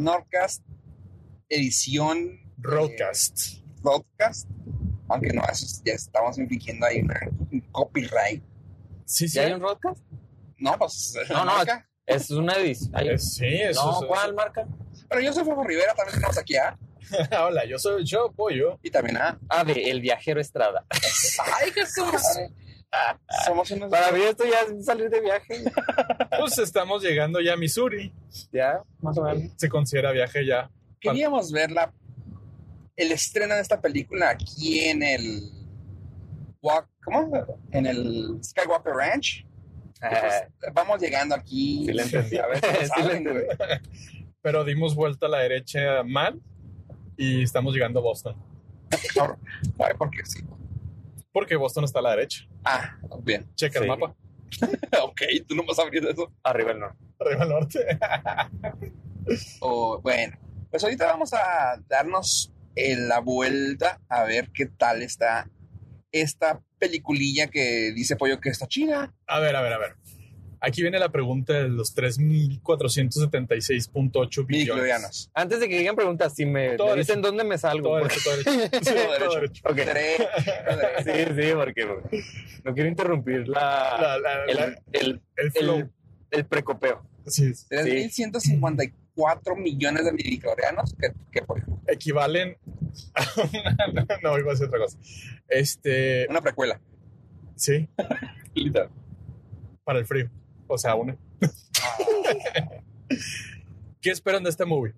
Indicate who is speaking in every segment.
Speaker 1: podcast edición
Speaker 2: Roadcast.
Speaker 1: podcast, aunque no, eso es- ya estamos infringiendo ahí un- un copyright.
Speaker 2: Sí, sí.
Speaker 3: ¿Ya hay un podcast?
Speaker 1: No, pues
Speaker 3: No, no,
Speaker 1: marca.
Speaker 3: Es una edición.
Speaker 2: Eh, Sí, eso
Speaker 3: No,
Speaker 2: es-
Speaker 3: ¿cuál marca?
Speaker 1: Pero yo soy Fofo Rivera, también tenemos aquí A
Speaker 2: Hola, yo soy yo, Pollo.
Speaker 1: y también A.
Speaker 3: Ah, de El Viajero Estrada.
Speaker 1: ¡Ay, Jesús! Somos unos...
Speaker 3: Para mí esto ya es salir de viaje.
Speaker 2: Pues estamos llegando ya a Missouri.
Speaker 3: Ya, más o menos.
Speaker 2: Se considera viaje ya.
Speaker 1: Queríamos ver la, el estreno de esta película aquí en el... Walk, ¿Cómo? En el Skywalker Ranch.
Speaker 3: Ah,
Speaker 1: Pues, vamos llegando aquí.
Speaker 3: Sí, le entendí.
Speaker 1: A ver si lo
Speaker 3: Sí, le
Speaker 1: saben,
Speaker 3: entendí.
Speaker 1: güey.
Speaker 2: Pero dimos vuelta a la derecha mal y estamos llegando a Boston.
Speaker 1: Ay, porque sí.
Speaker 2: Porque Boston está a la derecha.
Speaker 1: Ah, bien.
Speaker 2: Checa el
Speaker 3: Sí.
Speaker 2: mapa.
Speaker 1: ok, tú no vas a abrir eso.
Speaker 3: Arriba el norte.
Speaker 2: Arriba al norte.
Speaker 1: O, bueno, pues ahorita vamos a darnos eh, la vuelta a ver qué tal está esta peliculilla que dice Pollo que está chida.
Speaker 2: A ver, a ver, a ver. Aquí viene la pregunta de los 3.476.8 billones.
Speaker 1: Microianos.
Speaker 3: Antes de que digan preguntas, si me,
Speaker 2: Todo
Speaker 3: me
Speaker 2: derecho.
Speaker 3: dicen dónde me salgo.
Speaker 2: Todo
Speaker 3: porque-
Speaker 2: derecho, todo derecho.
Speaker 1: Todo derecho.
Speaker 3: Ok.
Speaker 1: Derecho, derecho.
Speaker 3: Sí, sí, porque no quiero interrumpir la,
Speaker 2: La- la-
Speaker 3: Ah, el,
Speaker 2: la-
Speaker 3: el,
Speaker 2: el flow.
Speaker 3: el, el precopeo.
Speaker 2: Sí,
Speaker 1: 3.154 millones de microianos que, que Pollo.
Speaker 2: equivalen a una- no, iba a decir otra cosa. Este,
Speaker 1: Una precuela.
Speaker 2: sí,
Speaker 1: Literal.
Speaker 2: para el frío. O sea, una. ¿Qué esperan de este movie?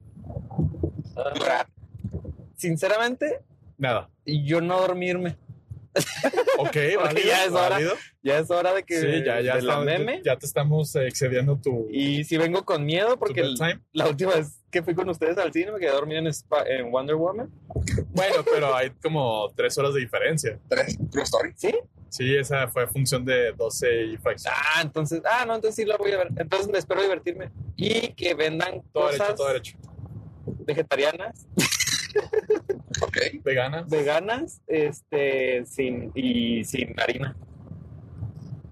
Speaker 1: Llorar.
Speaker 3: Sinceramente,
Speaker 2: Nada.
Speaker 3: yo no dormirme.
Speaker 2: Ok,
Speaker 3: Porque
Speaker 2: válido,
Speaker 3: ya es hora.
Speaker 2: válido.
Speaker 3: Ya es hora de que
Speaker 2: Sí, ya, ya,
Speaker 3: de la
Speaker 2: estamos-
Speaker 3: meme.
Speaker 2: ya te estamos eh, excediendo tu,
Speaker 3: Y si vengo con miedo,
Speaker 2: tu
Speaker 3: porque el-
Speaker 2: bedtime.
Speaker 3: la última vez que fui con ustedes al cine me quedé dormido en, Spa- en Wonder Woman.
Speaker 2: Bueno, pero hay como tres horas de diferencia.
Speaker 1: Tres. True story.
Speaker 3: ¿Sí?
Speaker 2: Sí, esa fue función de 12 y fracción.
Speaker 3: Ah, entonces, ah, no, entonces sí la voy a ver. Entonces me espero divertirme. Y que vendan
Speaker 2: Todo
Speaker 3: cosas
Speaker 2: derecho, todo derecho.
Speaker 3: vegetarianas,
Speaker 1: Ok.
Speaker 2: Vegana.
Speaker 3: veganas, este, sin, y sin harina.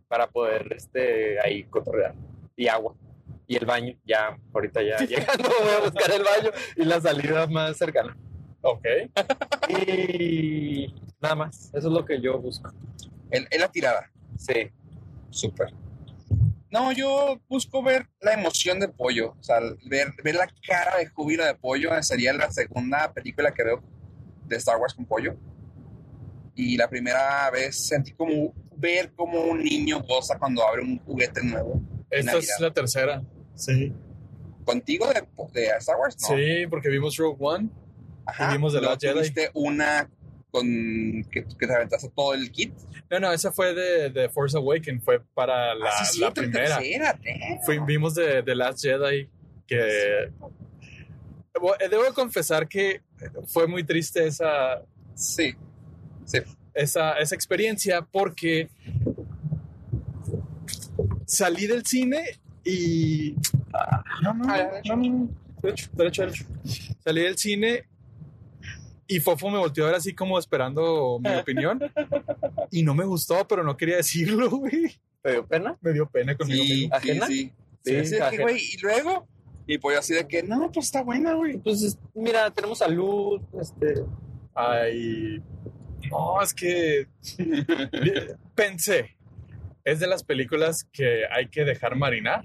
Speaker 3: Para poder, este, ahí cotorrear. Y agua. Y el baño, ya, ahorita ya llegando voy a buscar el baño y la salida más cercana.
Speaker 2: Ok.
Speaker 3: Y nada más, eso es lo que yo busco.
Speaker 1: Es es la tirada.
Speaker 3: Sí.
Speaker 1: Súper. No, yo busco ver la emoción de Pollo, o sea, ver, ver la cara de júbilo de Pollo, eh, sería la segunda película que veo de Star Wars con Pollo. Y la primera vez sentí como ver como un niño goza cuando abre un juguete nuevo.
Speaker 2: Esta
Speaker 1: Navidad.
Speaker 2: es la tercera. Sí.
Speaker 1: ¿Contigo de, de Star Wars? No.
Speaker 2: Sí, porque vimos Rogue One.
Speaker 1: Ajá.
Speaker 2: vimos The
Speaker 1: Luego
Speaker 2: Last Jedi.
Speaker 1: tuviste una con que, que te aventaste todo el kit.
Speaker 2: No, no, esa fue de, de Force Awakens, fue para la,
Speaker 1: Ah, sí,
Speaker 2: la
Speaker 1: cierto,
Speaker 2: primera.
Speaker 1: tercera, damn.
Speaker 2: Fui- vimos de The Last Jedi que... Bueno, eh, Debo confesar que fue muy triste esa,
Speaker 1: Sí.
Speaker 2: esa, esa experiencia porque salí del cine y... Ah, no, no,
Speaker 1: Ah, ya,
Speaker 2: no, no, no, derecho, derecho, derecho. Salí del cine y Fofo me volteó a ver así como esperando mi opinión y no me gustó, pero no quería decirlo, güey.
Speaker 3: ¿Te dio pena?
Speaker 2: Me dio pena conmigo
Speaker 1: Sí,
Speaker 2: mismo.
Speaker 1: sí,
Speaker 3: ¿Ajena?
Speaker 1: sí.
Speaker 3: Sí,
Speaker 1: Sí, sí, de que,
Speaker 3: ajena.
Speaker 1: güey, y luego, y pues así de que, no, pues está buena, güey.
Speaker 3: Entonces, mira, tenemos salud, este,
Speaker 2: Ay, no, es que pensé, es de las películas que hay que dejar marinar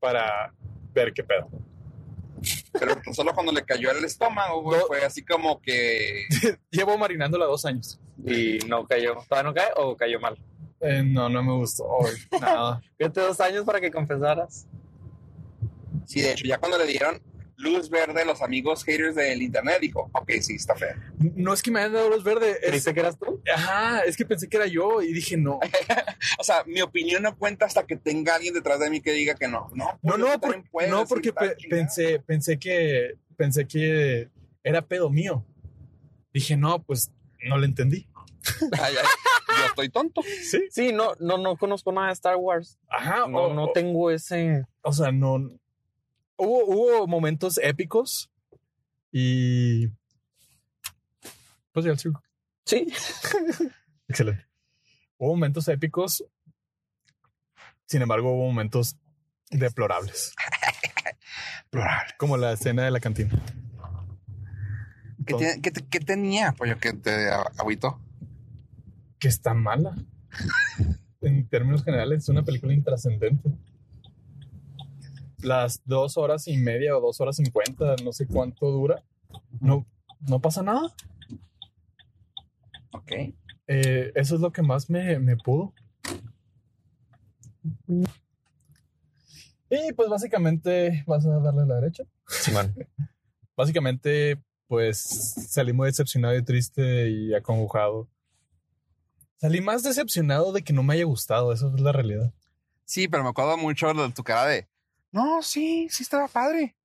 Speaker 2: para ver qué pedo.
Speaker 1: Pero solo cuando le cayó al estómago, güey,
Speaker 2: No.
Speaker 1: fue así como que,
Speaker 2: Llevo marinándola dos años.
Speaker 3: y no cayó. ¿Todavía no cae o cayó mal?
Speaker 2: Eh, no, no me gustó. Nada.
Speaker 3: Fíjate dos años para que confesaras.
Speaker 1: sí, de hecho, ya cuando le dieron luz verde los amigos haters del internet, dijo, ok, sí, está fea.
Speaker 2: No es que me hayan dado luz verde. Es,
Speaker 3: ¿Creíste que eras tú?
Speaker 2: ajá, es que pensé que era yo y dije no.
Speaker 1: O sea, mi opinión no cuenta hasta que tenga alguien detrás de mí que diga que no. No,
Speaker 2: No,
Speaker 1: pues,
Speaker 2: no,
Speaker 1: tú también
Speaker 2: por-
Speaker 1: puedes,
Speaker 2: no
Speaker 1: y
Speaker 2: porque
Speaker 1: tal,
Speaker 2: pe-
Speaker 1: chingada.
Speaker 2: pensé, pensé que pensé que era pedo mío. Dije no, pues no le entendí.
Speaker 1: Ay, ay, yo estoy tonto.
Speaker 2: Sí.
Speaker 3: Sí, no, no, no conozco nada de Star Wars.
Speaker 2: Ajá.
Speaker 3: No,
Speaker 2: o-
Speaker 3: no
Speaker 2: o-
Speaker 3: tengo ese.
Speaker 2: o sea, no. Hubo, hubo momentos épicos y. Pues ya el circo.
Speaker 3: Sí.
Speaker 2: Excelente. Hubo momentos épicos. Sin embargo, hubo momentos deplorables.
Speaker 1: Plural.
Speaker 2: Como la escena de la cantina.
Speaker 1: ¿Qué, te- qué te- qué tenía, pollo, que te a- agüitó?
Speaker 2: que está mala. en términos generales, es una película intrascendente. Las dos horas y media o dos horas cincuenta, no sé cuánto dura, no, no pasa nada.
Speaker 1: Ok.
Speaker 2: Eh, eso es lo que más me, me pudo. Y pues básicamente, ¿vas a darle a la derecha?
Speaker 3: Simón.
Speaker 2: Básicamente, pues salí muy decepcionado y triste y acongojado. Salí más decepcionado de que no me haya gustado, esa es la realidad.
Speaker 1: Sí, pero me acuerdo mucho de tu cara de, no, sí, sí estaba padre.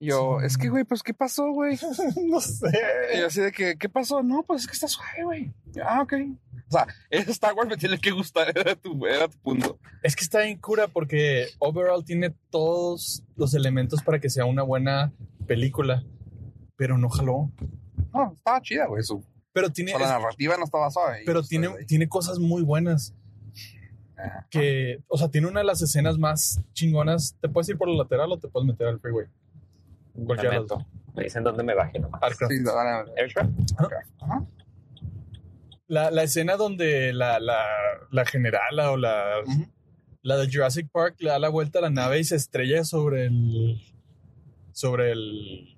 Speaker 1: Y Yo,
Speaker 2: Sí.
Speaker 1: es que, güey, pues, ¿qué pasó, güey?
Speaker 2: no sé.
Speaker 1: Y yo así de que, ¿qué pasó? No, pues es que está suave, güey. Yo, Ah, ok. O sea, ese Star Wars me tiene que gustar, era tu, era tu punto.
Speaker 2: Es que está bien cura porque overall tiene todos los elementos para que sea una buena película, pero no jaló.
Speaker 1: No, estaba chida, güey. Su,
Speaker 2: Pero tiene,
Speaker 1: o sea,
Speaker 2: es-
Speaker 1: la narrativa no estaba suave.
Speaker 2: pero
Speaker 1: Y,
Speaker 2: tiene,
Speaker 1: pues,
Speaker 2: tiene cosas muy buenas.
Speaker 1: Ajá.
Speaker 2: Que, o sea, tiene una de las escenas más chingonas. Te puedes ir por la lateral o te puedes meter al freeway. Cualquiera de las dos.
Speaker 3: Lamento. Pues Me dicen dónde me bajé nomás.
Speaker 2: Arcraft.
Speaker 1: Sí, la- la- la-
Speaker 3: Aircraft.
Speaker 1: ajá.
Speaker 2: La, la escena donde la, la, la generala o la,
Speaker 1: Ujú.
Speaker 2: la de Jurassic Park le da la vuelta a la nave y se estrella sobre el. sobre el.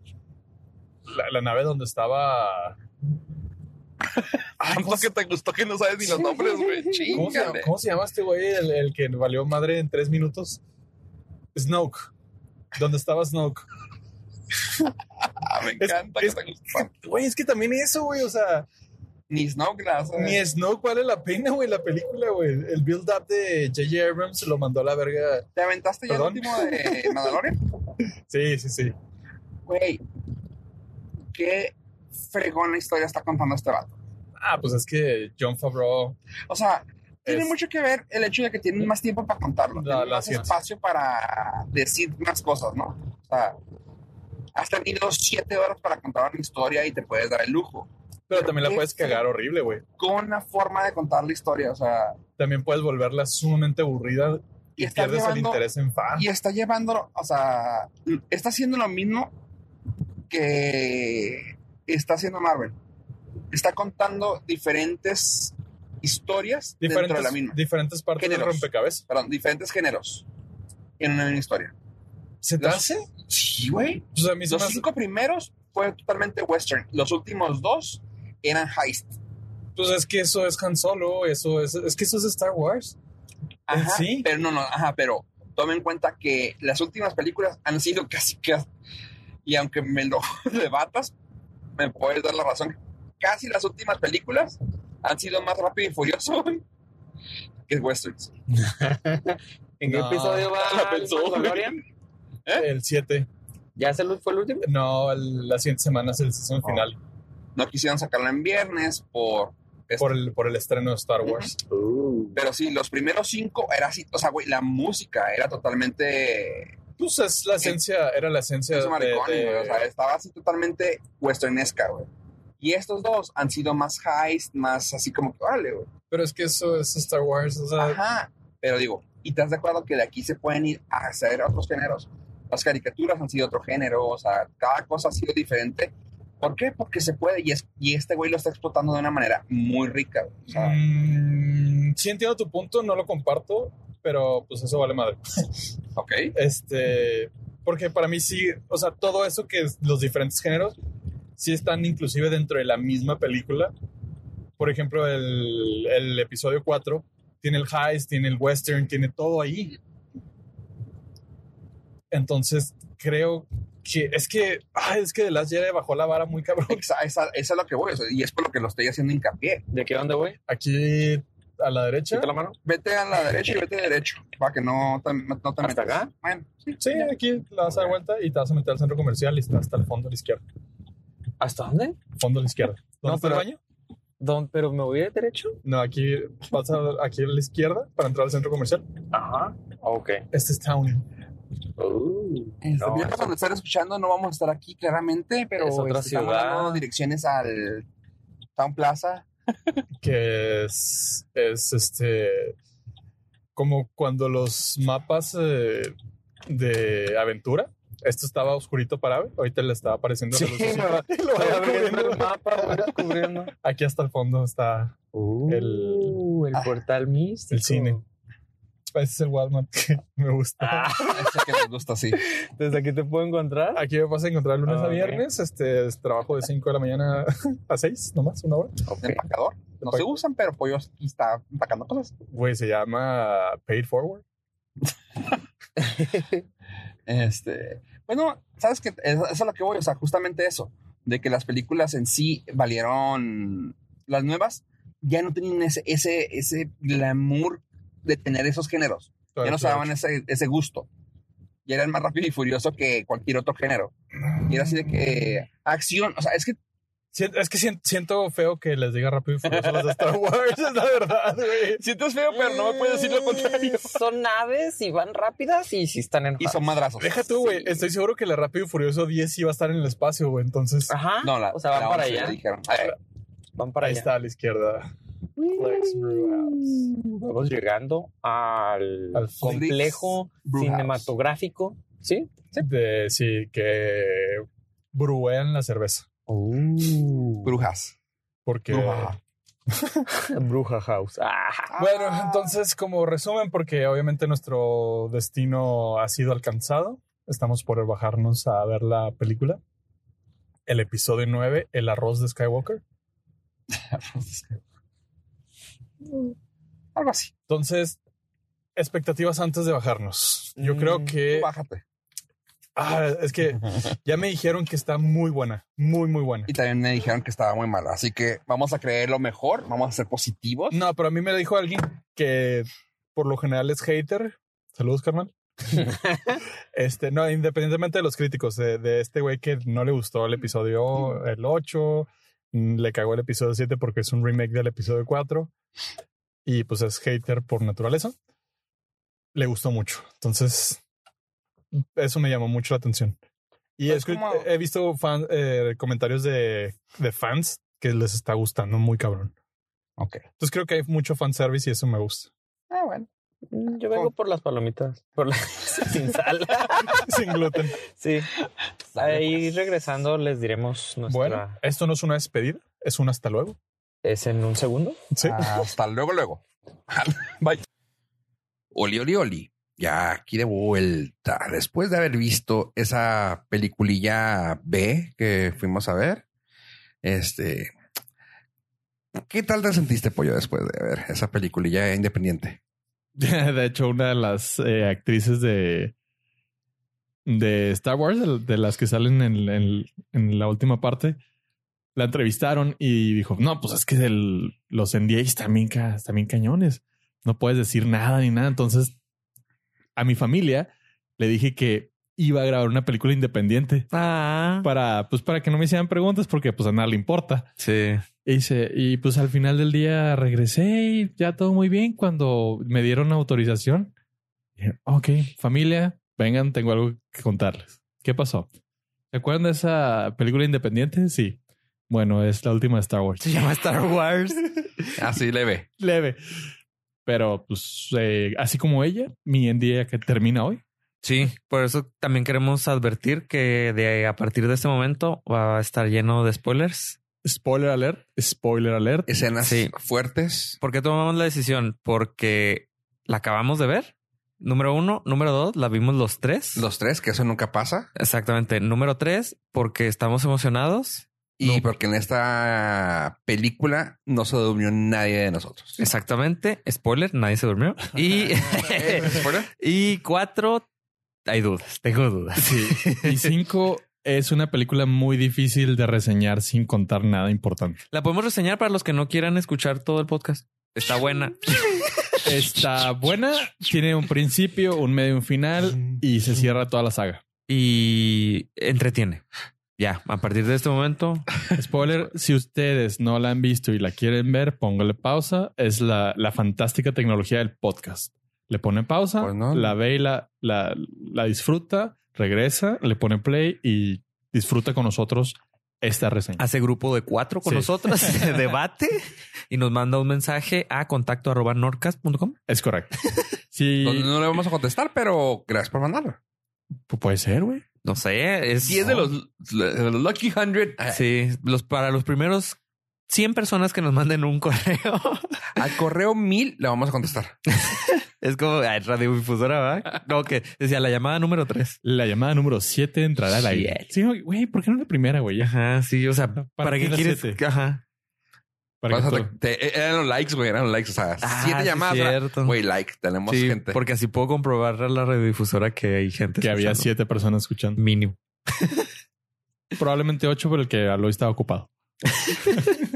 Speaker 2: la, la nave donde estaba.
Speaker 1: Tanto que te gustó que no sabes ni los nombres, güey.
Speaker 2: ¿Cómo se, llama,
Speaker 1: Chingale.
Speaker 2: cómo se llama este güey? El, el que valió madre en tres minutos. Snoke. Donde estaba Snoke.
Speaker 1: Ah, me
Speaker 2: Es-
Speaker 1: encanta
Speaker 2: es-
Speaker 1: que te gustó.
Speaker 2: Güey, es que también eso, güey. O sea,
Speaker 1: Ni eh. Snoke la hace.
Speaker 2: ni Snoke vale la pena, güey, la película, güey. El build-up de J.J. Abrams lo mandó a la verga.
Speaker 1: ¿Te aventaste ya el
Speaker 2: Perdón.
Speaker 1: último de Mandalorian?
Speaker 2: Sí, sí, sí.
Speaker 1: Güey, qué fregón la historia está contando este vato.
Speaker 2: Ah, pues es que John Favreau
Speaker 1: O sea, tiene
Speaker 2: Es-
Speaker 1: mucho que ver el hecho de que tienen más tiempo para contarlo,
Speaker 2: La-
Speaker 1: tienen
Speaker 2: la
Speaker 1: más
Speaker 2: ciencia.
Speaker 1: espacio para decir más cosas, ¿no? O sea, has tenido siete horas para contar una historia y te puedes dar el lujo.
Speaker 2: Pero también la
Speaker 1: qué
Speaker 2: puedes cagar horrible, güey.
Speaker 1: Con una forma de contar la historia, o sea,
Speaker 2: También puedes volverla sumamente aburrida
Speaker 1: Y
Speaker 2: y,
Speaker 1: está
Speaker 2: pierdes el
Speaker 1: llevando-
Speaker 2: interés en fa.
Speaker 1: y está llevándolo, o sea, está haciendo lo mismo que está haciendo Marvel. Está contando diferentes historias dentro de
Speaker 2: Diferentes,
Speaker 1: la misma.
Speaker 2: diferentes partes del
Speaker 1: Géneros.
Speaker 2: rompecabezas.
Speaker 1: perdón, diferentes géneros en una misma historia.
Speaker 2: ¿Se te
Speaker 1: Los-
Speaker 2: hace?
Speaker 1: Sí, güey.
Speaker 2: Pues a mí se
Speaker 1: Los
Speaker 2: me hace-
Speaker 1: cinco primeros fue totalmente western. Los últimos dos eran heist.
Speaker 2: pues es que eso es Han Solo, eso es, es que eso es Star Wars.
Speaker 1: Ajá,
Speaker 2: Sí.
Speaker 1: Pero no, no, ajá, pero tome en cuenta que las últimas películas han sido casi que. Y aunque me lo debatas, me puedes dar la razón. Casi las últimas películas han sido más rápido y furioso güey, que westerns.
Speaker 3: ¿En qué
Speaker 2: No.
Speaker 3: episodio va
Speaker 1: La pensó,
Speaker 3: el
Speaker 1: güey.
Speaker 3: Mandalorian?
Speaker 1: ¿Eh?
Speaker 2: El 7.
Speaker 3: ¿Ya se lo- fue el último?
Speaker 2: No, el- la siguiente semana es el season
Speaker 1: Oh.
Speaker 2: final
Speaker 1: No quisieron sacarlo en viernes por.
Speaker 2: por el, por el estreno de Star Wars.
Speaker 3: Uh.
Speaker 1: Pero sí, los primeros cinco era así. O sea, güey, la música era totalmente.
Speaker 2: Pues es la esencia, era la esencia
Speaker 1: Eso
Speaker 2: de,
Speaker 1: maricón,
Speaker 2: de-
Speaker 1: güey. O sea, estaba así totalmente westernesca, güey. Y estos dos han sido más heist, más así como que, órale, güey.
Speaker 2: Pero es que eso es Star Wars, o sea,
Speaker 1: Ajá. Pero digo, ¿y estás de acuerdo que de aquí se pueden ir a hacer otros géneros? Las caricaturas han sido otro género, o sea, cada cosa ha sido diferente. ¿Por qué? Porque se puede y, es, y este güey lo está explotando de una manera muy rica, güey. O sea,
Speaker 2: mm, sí entiendo tu punto, no lo comparto, pero pues eso vale madre.
Speaker 1: ok.
Speaker 2: Este, porque para mí sí, o sea, todo eso que es los diferentes géneros sí están inclusive dentro de la misma película. Por ejemplo, el, el episodio 4 tiene el heist, tiene el western, tiene todo ahí. Entonces, creo que es que ay, es que The Last Jedi bajó la vara muy cabrón.
Speaker 1: Esa, esa- esa es lo que voy, o sea, y es por lo que lo estoy haciendo hincapié.
Speaker 3: ¿De qué dónde voy?
Speaker 2: Aquí a la derecha.
Speaker 3: ¿Quita la mano?
Speaker 1: Vete a la derecha y vete derecho, para que no te, no te
Speaker 3: ¿Hasta
Speaker 1: metas.
Speaker 3: acá?
Speaker 1: Bueno, sí,
Speaker 2: Sí, aquí la vas a dar vuelta y te vas a meter al centro comercial y está hasta el fondo a la izquierda.
Speaker 3: ¿Hasta dónde?
Speaker 2: Fondo a la izquierda. ¿Dónde
Speaker 3: No,
Speaker 2: está el
Speaker 3: pero-
Speaker 2: baño?
Speaker 3: ¿Dónde? ¿Pero me voy de derecho?
Speaker 2: No, aquí vas a, aquí a la izquierda para entrar al centro comercial.
Speaker 3: Ajá. Ok.
Speaker 2: Este es Town.
Speaker 3: Uh,
Speaker 1: Este,
Speaker 3: no,
Speaker 1: bien,
Speaker 3: eso-
Speaker 1: cuando estén escuchando no vamos a estar aquí claramente, pero
Speaker 3: Es otra
Speaker 1: este, estamos
Speaker 3: ciudad.
Speaker 1: dando direcciones al Town Plaza.
Speaker 2: Que es, es este. Como cuando los mapas eh, de aventura esto estaba oscurito para Ave, ahorita le está apareciendo. la
Speaker 3: Sí,
Speaker 2: luz.
Speaker 3: me va-
Speaker 2: Lo voy
Speaker 3: voy abriendo
Speaker 2: descubriendo.
Speaker 3: el mapa, voy descubriendo.
Speaker 2: Aquí hasta el fondo está.
Speaker 3: Uh, el portal místico.
Speaker 2: el cine. Ese es el Walmart que me gusta.
Speaker 3: Ah,
Speaker 1: Ese Este que nos gusta, sí.
Speaker 3: desde aquí te puedo encontrar.
Speaker 2: Aquí me vas a encontrar lunes
Speaker 3: Ah,
Speaker 2: a
Speaker 3: ok.
Speaker 2: viernes. Este es trabajo de 5 de la mañana a 6, nomás, una hora.
Speaker 1: De empacador. No se usan, pero Pollo aquí está empacando cosas.
Speaker 2: Güey, se llama Paid Forward.
Speaker 1: Este, bueno, sabes que eso es a lo que voy, o sea, justamente eso, de que las películas en sí valieron las nuevas, ya no tienen ese, ese, ese glamour de tener esos géneros, ya no se daban ese, ese gusto, ya eran más rápido y furioso que cualquier otro género, y era así de que acción, o sea, es que
Speaker 2: Siento- es que siento, siento feo que les diga rápido y furioso las de Star Wars, es la verdad, güey.
Speaker 1: sientes feo, pero no me puedes decir lo contrario.
Speaker 3: Eh, Son naves y van rápidas y si están en
Speaker 1: Y son madrazos.
Speaker 2: Deja tú, güey. Estoy seguro que la Rápido y Furioso 10 sí va a estar en el espacio, güey. Entonces,
Speaker 3: Ajá.
Speaker 1: No, la,
Speaker 3: o sea, van
Speaker 1: la
Speaker 3: para
Speaker 1: 11
Speaker 3: allá.
Speaker 1: le dijeron, "Ay,
Speaker 3: Van para
Speaker 2: ahí
Speaker 3: allá.
Speaker 2: está a la izquierda. Flex Brewhouse.
Speaker 3: Vamos llegando al,
Speaker 2: Al
Speaker 3: complejo
Speaker 1: Brewhouse.
Speaker 3: cinematográfico. ¿Sí?
Speaker 2: De, sí, que bruean la cerveza.
Speaker 1: Oh. brujas.
Speaker 2: Porque.
Speaker 1: Bruja.
Speaker 3: Bruja House. Ah,
Speaker 2: Bueno, entonces, como resumen, porque obviamente nuestro destino ha sido alcanzado, estamos por bajarnos a ver la película. El episodio 9, El arroz de Skywalker.
Speaker 1: Algo así.
Speaker 2: Entonces, expectativas antes de bajarnos. Yo
Speaker 3: Mm.
Speaker 2: creo
Speaker 4: Eh,
Speaker 2: que.
Speaker 1: Bájate.
Speaker 2: Ah, es que ya me dijeron que está muy buena, muy, muy buena.
Speaker 1: Y también me dijeron que estaba muy mala. Así que vamos a creer lo mejor, vamos a ser positivos.
Speaker 2: No, pero a mí me dijo alguien que por lo general es hater. Saludos, carnal. este, no, independientemente de los críticos, de, de este güey que no le gustó el episodio el 8, mm, le cagó el episodio 7 porque es un remake del episodio 4 y pues es hater por naturaleza. Le gustó mucho. Entonces, eso me llamó mucho la atención. Y
Speaker 1: Pues
Speaker 2: es que
Speaker 1: como-
Speaker 2: he visto fan- eh, comentarios de, de fans que les está gustando muy cabrón.
Speaker 1: Ok.
Speaker 2: Entonces creo que hay mucho fanservice y eso me gusta.
Speaker 1: Ah, bueno.
Speaker 3: yo
Speaker 1: Oh.
Speaker 3: vengo por las palomitas. Por la- sin sal.
Speaker 2: Sin gluten.
Speaker 3: Sí.
Speaker 1: Sale,
Speaker 3: Ahí
Speaker 1: pues.
Speaker 3: regresando les diremos nuestra.
Speaker 2: Bueno, esto no es una despedida, es un hasta luego.
Speaker 3: ¿Es en un segundo?
Speaker 2: Sí.
Speaker 5: Ah.
Speaker 1: Hasta luego, luego. Bye. Oli, oli, oli. Ya aquí de vuelta. Después de haber visto esa peliculilla B que fuimos a ver, este. ¿Qué tal te sentiste, pollo, después de ver esa peliculilla independiente?
Speaker 5: De hecho, una de las eh, actrices de, de Star Wars, de, de las que salen en, en- en la última parte, la entrevistaron y dijo, no, pues es que el- los NDAs también, ca- también cañones. No puedes decir nada ni nada. Entonces, a mi familia le dije que iba a grabar una película independiente
Speaker 4: Ah,
Speaker 5: para, pues, para que no me hicieran preguntas porque pues a nada le importa.
Speaker 4: sí.
Speaker 5: Y dice, y pues al final del día regresé y ya todo muy bien. Cuando me dieron autorización, dije, ok, familia, vengan, tengo algo que contarles. ¿Qué pasó? ¿Se acuerdan de esa película independiente? Sí. Bueno, es la última de Star Wars.
Speaker 4: Se llama Star Wars.
Speaker 1: Así leve.
Speaker 5: Leve. Pero pues eh, así como ella, mi día que termina hoy.
Speaker 4: Sí, por eso también queremos advertir que de a partir de este momento va a estar lleno de spoilers.
Speaker 5: Spoiler alert, spoiler alert.
Speaker 1: Escenas
Speaker 4: Sí.
Speaker 1: fuertes.
Speaker 4: ¿Por qué tomamos la decisión? Porque la acabamos de ver. Número uno, número dos, la vimos los tres.
Speaker 1: Los tres, que eso nunca pasa.
Speaker 4: Exactamente. Número tres, porque estamos emocionados.
Speaker 1: Y porque en esta película no se durmió nadie de nosotros.
Speaker 4: Exactamente. Spoiler, nadie se durmió. Y,
Speaker 1: ¿Eh? ¿Spoiler?
Speaker 4: y cuatro, hay dudas, tengo dudas.
Speaker 5: Y cinco es una película muy difícil de reseñar sin contar nada importante.
Speaker 4: La podemos reseñar para los que no quieran escuchar todo el podcast. Está buena.
Speaker 5: está buena, tiene un principio, un medio, un final y se cierra toda la saga.
Speaker 4: y entretiene. Ya, a partir de este momento,
Speaker 5: Spoiler, si ustedes no la han visto y la quieren ver, póngale pausa. Es la, la fantástica tecnología del podcast. Le pone pausa,
Speaker 1: Pues no.
Speaker 5: la ve y la, la, la disfruta, regresa, le pone play y disfruta con nosotros esta reseña.
Speaker 4: hace grupo de cuatro con
Speaker 5: Sí.
Speaker 4: nosotros, se debate y nos manda un mensaje a contacto arroba norcas.com.
Speaker 5: Es correcto. Sí,
Speaker 1: No, no le vamos a contestar, pero gracias por mandarlo.
Speaker 5: pu- puede ser, güey.
Speaker 4: No sé, es.
Speaker 1: Si es de los, de los Lucky 100,
Speaker 4: Sí, los, para los primeros 100 personas que nos manden un correo.
Speaker 1: al correo 1000 le vamos a contestar.
Speaker 4: Es como ay, radiodifusora, ¿verdad? No, que decía la llamada número 3.
Speaker 2: La llamada número 7 entrará al aire. Sí, güey, ¿por qué no la primera, güey? Ya.
Speaker 4: Ajá, sí, o sea,
Speaker 2: ¿Para
Speaker 4: ¿para,
Speaker 2: qué
Speaker 4: qué
Speaker 2: las
Speaker 4: quieres?
Speaker 2: siete?
Speaker 4: Ajá.
Speaker 2: Para que
Speaker 1: Vas a
Speaker 2: todo-
Speaker 1: tra- te- eh, eran los likes, güey, eran los likes. O sea,
Speaker 4: Ah,
Speaker 1: siete
Speaker 4: sí,
Speaker 1: llamadas. era,
Speaker 4: cierto.
Speaker 1: Güey, like, tenemos
Speaker 4: Sí,
Speaker 1: gente.
Speaker 4: porque así puedo comprobar a la radiodifusora que hay gente.
Speaker 2: que había
Speaker 4: escuchando.
Speaker 2: siete personas escuchando.
Speaker 4: Mínimo.
Speaker 2: Probablemente ocho, pero el que habló estaba ocupado.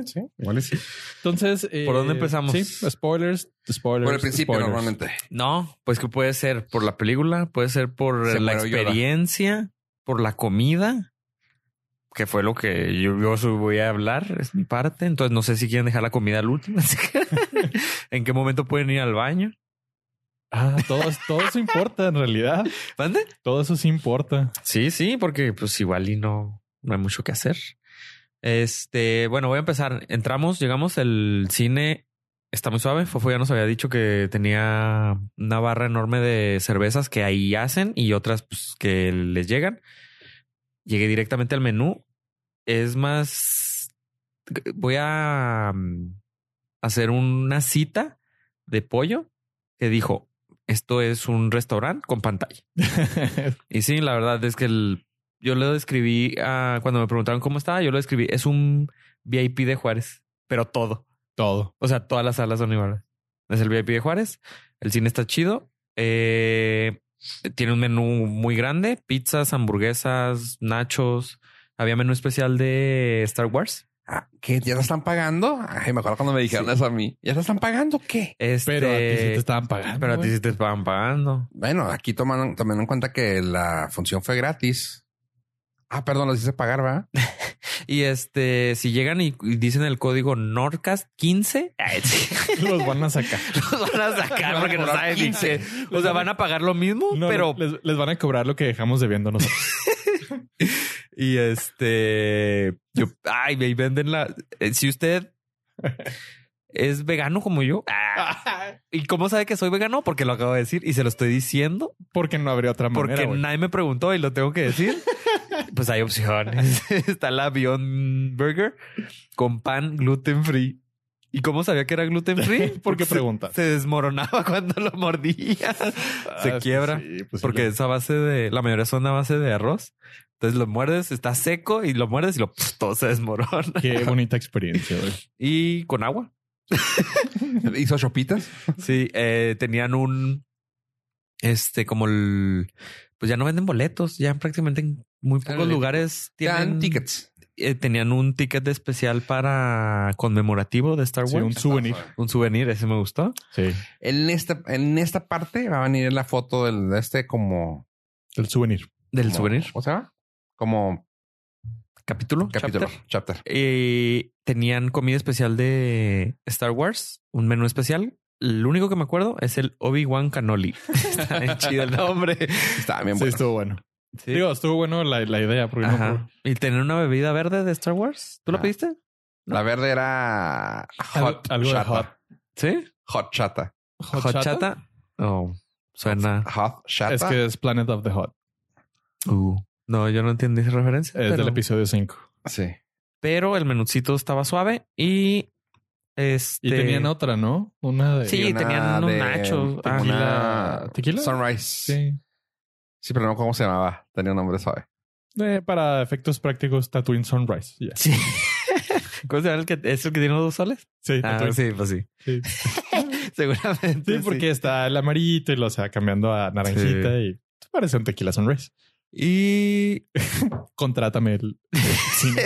Speaker 2: sí, igual y sí. Entonces, eh,
Speaker 4: ¿Por dónde empezamos?
Speaker 2: Sí, spoilers, spoilers.
Speaker 1: Por el principio,
Speaker 2: spoilers.
Speaker 1: normalmente.
Speaker 4: No, pues que puede ser por la película, puede ser por
Speaker 1: Se
Speaker 4: la
Speaker 1: muere Yoda.
Speaker 4: experiencia, por la comida, que fue lo que yo, yo su- voy a hablar, es mi parte. Entonces no sé si quieren dejar la comida al último. así que- ¿En qué momento pueden ir al baño?
Speaker 2: Ah, todo, todo eso importa en realidad.
Speaker 4: ¿Mande?
Speaker 2: Todo eso sí importa.
Speaker 4: Sí, sí, porque pues igual y no, no hay mucho que hacer. Este, bueno, voy a empezar. Entramos, llegamos, el cine está muy suave. Fofo ya nos había dicho que tenía una barra enorme de cervezas que ahí hacen y otras pues, que les llegan. Llegué directamente al menú. Es más, voy a mm, hacer una cita de pollo que dijo, esto es un restaurante con pantalla. Y sí, la verdad es que el- yo lo describí ah, cuando me preguntaron cómo estaba, yo lo describí. Es un VIP de Juárez, pero todo.
Speaker 2: todo.
Speaker 4: O sea, todas las salas son iguales. Es el VIP de Juárez. El cine está chido. eh, tiene un menú muy grande: pizzas, hamburguesas, nachos. Había menú especial de Star Wars.
Speaker 1: Ah, ¿Qué? ¿Ya te están pagando? Ay, me acuerdo cuando me dijeron eso a mí. ¿Ya te están pagando qué?
Speaker 4: Este,
Speaker 2: Pero a ti sí te estaban pagando.
Speaker 4: Pero a ti
Speaker 2: güey.
Speaker 4: sí te estaban pagando.
Speaker 1: Bueno, aquí toman, tomando en cuenta que la función fue gratis. Ah, perdón, los hice pagar, ¿verdad?
Speaker 4: Y este, si llegan y, y dicen el código Norcast 15, ay, sí.
Speaker 2: los van a sacar.
Speaker 4: los van a sacar porque no
Speaker 1: cobrar
Speaker 4: saben ni
Speaker 1: 15.
Speaker 4: qué. O sea, van a pagar lo mismo,
Speaker 2: No,
Speaker 4: pero.
Speaker 2: les, les van a cobrar lo que dejamos debiendo nosotros.
Speaker 4: Y este. Yo, ay, me venden la. eh, Si usted es vegano como yo. ah, ¿Y cómo sabe que soy vegano? Porque lo acabo de decir y se lo estoy diciendo
Speaker 2: Porque no habría otra manera.
Speaker 4: porque
Speaker 2: güey.
Speaker 4: nadie me preguntó y lo tengo que decir. pues hay opciones. Está la Beyond Burger con pan gluten free. ¿Y cómo sabía que era gluten free?
Speaker 2: ¿Por qué
Speaker 4: se-
Speaker 2: preguntas?
Speaker 4: Se, desmoronaba cuando lo mordía.
Speaker 2: Ah,
Speaker 4: se
Speaker 2: pues
Speaker 4: quiebra.
Speaker 2: sí, pues sí,
Speaker 4: porque
Speaker 2: lo-
Speaker 4: es a base de, la mayoría son a base de arroz. Entonces lo muerdes, está seco y lo muerdes y lo todo se desmorona.
Speaker 2: Qué bonita experiencia, güey.
Speaker 4: Y con agua.
Speaker 1: Hizo chopitas.
Speaker 4: Sí, eh, tenían un este como el pues ya no venden boletos, ya prácticamente en muy pocos
Speaker 1: Ándale.
Speaker 4: lugares
Speaker 1: Te dan
Speaker 4: tienen
Speaker 1: tickets.
Speaker 4: eh, tenían un ticket especial para conmemorativo de Star Wars.
Speaker 2: Sí, un
Speaker 4: un...
Speaker 2: souvenir.
Speaker 4: souvenir, ese me gustó.
Speaker 2: Sí,
Speaker 1: En esta, en esta parte va a venir la foto del de este como...
Speaker 2: el souvenir.
Speaker 4: Del
Speaker 1: como-
Speaker 4: souvenir.
Speaker 1: ¿Cómo se llama? Como
Speaker 4: Capítulo.
Speaker 1: capítulo.
Speaker 4: chapter.
Speaker 1: Chapter.
Speaker 4: Eh, tenían comida especial de Star Wars, un menú especial. Lo único que me acuerdo es el Obi-Wan Canoli. Está bien chido el nombre.
Speaker 1: Está bien
Speaker 2: sí,
Speaker 1: bueno.
Speaker 2: estuvo bueno.
Speaker 4: Sí.
Speaker 2: Digo, estuvo bueno la, la idea. Porque no-
Speaker 4: Ajá. Y tener una bebida verde de Star Wars. ¿Tú la
Speaker 1: Ah.
Speaker 4: pediste?
Speaker 1: La verde era hot
Speaker 2: Algo de
Speaker 1: chata.
Speaker 2: hot.
Speaker 4: Sí.
Speaker 1: Hot chata.
Speaker 4: Hot, chata. Oh, suena.
Speaker 1: Hot chata.
Speaker 2: Es que es Planet of the Hot.
Speaker 4: Uh, no, yo no entendí esa referencia.
Speaker 2: Es del
Speaker 4: pero,
Speaker 2: episodio 5.
Speaker 1: Sí.
Speaker 4: pero el menucito estaba suave y este.
Speaker 2: Y tenían otra, ¿no? Una de...
Speaker 4: Sí,
Speaker 1: una
Speaker 4: tenían unos
Speaker 1: de
Speaker 4: nachos. Ah,
Speaker 2: tequila.
Speaker 1: una-
Speaker 2: ¿Tequila?
Speaker 1: Sunrise. Sí.
Speaker 2: Sí.
Speaker 1: pero no cómo se llamaba. Tenía un nombre suave.
Speaker 2: Eh, para efectos prácticos, Tatooine Sunrise. Ya.
Speaker 4: Sí. ¿Cómo se llama el que es el que tiene los dos soles?
Speaker 2: Sí,
Speaker 4: Ah,
Speaker 2: Tatooine.
Speaker 4: sí, pues sí.
Speaker 2: Sí.
Speaker 4: Seguramente.
Speaker 2: Sí, porque está el amarillito y lo o sea, cambiando a naranjita y parece un tequila sunrise.
Speaker 4: Y
Speaker 2: Contrátame el cine.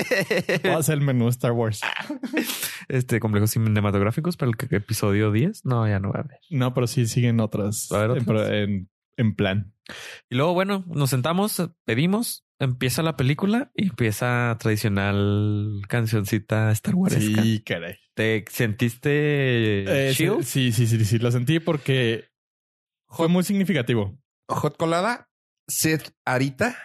Speaker 2: Pasa el menú Star Wars.
Speaker 4: este complejo cinematográficos para el que- episodio 10. No, ya no va a haber.
Speaker 2: No, pero sí siguen otras.
Speaker 4: A ver, otras.
Speaker 2: En, pro- en- en plan.
Speaker 4: Y luego, bueno, nos sentamos, pedimos, empieza la película y empieza tradicional cancioncita Star Wars.
Speaker 2: Sí, caray.
Speaker 4: ¿Te sentiste
Speaker 2: Eh, sí,
Speaker 4: chill?
Speaker 2: sí, sí, sí, sí, lo sentí porque fue muy significativo.
Speaker 1: Hot colada. Sith Arita.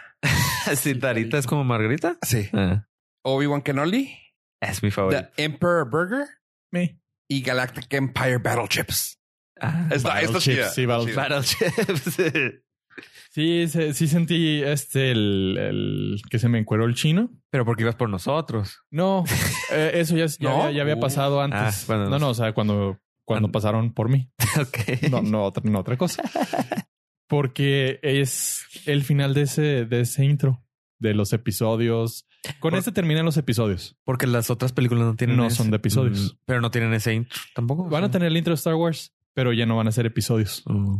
Speaker 4: Cintarita es como Margarita.
Speaker 1: Sí.
Speaker 4: Ah,
Speaker 1: Obi-Wan Kenobi.
Speaker 4: es mi
Speaker 1: The
Speaker 4: favorito.
Speaker 1: Emperor Burger.
Speaker 2: Me.
Speaker 1: Y Galactic Empire Battleships.
Speaker 4: Ah,
Speaker 1: Está, esta es
Speaker 2: Battleships,
Speaker 1: chida.
Speaker 2: sí, Battleships.
Speaker 1: Chida.
Speaker 4: Battleships.
Speaker 2: Sí, se- sí sentí este, el, el que se me encueró el chino.
Speaker 4: Pero porque ibas por nosotros.
Speaker 2: No, eh, eso ya, ya,
Speaker 4: ¿No?
Speaker 2: había, ya había
Speaker 4: Uh.
Speaker 2: pasado antes.
Speaker 4: Ah, bueno,
Speaker 2: no,
Speaker 4: no
Speaker 2: no, o sea, cuando, cuando
Speaker 4: Cuando-
Speaker 2: pasaron por mí.
Speaker 4: ok.
Speaker 2: No, no, otra, no otra cosa. Porque es el final de ese, de ese intro, de los episodios. Con
Speaker 4: Por-
Speaker 2: este terminan los episodios.
Speaker 4: Porque las otras películas no tienen.
Speaker 2: No son de episodios.
Speaker 4: Mm, Pero no tienen ese intro tampoco.
Speaker 2: Van a tener el intro de Star Wars, pero ya no van a ser episodios.
Speaker 4: Mm.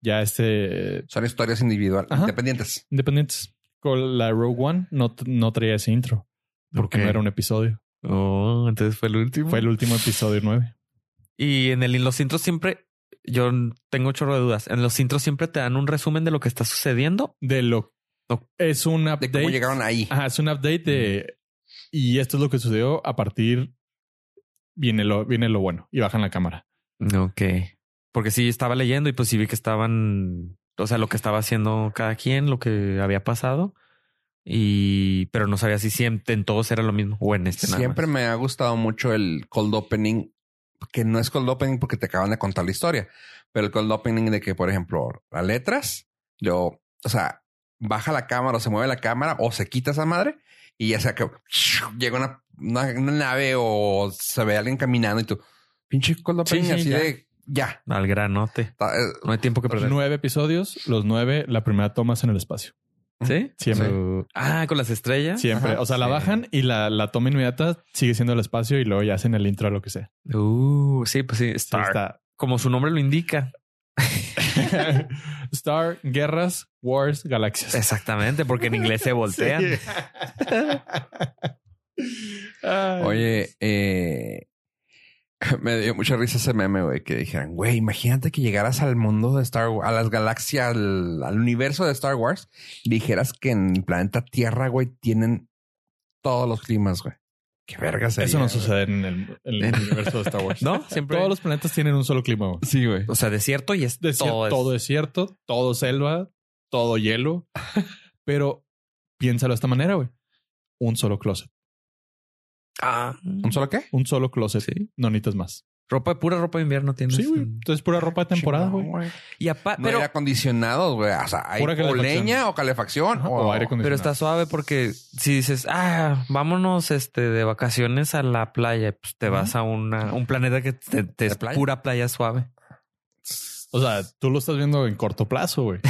Speaker 2: Ya este eh,
Speaker 1: Son historias individuales,
Speaker 2: Ajá.
Speaker 1: independientes.
Speaker 2: independientes. Con la Rogue One no, no traía ese intro porque
Speaker 4: Ok.
Speaker 2: no era un episodio.
Speaker 4: Oh, entonces fue el último.
Speaker 2: Fue el último episodio 9.
Speaker 4: Y en el en los intros siempre. Yo tengo un chorro de dudas. En los intros siempre te dan un resumen de lo que está sucediendo.
Speaker 2: De lo
Speaker 4: No.
Speaker 2: es un
Speaker 1: De
Speaker 2: update.
Speaker 1: cómo llegaron ahí.
Speaker 2: Ajá, es un update de y esto es lo que sucedió a partir viene lo viene lo bueno y bajan la cámara.
Speaker 4: Ok. Porque sí estaba leyendo y pues sí vi que estaban. O sea, lo que estaba haciendo cada quien, lo que había pasado. Y pero no sabía si siempre en todos era lo mismo o en este nada
Speaker 1: Siempre
Speaker 4: más.
Speaker 1: me ha gustado mucho el cold opening, que no es cold opening porque te acaban de contar la historia, pero el cold opening de que, por ejemplo, las letras, yo, o sea, baja la cámara o se mueve la cámara o se quita esa madre y ya sea que llega una, una- una nave o se ve a alguien caminando y tú, pinche cold
Speaker 2: Sí,
Speaker 1: opening
Speaker 2: sí,
Speaker 1: así
Speaker 2: ya.
Speaker 1: de ya.
Speaker 4: al granote.
Speaker 1: Ta- eh,
Speaker 4: No hay tiempo que perder.
Speaker 2: Nueve episodios, los nueve, la primera toma es en el espacio.
Speaker 4: ¿Sí?
Speaker 2: Siempre.
Speaker 4: Su- Ah, con las estrellas.
Speaker 2: Siempre.
Speaker 1: Ajá,
Speaker 2: o sea, la
Speaker 4: sí.
Speaker 2: bajan y la, la toma inmediata sigue siendo el espacio y luego ya hacen el intro a lo que sea.
Speaker 4: Uh, sí, pues sí,
Speaker 2: Sí,
Speaker 4: Star.
Speaker 2: está.
Speaker 4: Como su nombre lo indica.
Speaker 2: Star, guerras, wars, galaxias.
Speaker 4: Exactamente, porque en inglés se voltean.
Speaker 2: Ay.
Speaker 1: Oye, eh, me dio mucha risa ese meme, güey, que dijeran, güey, imagínate que llegaras al mundo de Star Wars, a las galaxias, al, al universo de Star Wars, y dijeras que en el planeta Tierra, güey, tienen todos los climas, güey. Qué verga sería.
Speaker 2: Eso no
Speaker 1: güey.
Speaker 2: sucede en el, en el universo de Star Wars.
Speaker 4: ¿No? Siempre.
Speaker 2: Todos los planetas tienen un solo clima. güey.
Speaker 1: Sí, güey.
Speaker 4: O sea, desierto y es
Speaker 2: Desier-
Speaker 4: todo.
Speaker 2: todo,
Speaker 4: es-
Speaker 2: desierto, todo selva, todo hielo. Pero piénsalo de esta manera, güey. Un solo closet.
Speaker 4: Ah,
Speaker 1: ¿Un solo qué?
Speaker 2: Un solo closet. No necesitas más.
Speaker 4: ropa, pura ropa de invierno tienes.
Speaker 2: Sí, güey. Entonces pura ropa de temporada, güey.
Speaker 4: Y aparte,
Speaker 1: No
Speaker 4: pero,
Speaker 1: hay acondicionados, güey. O sea, hay
Speaker 2: Pura
Speaker 1: o
Speaker 2: calefacción.
Speaker 1: leña o calefacción
Speaker 2: Ajá,
Speaker 1: o,
Speaker 2: O aire acondicionado.
Speaker 4: pero está suave porque si dices, ah, vámonos este de vacaciones a la playa, pues te vas a una, un planeta que te, te es
Speaker 1: ¿De playa?
Speaker 4: pura playa suave.
Speaker 2: O sea, tú lo estás viendo en corto plazo, güey.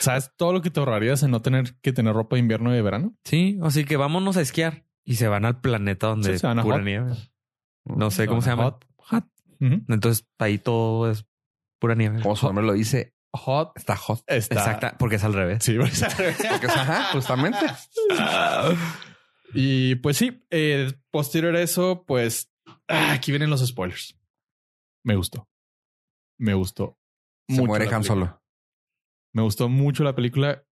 Speaker 2: ¿Sabes todo lo que te ahorrarías en no tener que tener ropa de invierno y de verano?
Speaker 4: Sí, así que vámonos a esquiar y se van al planeta donde
Speaker 2: Sí, se van a
Speaker 4: pura
Speaker 2: Hot. Mm,
Speaker 4: nieve. No sé
Speaker 2: Se
Speaker 4: cómo
Speaker 2: van
Speaker 4: se
Speaker 2: a
Speaker 4: llama.
Speaker 2: Hot. Ujú.
Speaker 4: Entonces ahí todo es pura nieve.
Speaker 1: como su nombre lo dice,
Speaker 2: Hot
Speaker 1: está hot.
Speaker 2: está.
Speaker 4: Exacta, porque es al revés.
Speaker 2: Ah. Sí, güey, está-
Speaker 1: Porque es- ajá, justamente.
Speaker 2: Y pues sí, eh, posterior a eso, pues ah, aquí vienen los spoilers. Me gustó. Me gustó.
Speaker 1: Se
Speaker 2: mucho
Speaker 1: muere
Speaker 2: la
Speaker 1: Han
Speaker 2: película.
Speaker 1: Solo.
Speaker 2: Me gustó mucho la película.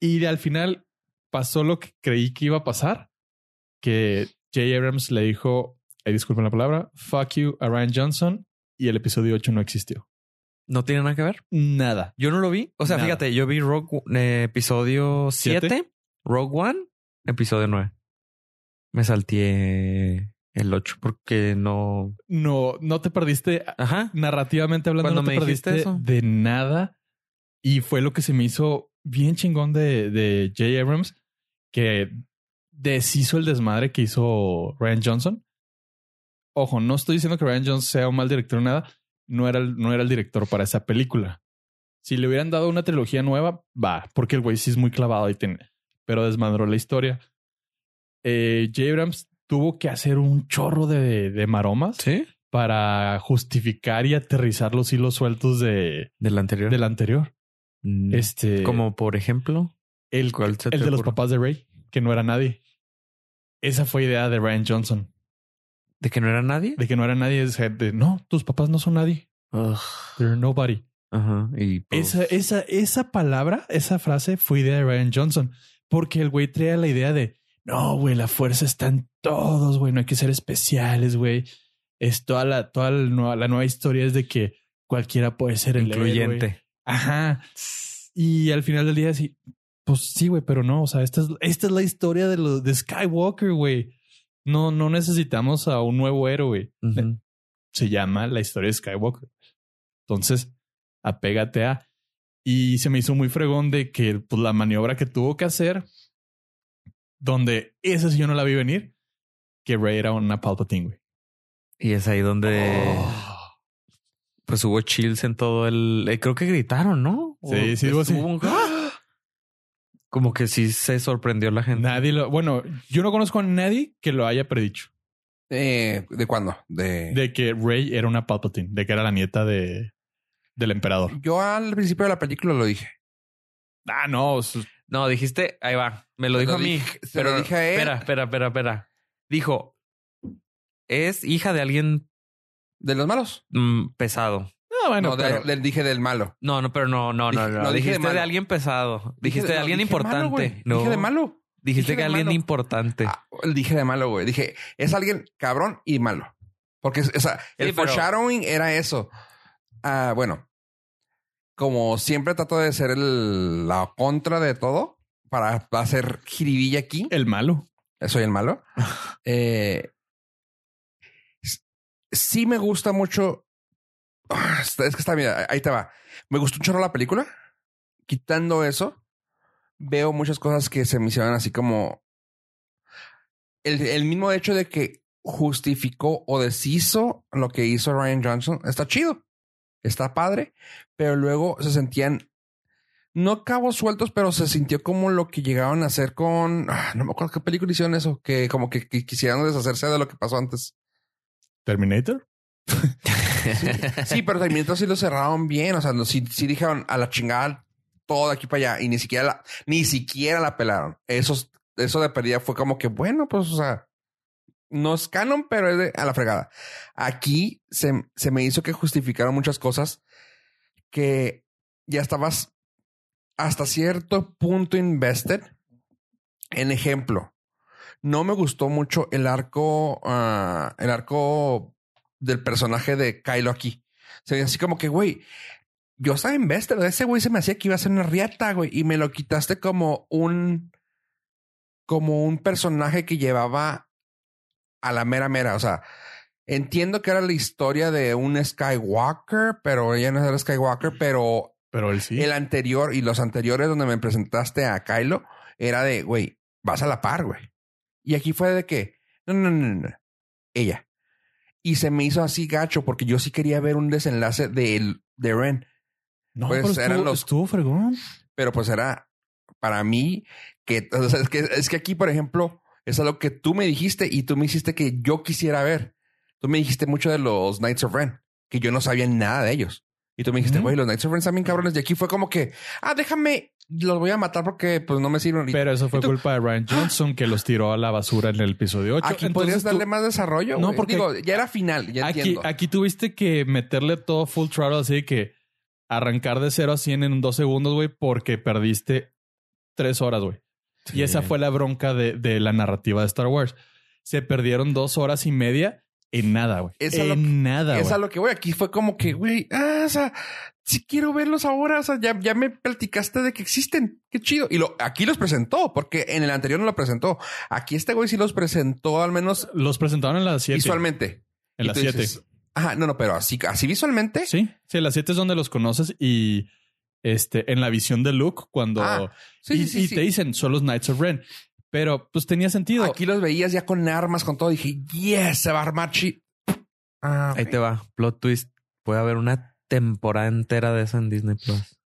Speaker 2: Y de- al final pasó lo que creí que iba a pasar. Que J. Abrams le dijo, eh, disculpen la palabra, fuck you a Ryan Johnson. Y el episodio 8 no existió.
Speaker 4: No tiene nada que ver.
Speaker 2: Nada.
Speaker 4: Yo no lo vi. O sea,
Speaker 2: Nada.
Speaker 4: fíjate, yo vi Rogue eh, episodio
Speaker 2: ¿Siete?
Speaker 4: 7, Rogue One, episodio 9. Me salté el 8 porque no.
Speaker 2: No, no te perdiste
Speaker 4: Ajá.
Speaker 2: narrativamente hablando,
Speaker 4: Cuando
Speaker 2: no te
Speaker 4: me dijiste
Speaker 2: perdiste
Speaker 4: eso.
Speaker 2: de nada. Y fue lo que se me hizo bien chingón de, de J. Abrams, que deshizo el desmadre que hizo Ryan Johnson. Ojo, no estoy diciendo que Ryan Johnson sea un mal director o nada. No era, el, no era el director para esa película. Si le hubieran dado una trilogía nueva, va, porque el güey sí es muy clavado y tiene. Pero desmadró la historia. Eh, J. Abrams tuvo que hacer un chorro de, de maromas
Speaker 4: Sí.
Speaker 2: para justificar y aterrizar los hilos sueltos de
Speaker 4: Del anterior.
Speaker 2: del anterior.
Speaker 4: Mm.
Speaker 2: Este
Speaker 4: Como por ejemplo,
Speaker 2: el,
Speaker 4: ¿cuál se
Speaker 2: el
Speaker 4: te
Speaker 2: de los
Speaker 4: ocurre?
Speaker 2: papás de Ray, que no era nadie. Esa fue idea de Ryan Johnson,
Speaker 4: de que no era nadie.
Speaker 2: de que no era nadie, es gente, no, tus papás no son nadie.
Speaker 4: Ugh.
Speaker 2: They're nobody.
Speaker 4: Ajá. Y pues,
Speaker 2: Esa esa esa palabra, esa frase fue idea de Ryan Johnson, porque el güey traía la idea de no, güey, la fuerza está en todos, güey, no hay que ser especiales, güey. Es toda la toda la nueva, la nueva historia es de que cualquiera puede ser el héroe.
Speaker 4: incluyente.
Speaker 2: Ajá. Y al final del día, sí, pues sí, güey, pero no, o sea, esta es, esta es la historia de, lo, de Skywalker, güey. No, no necesitamos a un nuevo héroe.
Speaker 4: Ujú.
Speaker 2: Se llama la historia de Skywalker. Entonces, apégate a. Y se me hizo muy fregón de que pues, la maniobra que tuvo que hacer, donde esa sí yo no la vi venir, que Rey era una Palpatine, güey.
Speaker 4: Y es ahí donde
Speaker 2: Oh.
Speaker 4: pues hubo chills en todo el. eh, creo que gritaron, ¿no? O
Speaker 2: Sí, sí, hubo así.
Speaker 4: estuvo un- ¡Ah! Como que sí se sorprendió la gente.
Speaker 2: Nadie lo. Bueno, yo no conozco a nadie que lo haya predicho.
Speaker 1: Eh, ¿De cuándo? De,
Speaker 2: De que Rey era una Palpatine, de que era la nieta de del emperador.
Speaker 1: Yo al principio de la película lo dije.
Speaker 2: Ah, no. su-
Speaker 4: No, dijiste, ahí va. Me lo
Speaker 1: Se
Speaker 4: dijo
Speaker 1: lo
Speaker 4: a mí.
Speaker 1: dije- se lo dije a él.
Speaker 4: Espera, espera, espera, espera. Dijo, es hija de alguien
Speaker 1: ¿De los malos?
Speaker 4: mm, pesado.
Speaker 2: No, Ah, bueno,
Speaker 1: no, de-
Speaker 2: pero-
Speaker 1: del- dije del malo.
Speaker 4: No, no, pero no, no, no,
Speaker 1: Dije-
Speaker 4: no.
Speaker 1: no, dije de
Speaker 4: dijiste de,
Speaker 1: malo.
Speaker 4: alguien pesado.
Speaker 1: Dije
Speaker 4: Dijiste de
Speaker 1: no,
Speaker 4: alguien
Speaker 1: dije malo,
Speaker 4: importante.
Speaker 1: güey.
Speaker 4: no,
Speaker 1: Dije de malo. dije
Speaker 4: Dijiste que
Speaker 1: de
Speaker 4: alguien
Speaker 1: malo.
Speaker 4: importante.
Speaker 1: Ah, dije de malo, güey. Dije, es alguien cabrón y malo. Porque, o sea, el
Speaker 4: pero-
Speaker 1: foreshadowing era eso. Ah, bueno. Como siempre trato de ser el- la contra de todo para hacer jiribilla aquí.
Speaker 2: el malo.
Speaker 1: Soy el malo. Eh, s- sí me gusta mucho. Ah, está- Es que está, mira, ahí te va. Me gustó un chorro la película. Quitando eso, veo muchas cosas que se me hicieron así como... El, el mismo hecho de que justificó o deshizo lo que hizo Ryan Johnson. Está chido. Está padre. Pero luego se sentían... No cabos sueltos, pero se sintió como lo que llegaron a hacer con... ah, No me acuerdo qué película hicieron eso. Que como que, que quisieran deshacerse de lo que pasó antes.
Speaker 2: Terminator.
Speaker 1: Sí, pero Terminator sí lo cerraron bien. O sea, no, sí, sí dijeron a la chingada todo de aquí para allá y ni siquiera la, ni siquiera la pelaron. Eso, eso de pérdida fue como que, bueno, pues, o sea, no es canon, pero es de- a la fregada. Aquí se, se me hizo que justificaron muchas cosas que ya estabas hasta cierto punto invested. En ejemplo, no me gustó mucho el arco, ah, el arco del personaje de Kylo aquí. Se ve así como que, güey, yo estaba en Vester, ese güey se me hacía que iba a ser una riata, güey, y me lo quitaste como un, como un personaje que llevaba a la mera mera. O sea, entiendo que era la historia de un Skywalker, pero ella no era Skywalker, pero
Speaker 2: Pero él sí.
Speaker 1: el anterior y los anteriores donde me presentaste a Kylo era de, güey, vas a la par, güey. Y aquí fue de que, no, no, no, no, no, ella. Y se me hizo así gacho porque yo sí quería ver un desenlace de, el- de Ren,
Speaker 2: no,
Speaker 1: pues,
Speaker 2: pero
Speaker 1: eran
Speaker 2: estuvo,
Speaker 1: los-
Speaker 2: estuvo fregón.
Speaker 1: pero pues era para mí que, o sea, es que, es que aquí, por ejemplo, es algo que tú me dijiste y tú me hiciste que yo quisiera ver. Tú me dijiste mucho de los Knights of Ren, que yo no sabía nada de ellos. Y tú me dijiste,
Speaker 2: Ujú.
Speaker 1: güey, los Knights of Ren están bien cabrones. Y aquí fue como que, ah, déjame, los voy a matar porque pues no me sirven ahorita.
Speaker 2: Pero eso fue
Speaker 1: ¿Y tú?
Speaker 2: culpa de Ryan Johnson que los tiró a la basura en el episodio 8.
Speaker 1: Aquí podrías darle más desarrollo.
Speaker 2: No,
Speaker 1: güey.
Speaker 2: porque-
Speaker 1: Digo, ya era final, ya
Speaker 2: aquí,
Speaker 1: entiendo.
Speaker 2: aquí tuviste que meterle todo full throttle así de que arrancar de 0 a 100 en dos segundos, güey, porque perdiste tres horas, güey. Y esa fue la bronca de, de la narrativa de Star Wars. Se perdieron dos horas y media en nada, güey.
Speaker 1: Es a
Speaker 2: En
Speaker 1: lo
Speaker 2: nada,
Speaker 1: es a
Speaker 2: güey.
Speaker 1: lo que voy. Aquí fue como que, güey, ah, o sea, sí quiero verlos ahora. O sea, ya, ya me platicaste de que existen. Qué chido. Y lo, aquí los presentó, porque en el anterior no lo presentó. Aquí este güey sí los presentó, al menos
Speaker 2: Los presentaron en las 7.
Speaker 1: visualmente.
Speaker 2: En
Speaker 1: Y
Speaker 2: las
Speaker 1: tú
Speaker 2: 7.
Speaker 1: dices, ¿eh? Ajá, no, no, pero así, así visualmente.
Speaker 2: Sí, sí, en las 7 es donde los conoces y este, en la visión de Luke cuando...
Speaker 1: Ah, sí,
Speaker 2: y
Speaker 1: sí, sí,
Speaker 2: y
Speaker 1: sí.
Speaker 2: te dicen, son los Knights of Ren. Pero pues tenía sentido.
Speaker 1: Aquí los veías ya con armas, con todo. Dije, yes, se va a armar chi. Ah,
Speaker 4: Ahí
Speaker 1: ok.
Speaker 4: te va. Plot twist. Puede haber una temporada entera de eso en Disney Plus.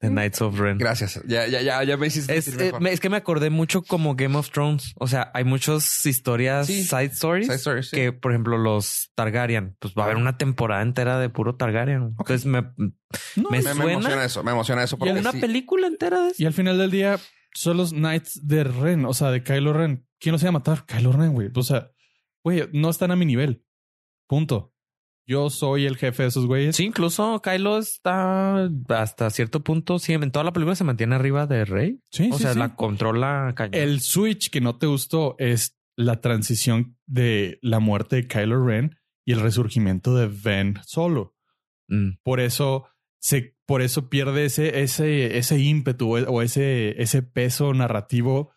Speaker 4: The Knights of Ren.
Speaker 1: Gracias. Ya, ya, ya, ya me hiciste.
Speaker 4: Es,
Speaker 1: sentir
Speaker 4: eh,
Speaker 1: mejor.
Speaker 4: me- es que me acordé mucho como Game of Thrones. O sea, hay muchas historias,
Speaker 1: Sí.
Speaker 4: side stories,
Speaker 1: Side story, sí.
Speaker 4: que, por ejemplo, los Targaryen. Pues va a haber una temporada entera de puro Targaryen. Entonces me,
Speaker 2: No,
Speaker 4: me
Speaker 1: me, me
Speaker 2: y-
Speaker 4: suena-
Speaker 1: emociona eso, me emociona eso.
Speaker 4: y
Speaker 1: Porque
Speaker 4: una
Speaker 1: sí.
Speaker 4: película entera de eso.
Speaker 2: Y al final del día son los Knights de Ren, o sea, de Kylo Ren. ¿Quién los iba a matar? Kylo Ren, güey. O sea, güey, no están a mi nivel. Punto. Yo soy el jefe de esos güeyes.
Speaker 4: Sí, incluso Kylo está hasta cierto punto. Sí, en toda la película se mantiene arriba de Rey.
Speaker 2: sí,
Speaker 4: O
Speaker 2: sí,
Speaker 4: sea,
Speaker 2: sí.
Speaker 4: la controla cañón.
Speaker 2: El switch que no te gustó es la transición de la muerte de Kylo Ren y el resurgimiento de Ben Solo.
Speaker 4: Mm.
Speaker 2: Por eso se, por eso pierde ese, ese, ese ímpetu o o ese, ese peso narrativo.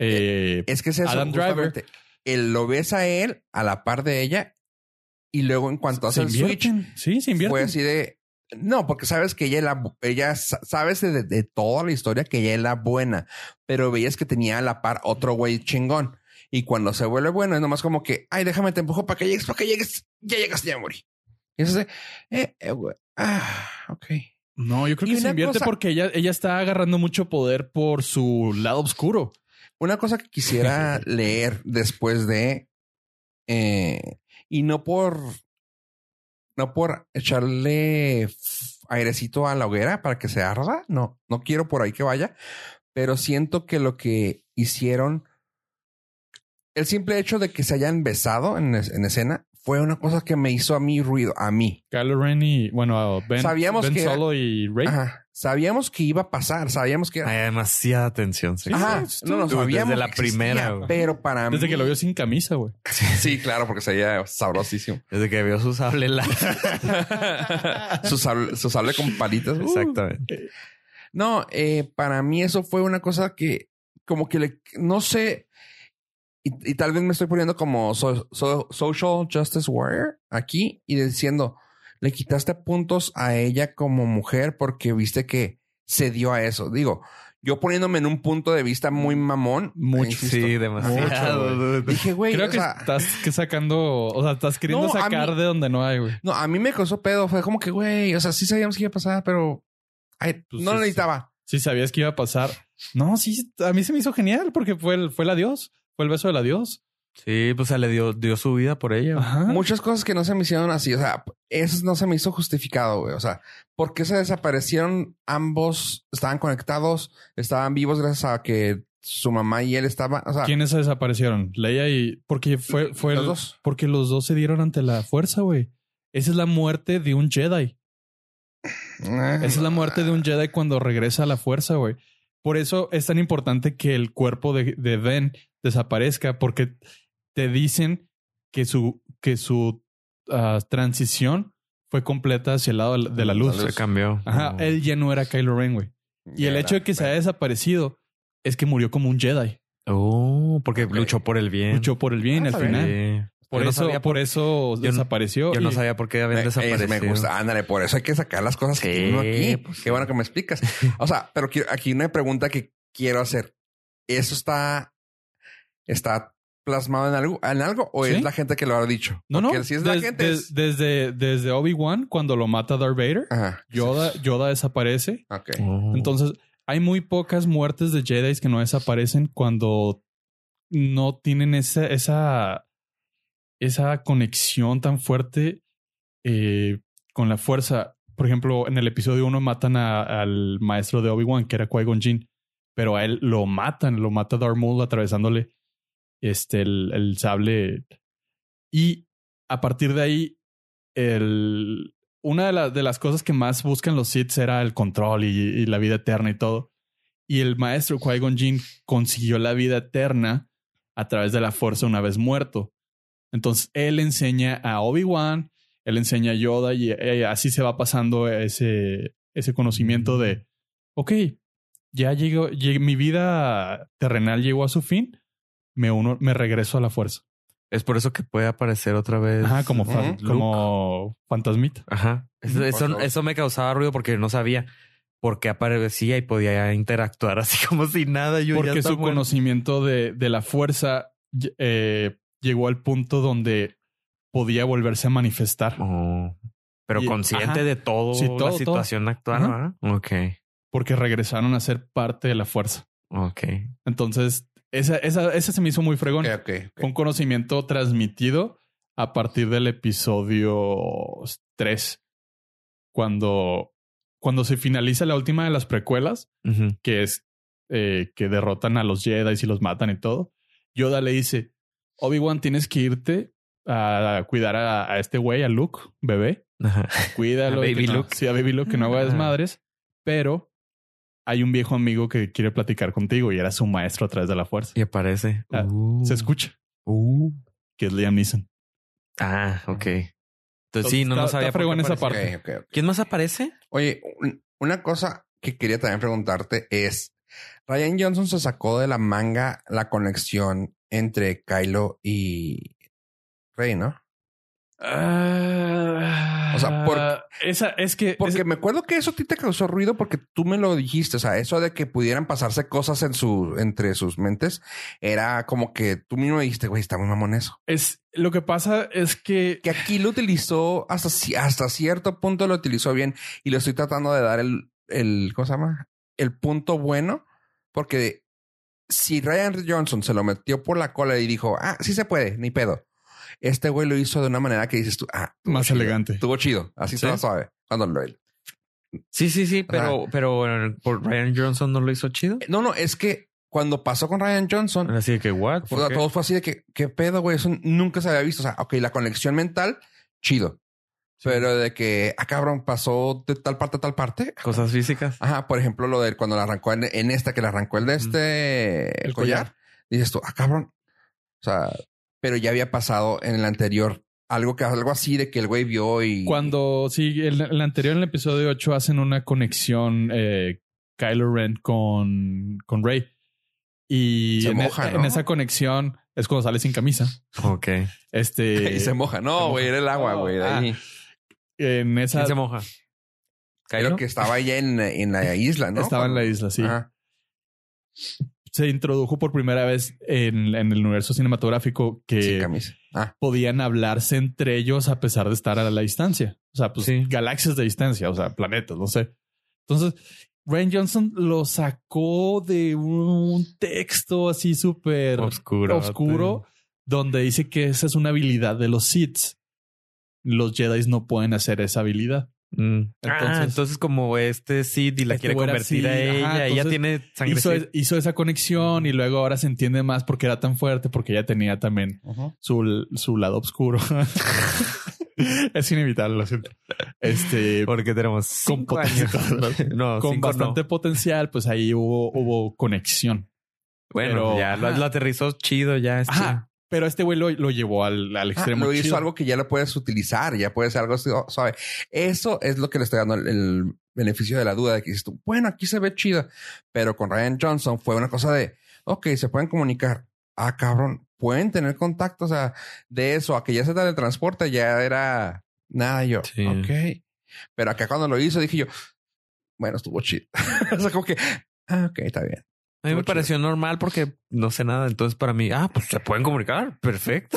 Speaker 2: eh,
Speaker 1: Es que es eso.
Speaker 2: Adam Driver.
Speaker 1: justamente. Él lo ves a él a la par de ella y luego en cuanto hace
Speaker 2: se
Speaker 1: el switch
Speaker 2: invierten. Sí, se invierten.
Speaker 1: fue así de No, porque sabes que ella, era, ella sa- sabes de, de toda la historia que ella era buena, pero veías que tenía a la par otro güey chingón. Y cuando se vuelve bueno, es nomás como que, ay, déjame te empujo para que llegues, para que llegues, ya llegas, ya morí. Y eso es de, eh, eh, güey, ah, ok.
Speaker 2: No, yo creo
Speaker 1: Y
Speaker 2: que se
Speaker 1: una
Speaker 2: invierte
Speaker 1: cosa-
Speaker 2: porque ella, ella está agarrando mucho poder por su lado oscuro.
Speaker 1: Una cosa que quisiera leer después de, eh, y no por, no por echarle f- airecito a la hoguera para que se arda, no, no quiero por ahí que vaya, pero siento que lo que hicieron, el simple hecho de que se hayan besado en, es- en escena fue una cosa que me hizo a mí ruido, a mí.
Speaker 2: Kylo Ren y, bueno, a Ben,
Speaker 1: Sabíamos
Speaker 2: Ben
Speaker 1: que era-
Speaker 2: Solo y Rey.
Speaker 1: Ajá. Sabíamos que iba a pasar, sabíamos que era...
Speaker 4: Hay demasiada tensión. sí.
Speaker 1: Ajá, no lo
Speaker 4: Dude,
Speaker 1: sabíamos.
Speaker 4: Desde la
Speaker 1: que existía,
Speaker 4: primera, güey.
Speaker 1: Pero para
Speaker 2: Desde
Speaker 1: mí-
Speaker 2: que lo vio sin camisa, güey.
Speaker 1: Sí, claro, porque sería sabrosísimo.
Speaker 4: Desde que vio su sable la-
Speaker 1: Su sable, su sable con palitas. uh.
Speaker 4: Exactamente.
Speaker 1: No, eh, para mí eso fue una cosa que como que le, no sé, y, y tal vez me estoy poniendo como so- so- social justice warrior aquí y diciendo, le quitaste puntos a ella como mujer porque viste que se dio a eso. Digo, yo poniéndome en un punto de vista muy mamón.
Speaker 2: Mucho.
Speaker 1: insisto,
Speaker 4: Sí, demasiado. dude.
Speaker 1: Dije, güey,
Speaker 2: Creo
Speaker 1: o
Speaker 2: que
Speaker 1: sea,
Speaker 2: estás que sacando, o sea, estás queriendo
Speaker 1: No, a
Speaker 2: sacar
Speaker 1: mí-
Speaker 2: de donde no hay, güey.
Speaker 1: No, a mí me causó pedo. Fue como que, güey, o sea, sí sabíamos que iba a pasar, pero ay,
Speaker 2: Pues
Speaker 1: no
Speaker 2: sí,
Speaker 1: lo necesitaba.
Speaker 2: Si sabías que iba a pasar. No, sí, a mí se me hizo genial porque fue el, fue el adiós. Fue el beso del adiós.
Speaker 4: Sí, pues o sea, le dio, dio su vida por ella. güey.
Speaker 2: Ajá.
Speaker 1: Muchas cosas que no se me hicieron así. O sea, eso no se me hizo justificado, güey. O sea, ¿por qué se desaparecieron ambos? Estaban conectados, estaban vivos gracias a que su mamá y él estaban. O sea,
Speaker 2: ¿Quiénes se desaparecieron? Leia y. Porque fue, fue
Speaker 1: los
Speaker 2: el-
Speaker 1: dos.
Speaker 2: Porque los dos se dieron ante la fuerza, güey. Esa es la muerte de un Jedi.
Speaker 1: Eh.
Speaker 2: Esa es la muerte de un Jedi cuando regresa a la fuerza, güey. Por eso es tan importante que el cuerpo de, de Ben desaparezca, porque te dicen que su, que su ah, transición fue completa hacia el lado de la- de la luz.
Speaker 4: Se cambió.
Speaker 2: Ajá,
Speaker 4: Como-
Speaker 2: él ya no era Kylo Ren, güey. Y el hecho de que se haya desaparecido es que murió como un Jedi.
Speaker 4: Oh, porque luchó por el bien.
Speaker 2: Luchó por el bien
Speaker 1: Ah,
Speaker 2: al
Speaker 1: está bien.
Speaker 2: final.
Speaker 4: Sí.
Speaker 2: Por
Speaker 4: Yo no
Speaker 2: eso,
Speaker 4: sabía
Speaker 2: por eso
Speaker 4: yo no-
Speaker 2: desapareció.
Speaker 4: Yo no
Speaker 2: y-
Speaker 4: sabía por qué habían
Speaker 1: Eh, eso
Speaker 4: desaparecido.
Speaker 1: me gusta. Ándale, por eso hay que sacar las cosas que
Speaker 4: Sí,
Speaker 1: tengo aquí.
Speaker 4: pues sí.
Speaker 1: Qué bueno que me explicas. O sea, pero quiero- aquí una pregunta que quiero hacer. ¿Eso está, está plasmado en algo, en algo o
Speaker 2: Sí.
Speaker 1: es la gente que lo ha dicho?
Speaker 2: No, no.
Speaker 1: Porque si es la
Speaker 2: des-
Speaker 1: gente.
Speaker 2: des-
Speaker 1: es-
Speaker 2: desde, desde Obi-Wan, cuando lo mata Darth Vader,
Speaker 1: Ajá.
Speaker 2: Yoda, Yoda desaparece.
Speaker 1: Ok.
Speaker 4: Oh.
Speaker 2: Entonces, hay muy pocas muertes de Jedi que no desaparecen cuando no tienen esa, esa, esa conexión tan fuerte eh, con la fuerza. Por ejemplo, en el episodio 1 matan a- al maestro de Obi-Wan, que era Qui-Gon Jinn, pero a él lo matan, lo mata Darth Maul atravesándole este, el, el sable. Y a partir de ahí, el, una de, la- de las cosas que más buscan los Sith era el control y, y la vida eterna y todo. Y el maestro Qui-Gon Jinn consiguió la vida eterna a través de la fuerza una vez muerto. Entonces él enseña a Obi-Wan, él enseña a Yoda y eh, así se va pasando ese, ese conocimiento de, ok, ya llegó, lleg- mi vida terrenal llegó a su fin, me uno, me regreso a la fuerza.
Speaker 4: Es por eso que puede aparecer otra vez.
Speaker 2: Ajá, como, fan-
Speaker 4: Luke.
Speaker 2: como fantasmita.
Speaker 4: Ajá. Eso,
Speaker 1: Por
Speaker 4: eso,
Speaker 1: favor.
Speaker 4: eso me causaba ruido porque no sabía por qué aparecía y podía interactuar así como si nada. Yo ya
Speaker 2: Porque
Speaker 4: está
Speaker 2: su
Speaker 4: muerto.
Speaker 2: conocimiento de, de la fuerza ll- eh, llegó al punto donde podía volverse a manifestar.
Speaker 4: Oh. Pero
Speaker 2: Y-
Speaker 4: consciente
Speaker 2: ajá.
Speaker 4: de todo,
Speaker 2: Sí, todo,
Speaker 4: la
Speaker 2: todo.
Speaker 4: situación actual,
Speaker 2: Ajá.
Speaker 4: ¿verdad? Ok.
Speaker 2: Porque regresaron a ser parte de la fuerza.
Speaker 4: Ok.
Speaker 2: Entonces, esa, esa, esa se me hizo muy fregón.
Speaker 1: Ok, ok, ok.
Speaker 2: Fue un conocimiento transmitido a partir del episodio 3. Cuando, cuando se finaliza la última de las precuelas,
Speaker 4: Ujú.
Speaker 2: que es eh, que derrotan a los Jedi y los matan y todo. Yoda le dice: Obi-Wan, tienes que irte a cuidar a, a este güey, a Luke, bebé.
Speaker 4: Ajá.
Speaker 2: Cuídalo.
Speaker 4: A
Speaker 2: que
Speaker 4: Baby
Speaker 2: no-
Speaker 4: Luke.
Speaker 2: Sí, a Baby Luke, que no haga
Speaker 4: Ah.
Speaker 2: desmadres. Pero hay un viejo amigo que quiere platicar contigo y era su maestro a través de la fuerza.
Speaker 4: Y aparece.
Speaker 2: Ah,
Speaker 4: Uh.
Speaker 2: Se escucha
Speaker 4: Uh.
Speaker 2: que es Liam Neeson.
Speaker 4: Ah, ok. Entonces sí, no,
Speaker 2: Está-
Speaker 4: no sabía.
Speaker 2: está
Speaker 4: por qué
Speaker 2: fregón esa
Speaker 4: aparecía.
Speaker 2: parte.
Speaker 1: Ok, ok, ok.
Speaker 4: ¿Quién más aparece?
Speaker 1: Oye, un- una cosa que quería también preguntarte es: Ryan Johnson se sacó de la manga la conexión entre Kylo y Rey, ¿no? O O sea, por-
Speaker 2: Ah, esa es que
Speaker 1: Porque me acuerdo que eso a ti te causó ruido porque tú me lo dijiste. O sea, eso de que pudieran pasarse cosas en su, entre sus mentes era como que tú mismo dijiste, güey, está muy mamón eso.
Speaker 2: es, es- lo que pasa es que
Speaker 1: Que aquí lo utilizó hasta, ci- hasta cierto punto lo utilizó bien y le estoy tratando de dar el, el, ¿cómo se llama? El punto bueno porque si Ryan Johnson se lo metió por la cola y dijo, ah, sí se puede, ni pedo. Este güey lo hizo de una manera que dices tú, ah, estuvo
Speaker 2: más
Speaker 1: chido.
Speaker 2: elegante.
Speaker 1: Estuvo chido, así
Speaker 4: ¿Sí?
Speaker 1: se suave. Cuando lo,
Speaker 4: Sí, sí, sí, pero, pero eh, por Ryan Johnson no lo hizo chido.
Speaker 1: No, no, es que cuando pasó con Ryan
Speaker 2: Ah,
Speaker 1: Johnson,
Speaker 4: Así de que, what? ¿Por
Speaker 1: fue-
Speaker 4: qué?
Speaker 1: todo fue así de que, ¿qué pedo, güey? Eso nunca se había visto. O sea, ok, la conexión mental, chido. Pero de que, ah, cabrón, pasó de tal parte a tal parte.
Speaker 4: Cosas físicas.
Speaker 1: Ajá, por ejemplo, lo de cuando la arrancó en, en esta, que la arrancó el de este
Speaker 2: El
Speaker 1: collar.
Speaker 2: collar.
Speaker 1: Dices tú, ah, cabrón. O sea, pero ya había pasado en el anterior. Algo que algo así de que el güey vio y...
Speaker 2: Cuando sí, el, el anterior, en el episodio 8, hacen una conexión eh, Kylo Ren con, con Rey. Y
Speaker 1: Se
Speaker 2: en, e-
Speaker 1: moja, ¿no?
Speaker 2: en esa conexión es cuando sale sin camisa.
Speaker 4: Ok. ¿Quién
Speaker 2: Este,
Speaker 1: y se moja.
Speaker 2: se
Speaker 1: No,
Speaker 2: moja.
Speaker 1: güey, era el agua,
Speaker 2: No,
Speaker 1: güey. de
Speaker 2: ah,
Speaker 1: ahí.
Speaker 2: en esa
Speaker 4: se moja?
Speaker 1: Creo que estaba ya en, en la isla, ¿no?
Speaker 2: estaba en la isla, sí.
Speaker 1: Ajá.
Speaker 2: Se introdujo por primera vez en, en el universo cinematográfico
Speaker 1: Sin
Speaker 2: que
Speaker 1: camisa. Ah,
Speaker 2: podían hablarse entre ellos a pesar de estar a la distancia. O sea, pues
Speaker 4: Sí.
Speaker 2: galaxias de distancia, o sea, planetas, no sé. Entonces, Ryan Johnson lo sacó de un texto así súper
Speaker 4: Oscuro.
Speaker 2: oscuro donde dice que esa es una habilidad de los Sith. Los Jedi no pueden hacer esa habilidad.
Speaker 4: Entonces,
Speaker 2: Entonces-
Speaker 4: Ah, entonces como este Sid y la
Speaker 2: Este
Speaker 4: quiere
Speaker 2: güey era
Speaker 4: convertir a
Speaker 2: Sid, ajá,
Speaker 4: ella, ella
Speaker 2: entonces
Speaker 4: tiene sangre
Speaker 2: Hizo,
Speaker 4: Sith.
Speaker 2: hizo esa conexión y luego ahora se entiende más porque era tan fuerte, porque ella tenía también su, su lado oscuro. es inevitable, lo siento. Este,
Speaker 4: porque tenemos cinco
Speaker 2: con
Speaker 4: años.
Speaker 2: potencial.
Speaker 4: No,
Speaker 2: con
Speaker 4: cinco no.
Speaker 2: bastante potencial, pues ahí hubo, hubo conexión.
Speaker 4: Bueno,
Speaker 2: pero-
Speaker 4: ya lo,
Speaker 2: ajá.
Speaker 4: lo aterrizó chido, ya este.
Speaker 2: Ajá. Pero este güey lo, lo llevó al, al
Speaker 1: Ah,
Speaker 2: extremo.
Speaker 1: lo hizo
Speaker 2: chido.
Speaker 1: algo que ya lo puedes utilizar, ya puedes hacer algo así, oh, suave. Eso es lo que le estoy dando el, el beneficio de la duda de que dices tú, bueno, aquí se ve chida, pero con Ryan Johnson fue una cosa de, ok, se pueden comunicar. Ah, cabrón, pueden tener contacto. O sea, de eso a que ya se teletransporta ya era nada. Yo,
Speaker 4: Sí.
Speaker 1: ok. Pero acá cuando lo hizo dije yo, bueno, estuvo chido. o sea, como que, ah, ok, está bien.
Speaker 4: A mí me
Speaker 1: Estuvo
Speaker 4: pareció normal porque no sé nada. Entonces, para mí, ah, pues se pueden comunicar. Perfecto.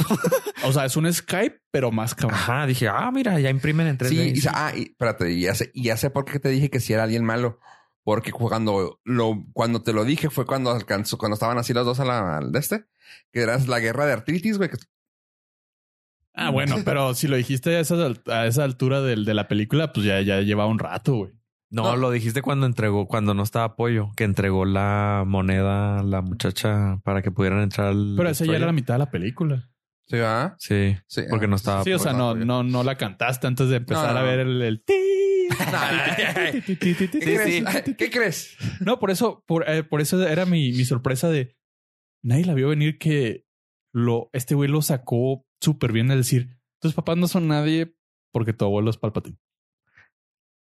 Speaker 2: O sea, es un Skype, pero más cabrón.
Speaker 4: Ajá. Dije, ah, mira, ya imprimen en 3D.
Speaker 1: Sí, y, sa- ah, y, espérate, y ya, sé, y ya sé por qué te dije que si era alguien malo. Porque cuando lo, cuando te lo dije fue cuando alcanzó, cuando estaban así los dos a la al de este, que eras la guerra de artritis, güey. que-
Speaker 2: Ah, bueno, pero si lo dijiste a esa, al- a esa altura del, de la película, pues ya, ya lleva un rato, güey.
Speaker 4: No,
Speaker 1: No.
Speaker 4: lo dijiste cuando entregó, cuando no estaba apoyo, que entregó la moneda a la muchacha para que pudieran entrar al.
Speaker 2: Pero esa ya era la mitad de la película.
Speaker 1: Sí, ¿verdad?
Speaker 4: Ah, Sí,
Speaker 1: Sí. ah.
Speaker 4: porque no estaba.
Speaker 2: Sí, o sea, no,
Speaker 1: apoyo.
Speaker 2: no, no la cantaste antes de empezar
Speaker 1: No, no,
Speaker 2: a ver el, el ti.
Speaker 1: No.
Speaker 2: Ti, ti,
Speaker 1: ¿Qué
Speaker 2: ti, ti, ti, ti, ti,
Speaker 1: crees?
Speaker 2: ti, ti.
Speaker 1: ¿Qué crees?
Speaker 2: No, por eso, por, eh, por eso era mi, mi sorpresa de nadie la vio venir que lo, este güey lo sacó súper bien de decir tus papás no son nadie porque tu abuelo es Palpatine.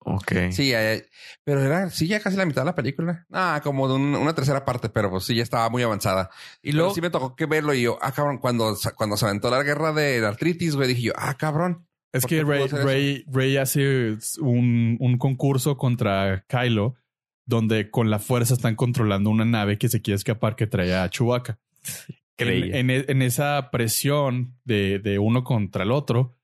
Speaker 4: Ok.
Speaker 1: Sí, ya- ya- pero era, sí, ya casi la mitad de la película. Ah, como de un- una tercera parte, pero pues sí, ya estaba muy avanzada.
Speaker 4: Y
Speaker 1: Y luego
Speaker 4: luego,
Speaker 1: sí me tocó que verlo y yo, ah, cabrón, cuando, sa- cuando se aventó la guerra de la artritis, güey, dije yo, ah, cabrón.
Speaker 2: Es
Speaker 1: ¿Por
Speaker 2: que
Speaker 1: qué pudo
Speaker 2: Rey,
Speaker 1: hacer eso?
Speaker 2: Rey, Rey hace un, un concurso contra Kylo donde con la fuerza están controlando una nave que se quiere escapar que traía a Chewbacca.
Speaker 4: Creía.
Speaker 2: En, e, en- en esa presión de, de uno contra el otro,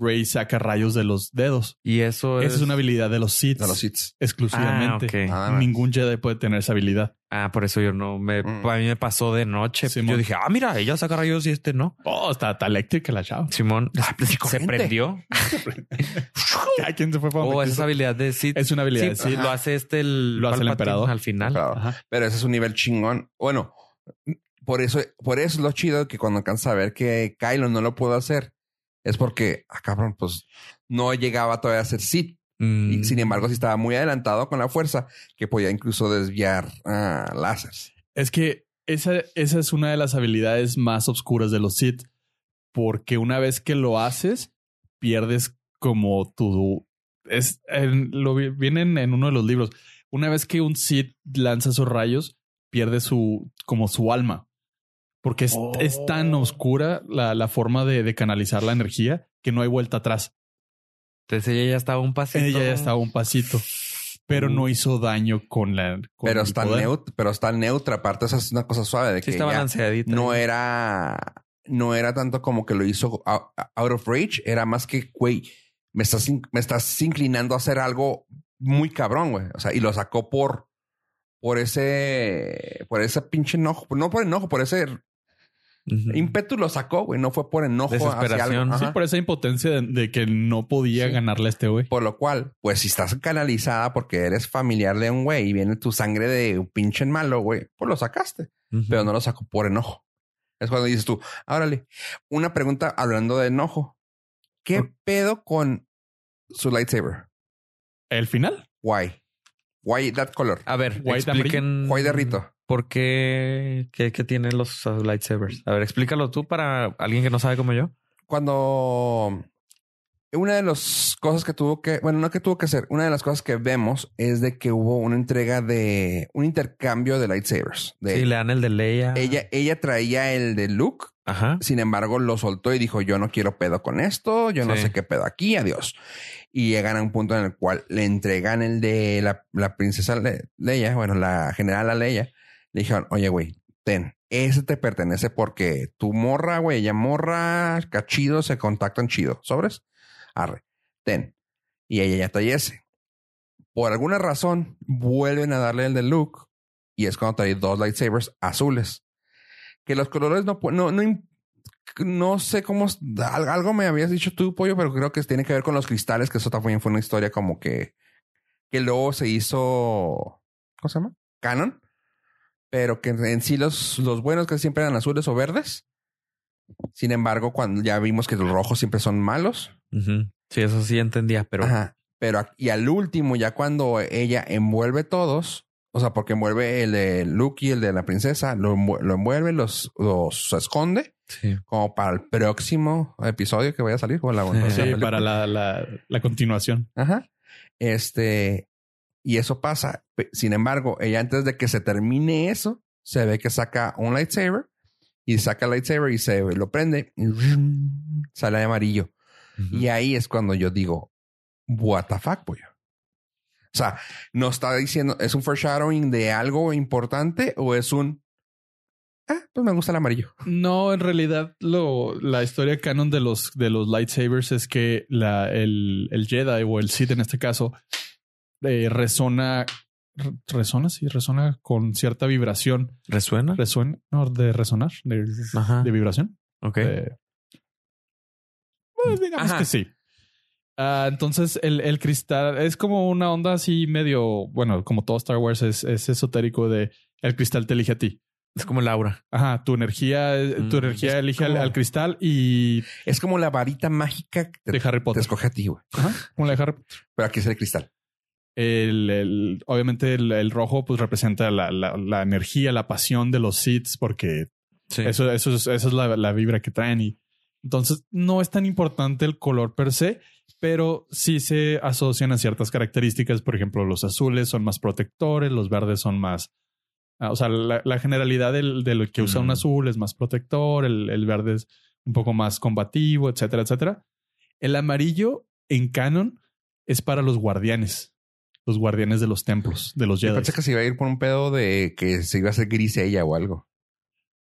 Speaker 2: Rey saca rayos de los dedos.
Speaker 4: y eso es.
Speaker 2: Esa es una habilidad de los Sith
Speaker 1: A los hits.
Speaker 4: Ah,
Speaker 2: exclusivamente.
Speaker 4: ok.
Speaker 1: Nada más.
Speaker 2: Ningún Jedi puede tener esa habilidad.
Speaker 4: Ah, por eso yo no me.
Speaker 1: Mm.
Speaker 4: A mí me pasó de noche.
Speaker 2: Simón.
Speaker 4: Yo dije, ah, mira, ella saca rayos y este no.
Speaker 2: Oh, está, está eléctrica la chava.
Speaker 4: Simón se
Speaker 1: Ah, gente.
Speaker 4: prendió.
Speaker 2: Cada quien se fue para
Speaker 4: Oh,
Speaker 2: donde
Speaker 4: esa es
Speaker 2: quiso.
Speaker 4: habilidad de Sid.
Speaker 2: Es una habilidad.
Speaker 4: Sí,
Speaker 2: sí.
Speaker 4: lo hace este el.
Speaker 2: Lo hace el
Speaker 4: Palpatine
Speaker 2: emperador.
Speaker 4: Al final.
Speaker 1: Claro.
Speaker 2: Ajá.
Speaker 1: Pero ese es un nivel chingón. Bueno, por eso, por eso es lo chido que cuando alcanza a ver que Kylo no lo pudo hacer, es porque, ah, cabrón, pues no llegaba todavía a ser Sith.
Speaker 4: Mm.
Speaker 1: Y, Sin embargo, sí estaba muy adelantado con la fuerza que podía incluso desviar ah, láseres.
Speaker 2: Es que esa, esa es una de las habilidades más oscuras de los Sith. Porque una vez que lo haces, pierdes como tu. Es, en- lo vi- vienen en uno de los libros. Una vez que un Sith lanza sus rayos, pierde su. como su alma. Porque es, es
Speaker 4: Oh.
Speaker 2: tan oscura la, la forma de, de canalizar la energía que no hay vuelta atrás.
Speaker 4: Entonces ella ya estaba un pasito.
Speaker 2: Ella ya estaba un pasito, pero no hizo daño con la. con
Speaker 1: Pero
Speaker 2: el
Speaker 1: está,
Speaker 2: poder.
Speaker 1: neut- pero está neutra. Aparte, esa es una cosa suave de
Speaker 4: Sí,
Speaker 1: que
Speaker 4: está
Speaker 1: ya
Speaker 4: balanceadita.
Speaker 1: no era. No era tanto como que lo hizo out, out of reach. Era más que, güey, me estás, in- me estás inclinando a hacer algo muy cabrón, güey. O sea, y lo sacó por. Por ese. Por ese pinche enojo. No por enojo, por ese
Speaker 4: Ujú.
Speaker 1: ímpetu lo sacó, güey. No fue por enojo. hacia algo.
Speaker 4: Desesperación.
Speaker 1: Ajá.
Speaker 2: Sí, por esa impotencia de, de que no podía
Speaker 1: Sí.
Speaker 2: ganarle a este güey.
Speaker 1: Por lo cual, pues si estás canalizada porque eres familiar de un güey y viene tu sangre de un pinche malo, güey, pues lo sacaste,
Speaker 4: Ujú.
Speaker 1: pero no lo sacó por enojo. Es cuando dices tú, árale, una pregunta hablando de enojo. ¿Qué pedo con su lightsaber?
Speaker 2: El final.
Speaker 1: Why? Why that color?
Speaker 4: A ver,
Speaker 2: Guay de
Speaker 4: expliquen.
Speaker 1: Why de rito?
Speaker 4: ¿Por qué, qué, qué tienen los uh, lightsabers? A ver, explícalo tú para alguien que no sabe como yo.
Speaker 1: Cuando una de las cosas que tuvo que, bueno, no que tuvo que hacer, una de las cosas que vemos es de que hubo una entrega de un intercambio de lightsabers. De
Speaker 4: Sí, ah. le dan el de Leia.
Speaker 1: Ella, ella traía el de Luke,
Speaker 4: Ajá.
Speaker 1: sin embargo, lo soltó y dijo: Yo no quiero pedo con esto, yo no
Speaker 4: Sí.
Speaker 1: sé qué pedo aquí, adiós. Y llegan a un punto en el cual le entregan el de la, la princesa Le- Leia, bueno, la general Leia. Le dijeron: Oye, güey, ten, ese te pertenece porque tu morra, güey, ella morra, cachido, se contactan chido, sobres, arre, ten. Y ella ya trae ese. Por alguna razón, vuelven a darle el de Luke y es cuando trae dos lightsabers azules. Que los colores no, pu- no, no, im- no sé cómo. es- al- Algo me habías dicho tú, pollo, pero creo que tiene que ver con los cristales, que eso también fue una historia como que. que luego se hizo. ¿Cómo se llama? Canon. Pero que en- en sí los, los buenos que siempre eran azules o verdes. Sin embargo, cuando ya vimos que los rojos siempre son malos.
Speaker 4: Ujú. Sí, eso sí entendía, pero
Speaker 1: Ajá. Pero a- y al último, ya cuando ella envuelve todos, o sea, porque envuelve el de Luke y el de la princesa, lo, envu- lo envuelve, los, los esconde
Speaker 4: sí.
Speaker 1: como para el próximo episodio que vaya a salir o la, o la
Speaker 2: Sí,
Speaker 1: película.
Speaker 2: para la, la, la continuación.
Speaker 1: Ajá. Este, y eso pasa. Pe- Sin embargo, ella antes de que se termine eso, se ve que saca un lightsaber y saca el lightsaber y se lo prende y sale de amarillo.
Speaker 4: Ujú.
Speaker 1: Y ahí es cuando yo digo, what the fuck, pollo. O sea, no está diciendo, ¿es un foreshadowing de algo importante o es un, ah, pues me gusta el amarillo?
Speaker 2: No, en realidad, lo, la historia canon de los, de los lightsabers es que la, el, el Jedi o el Sith en este caso eh, resona. re- Resona, sí, resona con cierta vibración.
Speaker 4: ¿Resuena?
Speaker 2: Resuena, no, de resonar, de,
Speaker 4: Ajá.
Speaker 2: de vibración.
Speaker 4: Ok.
Speaker 2: Eh, bueno, digamos
Speaker 4: Ajá.
Speaker 2: que sí. Ah, entonces, el, el cristal es como una onda así medio, bueno, como todo Star Wars es, es esotérico de el cristal te elige a ti.
Speaker 4: Es como Laura.
Speaker 2: Ajá, tu energía, eh, tu
Speaker 4: Mm, es
Speaker 2: energía elige al,
Speaker 1: como-
Speaker 2: al cristal y
Speaker 1: Es como la varita mágica que
Speaker 2: de
Speaker 1: te,
Speaker 2: Harry
Speaker 1: te
Speaker 2: Potter.
Speaker 1: escoge a ti, güey.
Speaker 2: Ajá, como la de Harry Potter.
Speaker 1: Pero aquí es el cristal.
Speaker 2: El, el- obviamente el, el rojo pues representa la, la- la energía, la pasión de los Siths porque
Speaker 4: Sí.
Speaker 2: Eso, eso es, esa es la, la vibra que traen. Y entonces no es tan importante el color per se, pero sí se asocian a ciertas características. Por ejemplo, los azules son más protectores, los verdes son más. ah, O sea, la, la generalidad del, de lo que usa
Speaker 1: Mm.
Speaker 2: un
Speaker 4: Ujú.
Speaker 2: azul es más protector, el, el verde es un poco más combativo, etcétera, etcétera. El amarillo en canon es para los guardianes, los guardianes de los templos, de los
Speaker 1: Yo
Speaker 2: Jedi.
Speaker 1: pensé que se iba a ir por un pedo de que se iba a hacer gris ella o algo.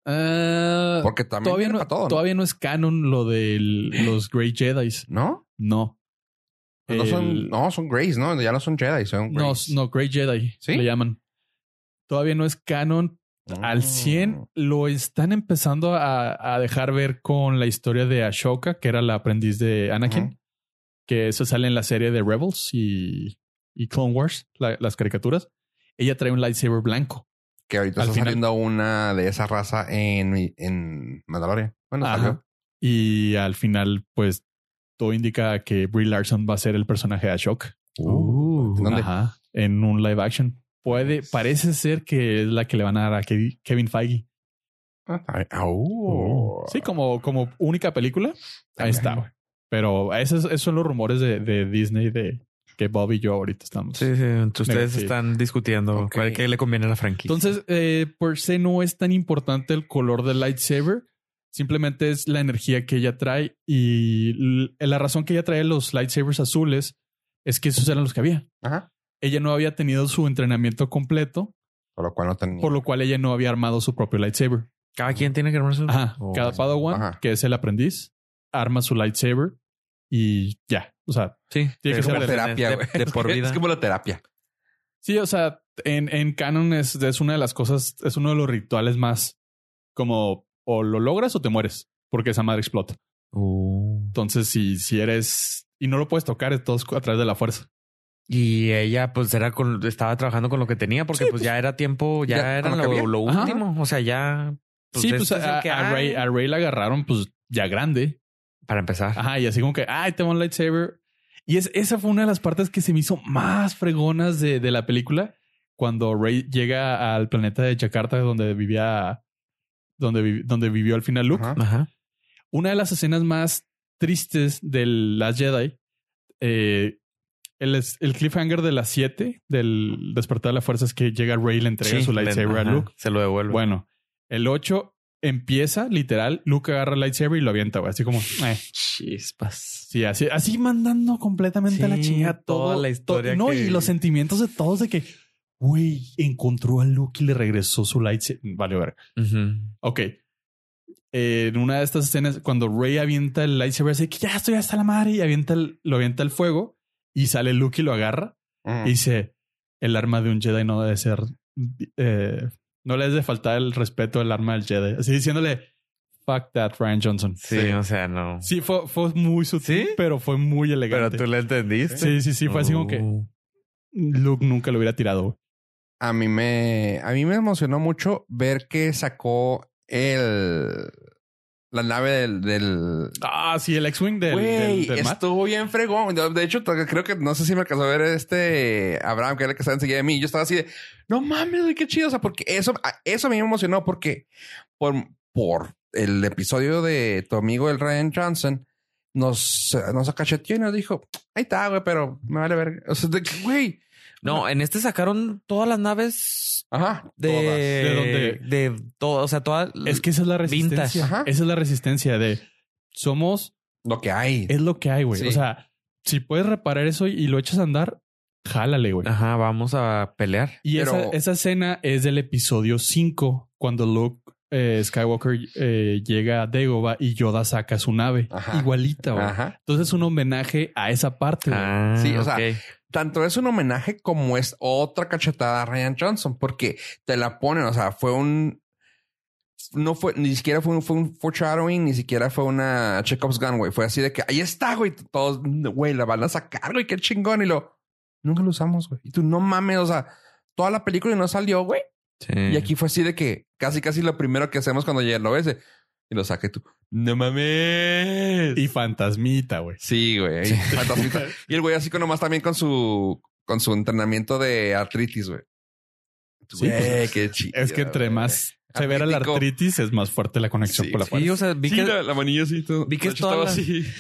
Speaker 2: Ah,
Speaker 1: Porque también
Speaker 2: todavía
Speaker 1: viene
Speaker 2: no,
Speaker 1: para todo, ¿no?
Speaker 2: todavía no es canon lo de los Grey Jedi.
Speaker 1: ¿No?
Speaker 2: No.
Speaker 1: Pues No son,
Speaker 2: El-
Speaker 1: no, son Grays, ¿no? Ya no son Jedi, son
Speaker 2: no,
Speaker 1: Grays.
Speaker 2: no, Grey Jedi
Speaker 1: ¿Sí?
Speaker 2: le llaman. Todavía no es canon
Speaker 1: Ah.
Speaker 2: al
Speaker 1: Mm.
Speaker 2: 100. Lo están empezando a, a dejar ver con la historia de Ashoka, que era la aprendiz de Anakin,
Speaker 1: Ujú.
Speaker 2: que eso sale en la serie de Rebels y, y Clone Wars, la- las caricaturas. Ella trae un lightsaber blanco.
Speaker 1: Que ahorita
Speaker 2: al
Speaker 1: está
Speaker 2: final.
Speaker 1: saliendo una de esa raza en, en Mandalorian. Bueno,
Speaker 2: Ajá.
Speaker 1: salió.
Speaker 2: Y al final, pues, todo indica que Brie Larson va a ser el personaje de Ashoka.
Speaker 1: Uh, ¿en dónde?
Speaker 2: Ajá, en un live action. Puede, parece ser que es la que le van a dar a Kevi- Kevin Feige.
Speaker 1: Ah, ah, ah, uh.
Speaker 2: Sí, como, como única película. Ahí está, güey. Pero esos, esos son los rumores de, de Disney de que Bob y yo ahorita estamos.
Speaker 4: Sí, sí. Entre ustedes
Speaker 2: Negativo.
Speaker 4: están discutiendo
Speaker 1: Ok.
Speaker 4: cuál que le conviene a la franquicia.
Speaker 2: Entonces, eh, por se no es tan importante el color del lightsaber, Simplemente es la energía que ella trae y l- la razón que ella trae los lightsabers azules es que esos eran los que había.
Speaker 1: Ajá.
Speaker 2: Ella no había tenido su entrenamiento completo,
Speaker 1: Por lo cual no tenía.
Speaker 2: por lo cual ella no había armado su propio lightsaber.
Speaker 4: Cada quien tiene que armar su.
Speaker 2: Ajá.
Speaker 4: Oh.
Speaker 2: Cada Padawan,
Speaker 1: Ajá.
Speaker 2: que es el aprendiz, arma su lightsaber y ya. O sea,
Speaker 4: Sí,
Speaker 2: Tiene que
Speaker 4: es
Speaker 2: ser
Speaker 4: como
Speaker 2: la
Speaker 4: de-
Speaker 1: terapia,
Speaker 4: de-
Speaker 1: güey.
Speaker 4: de por vida.
Speaker 1: Es como la terapia.
Speaker 2: sí, o sea, en, en canon es, es una de las cosas, es uno de los rituales más como o lo logras o te mueres, porque esa madre explota.
Speaker 4: Uh.
Speaker 2: Entonces, si, si eres y no lo puedes tocar, es todo a través de la fuerza.
Speaker 4: Y ella, pues, era con, estaba trabajando con lo que tenía, porque pues, ya era tiempo, ya,
Speaker 1: Ya,
Speaker 4: era
Speaker 1: con lo que
Speaker 4: lo,
Speaker 1: había.
Speaker 4: lo
Speaker 2: Ajá.
Speaker 4: último. O sea, ya.
Speaker 2: sí,
Speaker 4: de
Speaker 2: pues
Speaker 4: esto es
Speaker 2: a,
Speaker 4: el que
Speaker 2: a
Speaker 4: hay,
Speaker 2: Rey, a Rey la agarraron, pues ya grande.
Speaker 4: Para empezar.
Speaker 2: Ajá, y así como que, ay, tengo un lightsaber. Y es, esa fue una de las partes que se me hizo más fregonas de, de la película. Cuando Rey llega al planeta de Jakarta, donde vivía, donde, vi- donde vivió al final Luke.
Speaker 1: Ajá.
Speaker 4: Ajá.
Speaker 2: Una de las escenas más tristes de las Jedi, eh, el, es- el cliffhanger de las 7 del despertar de la fuerza es que llega Rey y le entrega
Speaker 4: Sí,
Speaker 2: su
Speaker 4: le-
Speaker 2: lightsaber
Speaker 4: ajá,
Speaker 2: a Luke.
Speaker 4: Se lo devuelve.
Speaker 2: Bueno, el 8 empieza literal. Luke agarra el lightsaber y lo avienta, güey. Así como, eh.
Speaker 4: Chispas.
Speaker 2: Sí, así, así mandando completamente a la
Speaker 4: Sí,
Speaker 2: chingada
Speaker 4: toda
Speaker 2: todo-
Speaker 4: la historia
Speaker 2: to- no,
Speaker 4: que-
Speaker 2: y los sentimientos de todos de que, güey, encontró a Luke y le regresó su lightsaber. Vale, ver.
Speaker 4: Ujú.
Speaker 2: Ok. Eh, en una de estas escenas, cuando Rey avienta el lightsaber, así que ya estoy hasta la madre y avienta el- lo avienta al fuego y sale Luke y lo agarra y dice: El arma de un Jedi no debe ser. eh, no le es de faltar el respeto al arma del Jedi. Así diciéndole: Fuck that, Ryan Johnson.
Speaker 4: Sí, o sea, no.
Speaker 2: Sí, fue, fue muy sutil,
Speaker 4: ¿Sí?
Speaker 2: pero fue muy
Speaker 4: Pero
Speaker 2: elegante.
Speaker 4: tú le entendiste.
Speaker 2: Sí, sí, sí, fue así como que
Speaker 4: Uh.
Speaker 2: Luke nunca lo hubiera tirado. güey.
Speaker 1: A mí me. A mí me emocionó mucho ver que sacó el. La nave del. del
Speaker 2: Ah, sí, el X-Wing del,
Speaker 1: Güey,
Speaker 2: del- del mar.
Speaker 1: estuvo bien fregón. De de hecho, t- creo que no sé si me alcanzó a ver este Abraham, que era el que estaba enseguida de mí. Yo estaba así de, no mames, güey, qué chido. O sea, porque eso, a- eso a mí me emocionó porque por, por el episodio de tu amigo el Ryan Johnson nos, eh, nos acacheteó y nos dijo, ahí está, güey, pero me vale ver. O sea, de que, güey.
Speaker 4: No, en este sacaron todas las naves
Speaker 1: Ajá.
Speaker 4: de.
Speaker 2: ¿De dónde?
Speaker 4: De todo. O sea, todas.
Speaker 2: Es que esa es la
Speaker 4: Vintage.
Speaker 2: resistencia.
Speaker 1: Ajá.
Speaker 2: Esa es la resistencia de somos,
Speaker 1: Lo que hay.
Speaker 2: es lo que hay, güey.
Speaker 1: Sí.
Speaker 2: O sea, si puedes reparar eso y lo echas a andar, jálale, güey.
Speaker 4: Ajá, vamos a pelear.
Speaker 2: Y
Speaker 1: Pero-
Speaker 2: esa, esa escena es del episodio 5, cuando Luke eh, Skywalker eh, llega a Dagobah y Yoda saca su nave.
Speaker 1: Ajá. Ah.
Speaker 2: Igualita, güey.
Speaker 1: Ajá.
Speaker 2: Entonces es un homenaje a esa parte, güey.
Speaker 4: Ah,
Speaker 1: Sí, o sea,
Speaker 4: ok.
Speaker 1: tanto es un homenaje como es otra cachetada a Ryan Johnson, porque te la ponen, o sea, fue un... No fue, ni siquiera fue un, fue un foreshadowing, ni siquiera fue una Chekhov's gun, güey. Fue así de que ahí está, güey. Todos, güey, la van a sacar, güey, qué chingón. Y lo, nunca lo usamos, güey. Y tú, no mames, o sea, toda la película y no salió, güey.
Speaker 4: Sí.
Speaker 1: Y aquí fue así de que casi, casi lo primero que hacemos cuando ya lo ves, eh, y lo saqué tú. No mames.
Speaker 2: Y fantasmita, güey.
Speaker 1: Sí, güey. Fantasmita. Y el güey así con nomás también con su con su entrenamiento de artritis, güey.
Speaker 2: Sí,
Speaker 1: Güey,
Speaker 2: pues,
Speaker 1: qué chido.
Speaker 2: Es que entre
Speaker 1: güey.
Speaker 2: más severa la
Speaker 1: Apítico.
Speaker 2: artritis, es más fuerte la conexión
Speaker 1: Sí,
Speaker 2: con la
Speaker 4: Sí,
Speaker 2: fuerza.
Speaker 4: o sea, vi
Speaker 1: Sí,
Speaker 4: que.
Speaker 1: la, la manilla así. todo-
Speaker 4: vi que
Speaker 1: de hecho,
Speaker 4: todas
Speaker 1: estaba
Speaker 4: las-
Speaker 1: así.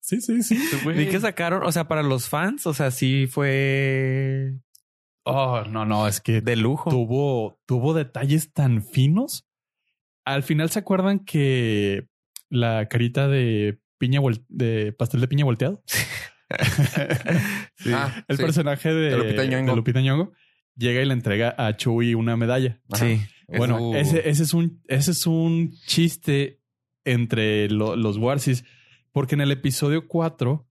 Speaker 2: Sí, sí, sí.
Speaker 1: güey.
Speaker 4: Vi que sacaron, o sea, para los fans, o sea, sí fue
Speaker 2: Oh, no, no, es que
Speaker 4: de lujo.
Speaker 2: tuvo, tuvo detalles tan finos. Al final se acuerdan que la carita de piña vol- de pastel de piña volteado,
Speaker 4: Sí.
Speaker 1: Ah,
Speaker 2: el
Speaker 1: sí.
Speaker 2: personaje de,
Speaker 1: De Lupita Nyong'o.
Speaker 2: de Lupita Nyong'o, llega y le entrega a Chewie una medalla.
Speaker 1: Ajá.
Speaker 4: Sí.
Speaker 2: Bueno,
Speaker 1: Uh.
Speaker 2: ese, ese es un, ese es un chiste entre lo- los Warsis, porque en el episodio 4,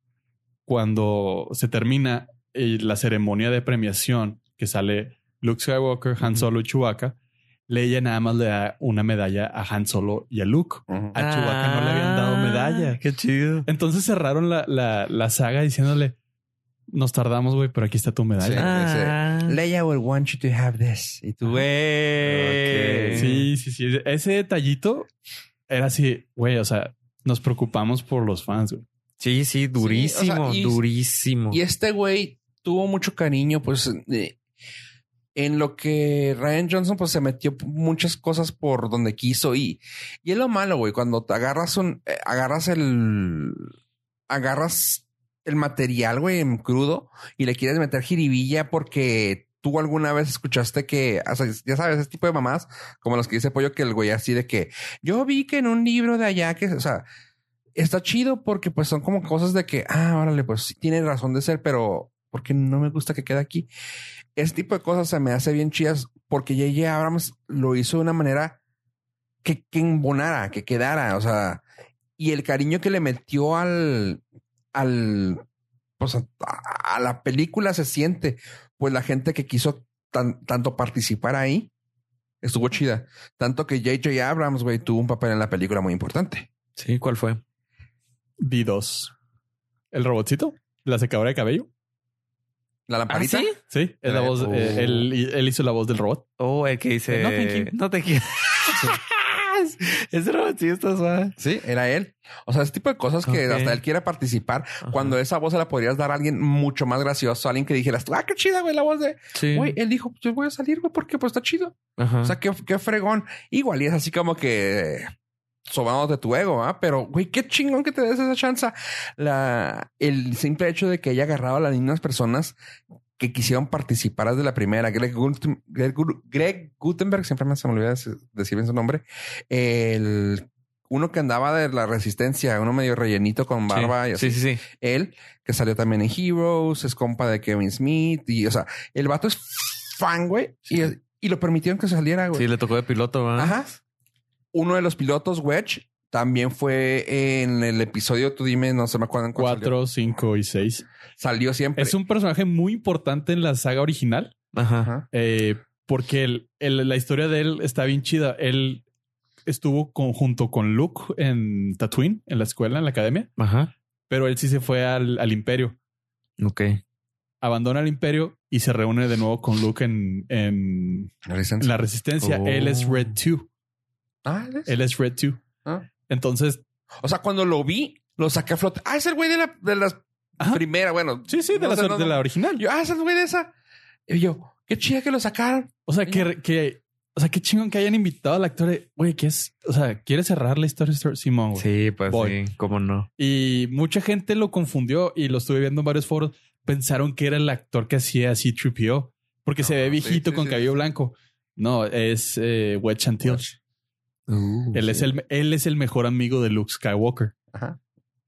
Speaker 2: cuando se termina eh, la ceremonia de premiación que sale Luke Skywalker, Han Solo y Chewbacca, Leia nada más le da una medalla a Han Solo y a Luke.
Speaker 1: Ujú.
Speaker 2: A Chewbacca no le habían dado medalla.
Speaker 4: Qué chido.
Speaker 2: Entonces cerraron la, la- la saga diciéndole, nos tardamos, güey, pero aquí está tu medalla.
Speaker 4: Ah.
Speaker 1: Leia will want you to have this. Y tú, güey. Eh,
Speaker 4: Ok.
Speaker 2: Sí, sí, sí. Ese detallito era así, güey, o sea, nos preocupamos por los fans, güey.
Speaker 4: Sí, sí, durísimo,
Speaker 1: o sea, y-
Speaker 4: durísimo.
Speaker 1: Y este güey tuvo mucho cariño, pues, eh, en lo que Ryan Johnson, pues, se metió p- muchas cosas por donde quiso y, y es lo malo, güey, cuando te agarras un, eh, agarras el, agarras el material, güey, en crudo y le quieres meter jiribilla porque tú alguna vez escuchaste que, o sea, ya sabes, ese tipo de mamás, como las que dice Pollo, que el güey así de que yo vi que en un libro de allá que, o sea, está chido porque pues son como cosas de que, ah, órale, pues sí tiene razón de ser, pero porque no me gusta que quede aquí. Ese tipo de cosas se me hace bien chidas porque J.J. Abrams lo hizo de una manera que, que embonara, que quedara, o sea, y el cariño que le metió al, al, pues a, a la película se siente, pues la gente que quiso tan, tanto participar ahí estuvo chida. Tanto que J.J. Abrams, güey, tuvo un papel en la película muy importante.
Speaker 4: Sí, ¿cuál fue?
Speaker 2: D2. ¿El robotcito? ¿La secadora de cabello?
Speaker 1: La lamparita.
Speaker 4: ¿Ah, sí?
Speaker 2: Sí, es la
Speaker 1: Eh,
Speaker 2: voz.
Speaker 1: oh.
Speaker 2: eh, él, él hizo la voz del robot.
Speaker 4: Oh, el que dice...
Speaker 2: No, thank you.
Speaker 4: No te quiero. Ese robotcito está suave.
Speaker 1: Sí, era él. O sea, ese tipo de cosas que
Speaker 4: Ok.
Speaker 1: hasta él quiere participar.
Speaker 4: Ajá.
Speaker 1: Cuando esa voz se la podrías dar a alguien mucho más gracioso, a alguien que dijeras, tú, ah, qué chida, güey, la voz de...
Speaker 4: Sí.
Speaker 1: Güey, él dijo, "Pues yo voy a salir, güey, porque pues está chido.
Speaker 4: Ajá.
Speaker 1: O sea, qué, qué fregón. Igual y es así como que sobados de tu ego, ¿ah? Pero, güey, qué chingón que te des esa chance. La, el simple hecho de que haya agarrado a las mismas personas que quisieron participar desde la primera. Greg, Gut- Greg Gut- Greg Gutenberg, siempre me se me olvida de- decir bien su nombre. El uno que andaba de la resistencia, uno medio rellenito con
Speaker 4: Sí.
Speaker 1: barba y así
Speaker 4: Sí, sí, sí.
Speaker 1: él, que salió también en Heroes, es compa de Kevin Smith y, o sea, el vato es fan, güey, y, y lo permitieron que saliera, güey.
Speaker 4: Sí, le tocó de piloto, ¿verdad?
Speaker 1: Ajá. Uno de los pilotos, Wedge, también fue en el episodio, tú dime, no se me acuerdan cuál salió.
Speaker 2: Cuatro, cinco y seis.
Speaker 1: Salió siempre.
Speaker 2: Es un personaje muy importante en la saga original.
Speaker 4: Ajá.
Speaker 1: Ajá.
Speaker 2: eh, porque el- el- la historia de él está bien chida. Él estuvo con- junto con Luke en Tatooine, en la escuela, en la academia,
Speaker 4: Ajá.
Speaker 2: pero él sí se fue al, al imperio.
Speaker 4: Ok.
Speaker 2: Abandona el imperio y se reúne de nuevo con Luke en, en
Speaker 1: La licencia.
Speaker 2: la resistencia.
Speaker 4: Oh.
Speaker 2: Él es Red 2.
Speaker 1: Ah, ¿ves?
Speaker 2: Él es Red 2.
Speaker 1: Ah.
Speaker 2: Entonces,
Speaker 1: O sea, cuando lo vi, lo saqué a flote. Ah, es el güey de la, de las
Speaker 2: Ajá.
Speaker 1: primera, bueno.
Speaker 2: sí, sí, de,
Speaker 1: no
Speaker 2: la,
Speaker 1: sé, no,
Speaker 2: de
Speaker 1: no.
Speaker 2: la original.
Speaker 1: Yo, ah, es el güey de esa. Y yo, qué chida que lo sacaron.
Speaker 2: O sea, que, que, o sea, qué chingón que hayan invitado al actor. de, Güey, que es, o sea, quiere cerrar la historia de Simón. güey.
Speaker 4: Sí, pues
Speaker 2: Voy.
Speaker 4: sí, cómo no.
Speaker 2: Y mucha gente lo confundió y lo estuve viendo en varios foros. Pensaron que era el actor que hacía así Tripio, porque se
Speaker 1: No,
Speaker 2: ve
Speaker 1: Ah, sí,
Speaker 2: viejito
Speaker 1: sí,
Speaker 2: con
Speaker 1: sí,
Speaker 2: cabello blanco. No, es eh, Wet Chantil. él, es el, él es el mejor amigo de Luke Skywalker.
Speaker 1: Ajá.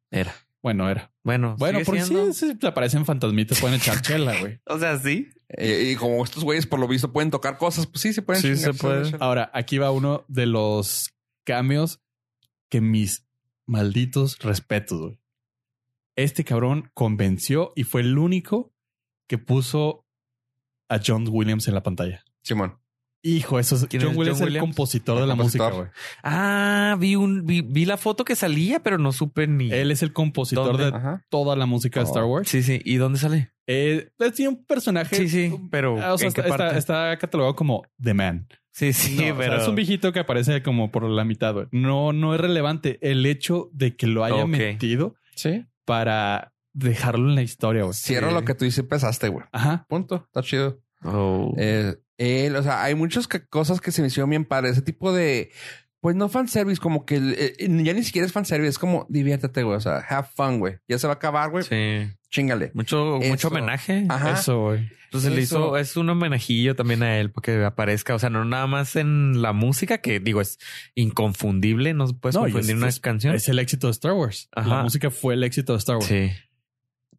Speaker 4: Era.
Speaker 2: Bueno, era.
Speaker 4: Bueno,
Speaker 2: Bueno,
Speaker 4: Pues sigue
Speaker 2: por si
Speaker 4: siendo.
Speaker 2: sí, te aparecen fantasmitas, pueden echar chela, güey.
Speaker 4: O sea, sí.
Speaker 1: Eh, y como estos güeyes, por lo visto, pueden tocar cosas, pues sí, se pueden.
Speaker 4: Sí, se
Speaker 1: chingarse,
Speaker 4: puede.
Speaker 1: de hecho.
Speaker 2: Ahora, aquí va uno de los cambios que mis malditos respetos, güey. Este cabrón convenció y fue el único que puso a John Williams en la pantalla.
Speaker 1: Simón.
Speaker 2: Hijo, eso es,
Speaker 4: ¿Quién
Speaker 2: John
Speaker 4: es
Speaker 2: Williams es
Speaker 4: John
Speaker 2: el
Speaker 4: Williams?
Speaker 2: compositor de la
Speaker 1: compositor.
Speaker 2: música,
Speaker 4: Ah, vi un, vi, vi la foto que salía, pero no supe ni.
Speaker 2: güey. Él es el compositor
Speaker 4: ¿Dónde? Oh.
Speaker 2: de
Speaker 1: Ajá.
Speaker 2: toda la música de Star Wars.
Speaker 4: Sí, sí. ¿Y dónde sale?
Speaker 2: Eh, es un personaje.
Speaker 4: Sí, sí. Pero.
Speaker 2: Ah, o sea,
Speaker 4: ¿en qué
Speaker 2: está,
Speaker 4: parte?
Speaker 2: está- está catalogado como The Man.
Speaker 4: Sí, sí,
Speaker 2: No, o sea,
Speaker 4: pero.
Speaker 2: es un viejito que aparece como por la mitad. güey. No, no es relevante el hecho de que lo haya
Speaker 4: Ok.
Speaker 2: metido
Speaker 1: Sí.
Speaker 2: para dejarlo en la historia. güey.
Speaker 1: Cierro
Speaker 4: Sí.
Speaker 1: lo que tú hiciste, empezaste, güey.
Speaker 2: Ajá.
Speaker 1: Punto. Está chido.
Speaker 4: Oh.
Speaker 1: Eh, él, o sea, hay muchas ca- cosas que se me hicieron bien padre. Ese tipo de, pues no fanservice, como que eh, eh, ya ni siquiera es fanservice, es como diviértete, güey. O sea, have fun, güey. Ya se va a acabar, güey.
Speaker 4: sí.
Speaker 1: Chingale.
Speaker 4: Mucho,
Speaker 1: Eso.
Speaker 4: mucho homenaje.
Speaker 1: Ajá.
Speaker 2: Eso, güey.
Speaker 4: Entonces le
Speaker 1: Eso.
Speaker 4: hizo, es un homenajillo también a él porque aparezca, o sea, no nada más en la música, que digo, es inconfundible, no puedes
Speaker 2: No, y
Speaker 4: confundir
Speaker 2: es-
Speaker 4: una
Speaker 2: es-
Speaker 4: canción.
Speaker 2: Es el éxito de Star Wars. La
Speaker 4: Ajá.
Speaker 2: música fue el éxito de Star Wars.
Speaker 4: sí.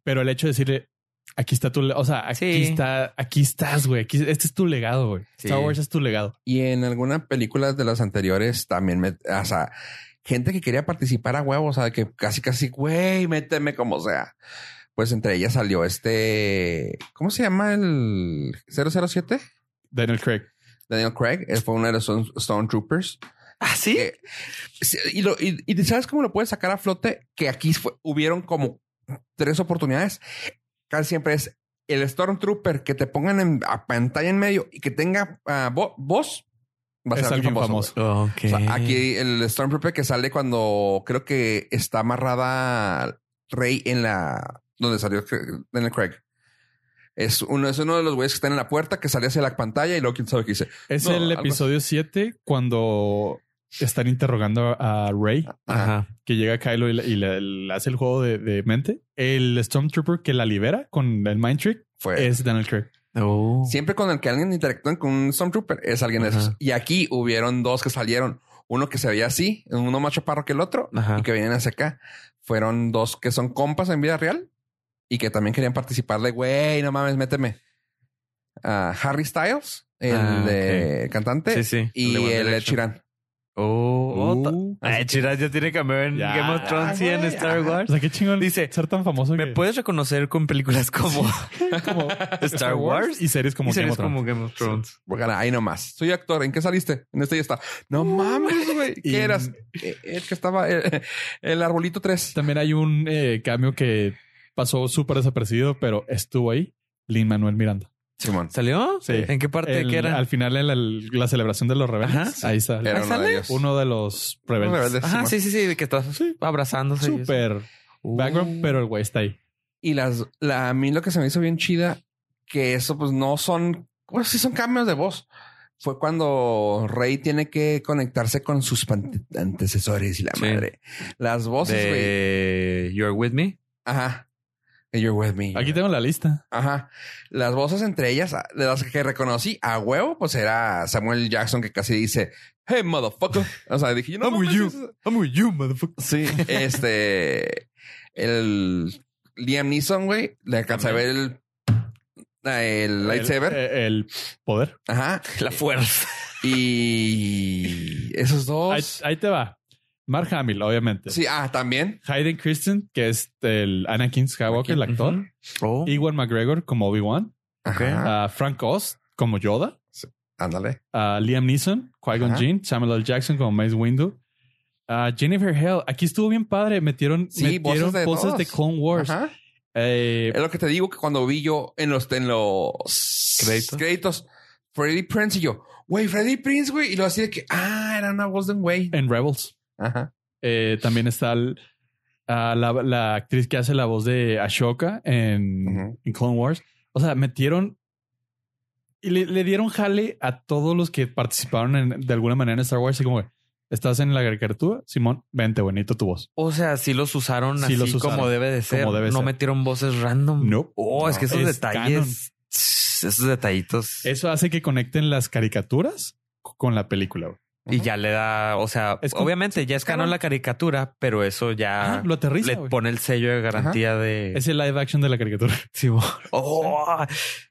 Speaker 2: Pero el hecho de decirle, aquí está tu, le- o sea, aquí
Speaker 4: Sí.
Speaker 2: está, aquí estás, güey. Aquí- este es tu legado, güey.
Speaker 4: Sí.
Speaker 2: Star Wars es tu legado.
Speaker 1: Y en alguna película de las anteriores también me, o sea, gente que quería participar a huevo, o sea, que casi, casi, güey, méteme como sea. Pues entre ellas salió este, ¿cómo se llama el 007?
Speaker 2: Daniel Craig.
Speaker 1: Daniel Craig, él fue uno de los Stone- Stone Troopers.
Speaker 4: Ah, sí.
Speaker 1: Eh, sí, y, lo- y- y sabes cómo lo puedes sacar a flote que aquí fue- hubieron como tres oportunidades. Casi siempre es el Stormtrooper que te pongan en, a pantalla en medio y que tenga ah, vo- voz. Va a
Speaker 2: Es
Speaker 1: ser
Speaker 2: alguien famoso.
Speaker 4: Ok.
Speaker 1: güey. O sea, aquí el Stormtrooper que sale cuando creo que está amarrada Rey en la donde salió Cra- Daniel Craig. Es uno, es uno de los güeyes que están en la puerta que sale hacia la pantalla y luego quién sabe qué dice.
Speaker 2: Es
Speaker 1: No,
Speaker 2: el
Speaker 1: algo
Speaker 2: episodio 7 cuando están interrogando a Rey,
Speaker 4: Ajá.
Speaker 2: que llega Kylo y le, y le- le hace el juego de, de mente. El Stormtrooper que la libera con el Mind Trick
Speaker 1: Fue.
Speaker 2: es Daniel Craig.
Speaker 4: Oh.
Speaker 1: Siempre con el que alguien interactúa con un Stormtrooper es alguien de esos.
Speaker 4: Ajá.
Speaker 1: Y aquí hubieron dos que salieron. Uno que se veía así, uno más chaparro que el otro,
Speaker 4: Ajá.
Speaker 1: y que vienen hacia acá. Fueron dos que son compas en vida real y que también querían participar de, güey, no mames, méteme. Ah, Harry Styles, el
Speaker 4: Ah,
Speaker 1: de- cantante,
Speaker 4: Sí, sí.
Speaker 1: y
Speaker 4: One
Speaker 1: el de
Speaker 4: Direction.
Speaker 1: Chirán.
Speaker 4: Oh. oh, ta-
Speaker 2: Uh.
Speaker 4: Ay, Chirag ya tiene cameo en
Speaker 2: Ya.
Speaker 4: Game of Thrones y en
Speaker 1: güey,
Speaker 4: Star
Speaker 1: ajá.
Speaker 4: Wars.
Speaker 2: O sea, qué chingón
Speaker 4: Dice,
Speaker 2: ser tan famoso
Speaker 4: Me
Speaker 2: que-
Speaker 4: puedes reconocer con películas como
Speaker 2: como
Speaker 4: Star Wars
Speaker 2: y series como
Speaker 4: y
Speaker 2: Game
Speaker 4: series
Speaker 2: of Thrones.
Speaker 4: como Game of Thrones.
Speaker 1: Porque ahí nomás. Soy actor. ¿En qué saliste? En este ya está. No mames, güey.
Speaker 2: Y-
Speaker 1: ¿Qué eras? Eh, El que estaba. El, el arbolito 3.
Speaker 2: También hay un eh, cambio que pasó súper desapercibido, pero estuvo ahí. Lin Manuel Miranda.
Speaker 1: Simón.
Speaker 4: ¿Salió?
Speaker 2: Sí.
Speaker 4: ¿En qué parte?
Speaker 2: El-
Speaker 4: ¿Qué era?
Speaker 2: Al final, el- el- la celebración de los rebeldes.
Speaker 4: Ajá, sí.
Speaker 2: Ahí está.
Speaker 1: Era
Speaker 4: ¿Ah,
Speaker 1: uno
Speaker 4: sale?
Speaker 1: de ellos.
Speaker 2: Uno de los
Speaker 1: Uno de
Speaker 2: rebeldes.
Speaker 1: rebeldes,
Speaker 4: Ajá,
Speaker 1: Simón.
Speaker 4: sí, sí, sí, de que estás
Speaker 2: Sí.
Speaker 4: abrazándose. y eso. Uh,
Speaker 2: Súper background, pero el güey está ahí.
Speaker 1: Y las, la, a mí lo que se me hizo bien chida, que eso pues no son, bueno, sí son cambios de voz. Fue cuando Rey tiene que conectarse con sus pan- antecesores y la
Speaker 4: Sí.
Speaker 1: madre. Las voces, güey.
Speaker 4: de You're With Me.
Speaker 1: Ajá. And You're with me.
Speaker 2: Aquí tengo la lista.
Speaker 1: Ajá. Las voces entre ellas, a- de las que reconocí a huevo, pues era Samuel Jackson que casi dice, hey, motherfucker. O sea, dije, no,
Speaker 4: I'm with
Speaker 1: mames,
Speaker 4: you.
Speaker 1: es-
Speaker 4: I'm with you, motherfucker.
Speaker 1: Sí. Este. El Liam Neeson, güey. Le alcanza a ver el. ah, El lightsaber.
Speaker 2: El, eh, el poder.
Speaker 1: Ajá.
Speaker 4: La fuerza.
Speaker 1: Y. Esos
Speaker 2: Ahí,
Speaker 1: dos.
Speaker 2: ahí te va. Mark Hamill, obviamente.
Speaker 1: Sí, ah, también.
Speaker 2: Hayden Christensen, que es el Anakin Skywalker, el actor.
Speaker 4: Oh.
Speaker 2: Ewan McGregor como Obi-Wan.
Speaker 1: Ajá.
Speaker 2: a Frank Oz como Yoda.
Speaker 1: Ándale.
Speaker 2: a Liam Neeson, Qui-Gon
Speaker 1: Ajá.
Speaker 2: Jinn, Samuel L. Jackson como Mace Windu. a Jennifer Hale. Aquí estuvo bien padre. Metieron,
Speaker 1: Sí,
Speaker 2: metieron
Speaker 1: voces de
Speaker 2: voces de
Speaker 1: todos.
Speaker 2: Clone Wars.
Speaker 1: Ajá.
Speaker 2: Eh,
Speaker 1: Es lo que te digo que cuando vi yo en los, en los
Speaker 4: Créditos.
Speaker 1: créditos, Freddy Prince y yo, güey, Freddy Prince, güey. Y lo así de que, ah, era una voz de un güey.
Speaker 2: en Rebels.
Speaker 1: Ajá.
Speaker 2: Eh, también está el- a la, la actriz que hace la voz de Ashoka en,
Speaker 1: Ujú.
Speaker 2: en Clone Wars. O sea, metieron y le, le dieron jale a todos los que participaron en- de alguna manera en Star Wars. Y como, que, ¿estás en la caricatura? Simón, vente, bonito tu voz.
Speaker 4: O sea, sí los usaron
Speaker 2: Sí
Speaker 4: así
Speaker 2: los usaron.
Speaker 4: como debe de ser.
Speaker 2: Como debe
Speaker 4: no
Speaker 2: ser.
Speaker 4: metieron voces random.
Speaker 2: No.
Speaker 4: Oh, es que esos
Speaker 2: Es
Speaker 4: detalles. Esos detallitos.
Speaker 2: Eso hace que conecten las caricaturas co- con la película. güey.
Speaker 4: Y ya le da, o sea,
Speaker 2: Es como-
Speaker 4: obviamente ya es canon la caricatura, pero eso ya
Speaker 2: Ajá, lo aterriza.
Speaker 4: Ah, le
Speaker 2: güey.
Speaker 4: pone el sello de garantía de...
Speaker 2: Es el live action de la caricatura
Speaker 4: Sí, bo- Oh,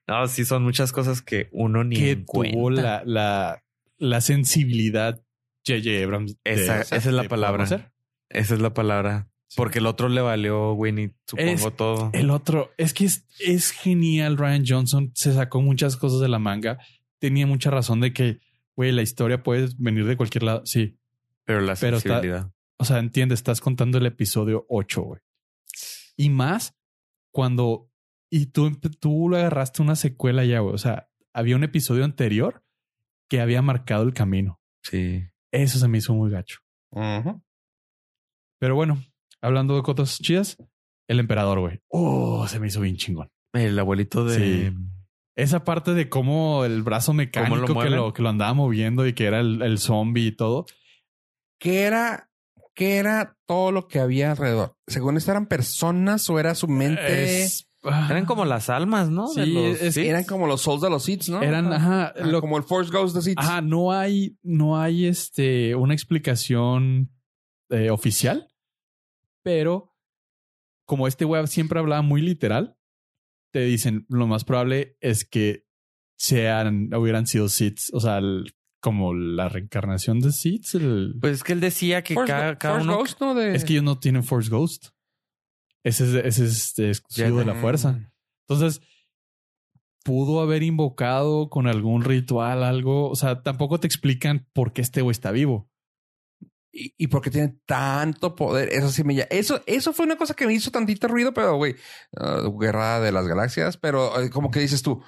Speaker 4: no, sí son muchas cosas que uno ni
Speaker 2: que
Speaker 4: en cuenta.
Speaker 2: tuvo la, la, la sensibilidad J.J. Abrams. de-
Speaker 4: Esa- esa es la
Speaker 2: de
Speaker 4: palabra.
Speaker 2: hacer.
Speaker 4: Esa es la palabra. Porque el otro le valió Winnie, supongo,
Speaker 2: Es-
Speaker 4: todo.
Speaker 2: El otro es que es, es genial. Ryan Johnson se sacó muchas cosas de la manga. Tenía mucha razón de que, güey, la historia puede venir de cualquier lado. Sí.
Speaker 4: pero la
Speaker 2: pero está-
Speaker 4: sensibilidad.
Speaker 2: O sea, entiende, estás contando el episodio 8, güey. Y más cuando. Y tú, tú le agarraste una secuela ya, güey. O sea, había un episodio anterior que había marcado el camino.
Speaker 4: Sí.
Speaker 2: Eso se me hizo muy gacho.
Speaker 1: Ujú.
Speaker 2: Pero bueno, hablando de cosas chidas, el emperador, güey. Oh, se me hizo bien chingón.
Speaker 4: El abuelito de...
Speaker 2: Sí. Esa parte de cómo el brazo mecánico
Speaker 4: lo
Speaker 2: que,
Speaker 4: mueven?
Speaker 2: lo, que lo andaba moviendo y que era el, el zombie y todo.
Speaker 1: ¿Qué era? ¿Qué era todo lo que había alrededor? Según esto, eran personas o era su mente.
Speaker 2: Es- ah,
Speaker 4: Eran como las almas, ¿no? De
Speaker 2: Sí,
Speaker 4: los-
Speaker 2: es-
Speaker 4: sí.
Speaker 1: Eran como los souls de los Sith, ¿no?
Speaker 2: Eran, ajá,
Speaker 1: Ah,
Speaker 2: lo-
Speaker 1: como el Force Ghost de Sith.
Speaker 2: ajá, no hay, no hay este, una explicación eh, oficial, pero como este web siempre hablaba muy literal, te dicen lo más probable es que sean, hubieran sido Sith, o sea, el- como la reencarnación de Sith. el-
Speaker 4: Pues es que él decía que
Speaker 1: Force,
Speaker 4: cada,
Speaker 1: Go-
Speaker 4: cada
Speaker 1: Force
Speaker 4: uno...
Speaker 1: Ghost, ¿no? De-
Speaker 2: Es que ellos no tienen Force Ghost. Ese es, ese es este, exclusivo de la
Speaker 1: Mm.
Speaker 2: fuerza. Entonces, pudo haber invocado con algún ritual, algo. O sea, tampoco te explican por qué este güey está vivo.
Speaker 1: ¿Y, y por qué tiene tanto poder? Eso sí me ya. Eso, eso fue una cosa que me hizo tantito ruido, pero güey, ah, guerra de las galaxias. Pero eh, como que dices tú,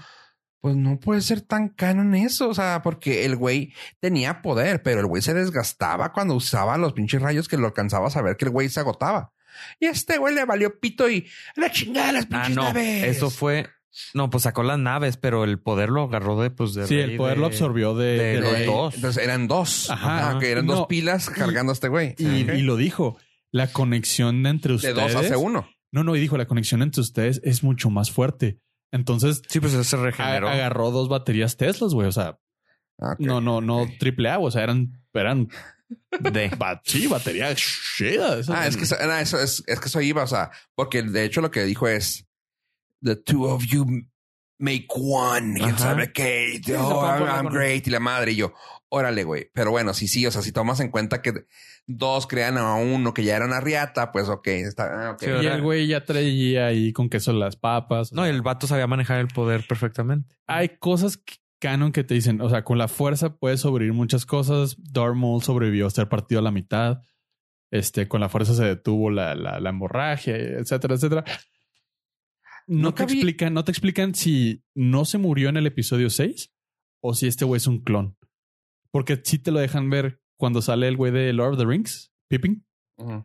Speaker 1: pues no puede ser tan canon eso. O sea, porque el güey tenía poder, pero el güey se desgastaba cuando usaba los pinches rayos que lo alcanzabas a ver que el güey se agotaba. Y a este güey le valió pito y la chingada de las
Speaker 4: Ah,
Speaker 1: pinches
Speaker 4: no.
Speaker 1: naves.
Speaker 4: Eso fue... No, pues sacó las naves, pero el poder lo agarró de... Pues, de
Speaker 2: sí,
Speaker 4: rey
Speaker 2: el poder
Speaker 4: de-
Speaker 2: lo absorbió de,
Speaker 4: de
Speaker 2: de
Speaker 4: los
Speaker 2: Rey.
Speaker 4: dos.
Speaker 1: eh, Entonces eran dos.
Speaker 2: Ajá.
Speaker 1: Ajá. que eran
Speaker 2: No.
Speaker 1: dos pilas cargando a este güey.
Speaker 2: Y, y lo dijo. La conexión entre
Speaker 1: De
Speaker 2: ustedes.
Speaker 1: dos hace uno.
Speaker 2: No, no, y dijo, la conexión entre ustedes es mucho más fuerte. Entonces
Speaker 4: Sí, pues se
Speaker 2: a-
Speaker 4: regeneró.
Speaker 2: agarró dos baterías Teslas, güey. O sea,
Speaker 1: Ah, ok.
Speaker 2: no, no, no triple A, güey, o sea, eran, eran,
Speaker 4: De.
Speaker 2: ba- sí, baterías chidas.
Speaker 1: Ah, es que eso, era eso, es, es que eso iba, o sea, porque de hecho lo que dijo es The two of you make one, quién
Speaker 4: Ajá.
Speaker 1: sabe qué,
Speaker 4: se
Speaker 1: oh,
Speaker 4: pueden
Speaker 1: I'm,
Speaker 4: poner
Speaker 1: I'm
Speaker 4: con-
Speaker 1: great, y la madre, y yo, órale, güey. Pero bueno, sí, sí, o sea, si tomas en cuenta que dos crean a uno que ya era una riata, pues ok, está, ah, ok.
Speaker 4: Sí,
Speaker 2: Y el güey ya traía ahí con queso las papas. o
Speaker 4: No,
Speaker 2: sea,
Speaker 4: el vato sabía manejar el poder perfectamente.
Speaker 2: hay cosas que- canon que te dicen, o sea, con la fuerza puedes sobrevivir muchas cosas. Darth Maul sobrevivió a ser partido a la mitad. Este, con la fuerza se detuvo la, la, la hemorragia, etcétera, etcétera. No
Speaker 1: Nunca
Speaker 2: te
Speaker 1: vi-
Speaker 2: explican, no te explican si no se murió en el episodio 6 o si este güey es un clon. Porque sí te lo dejan ver cuando sale el güey de Lord of the Rings, Pippin.
Speaker 1: Ujú.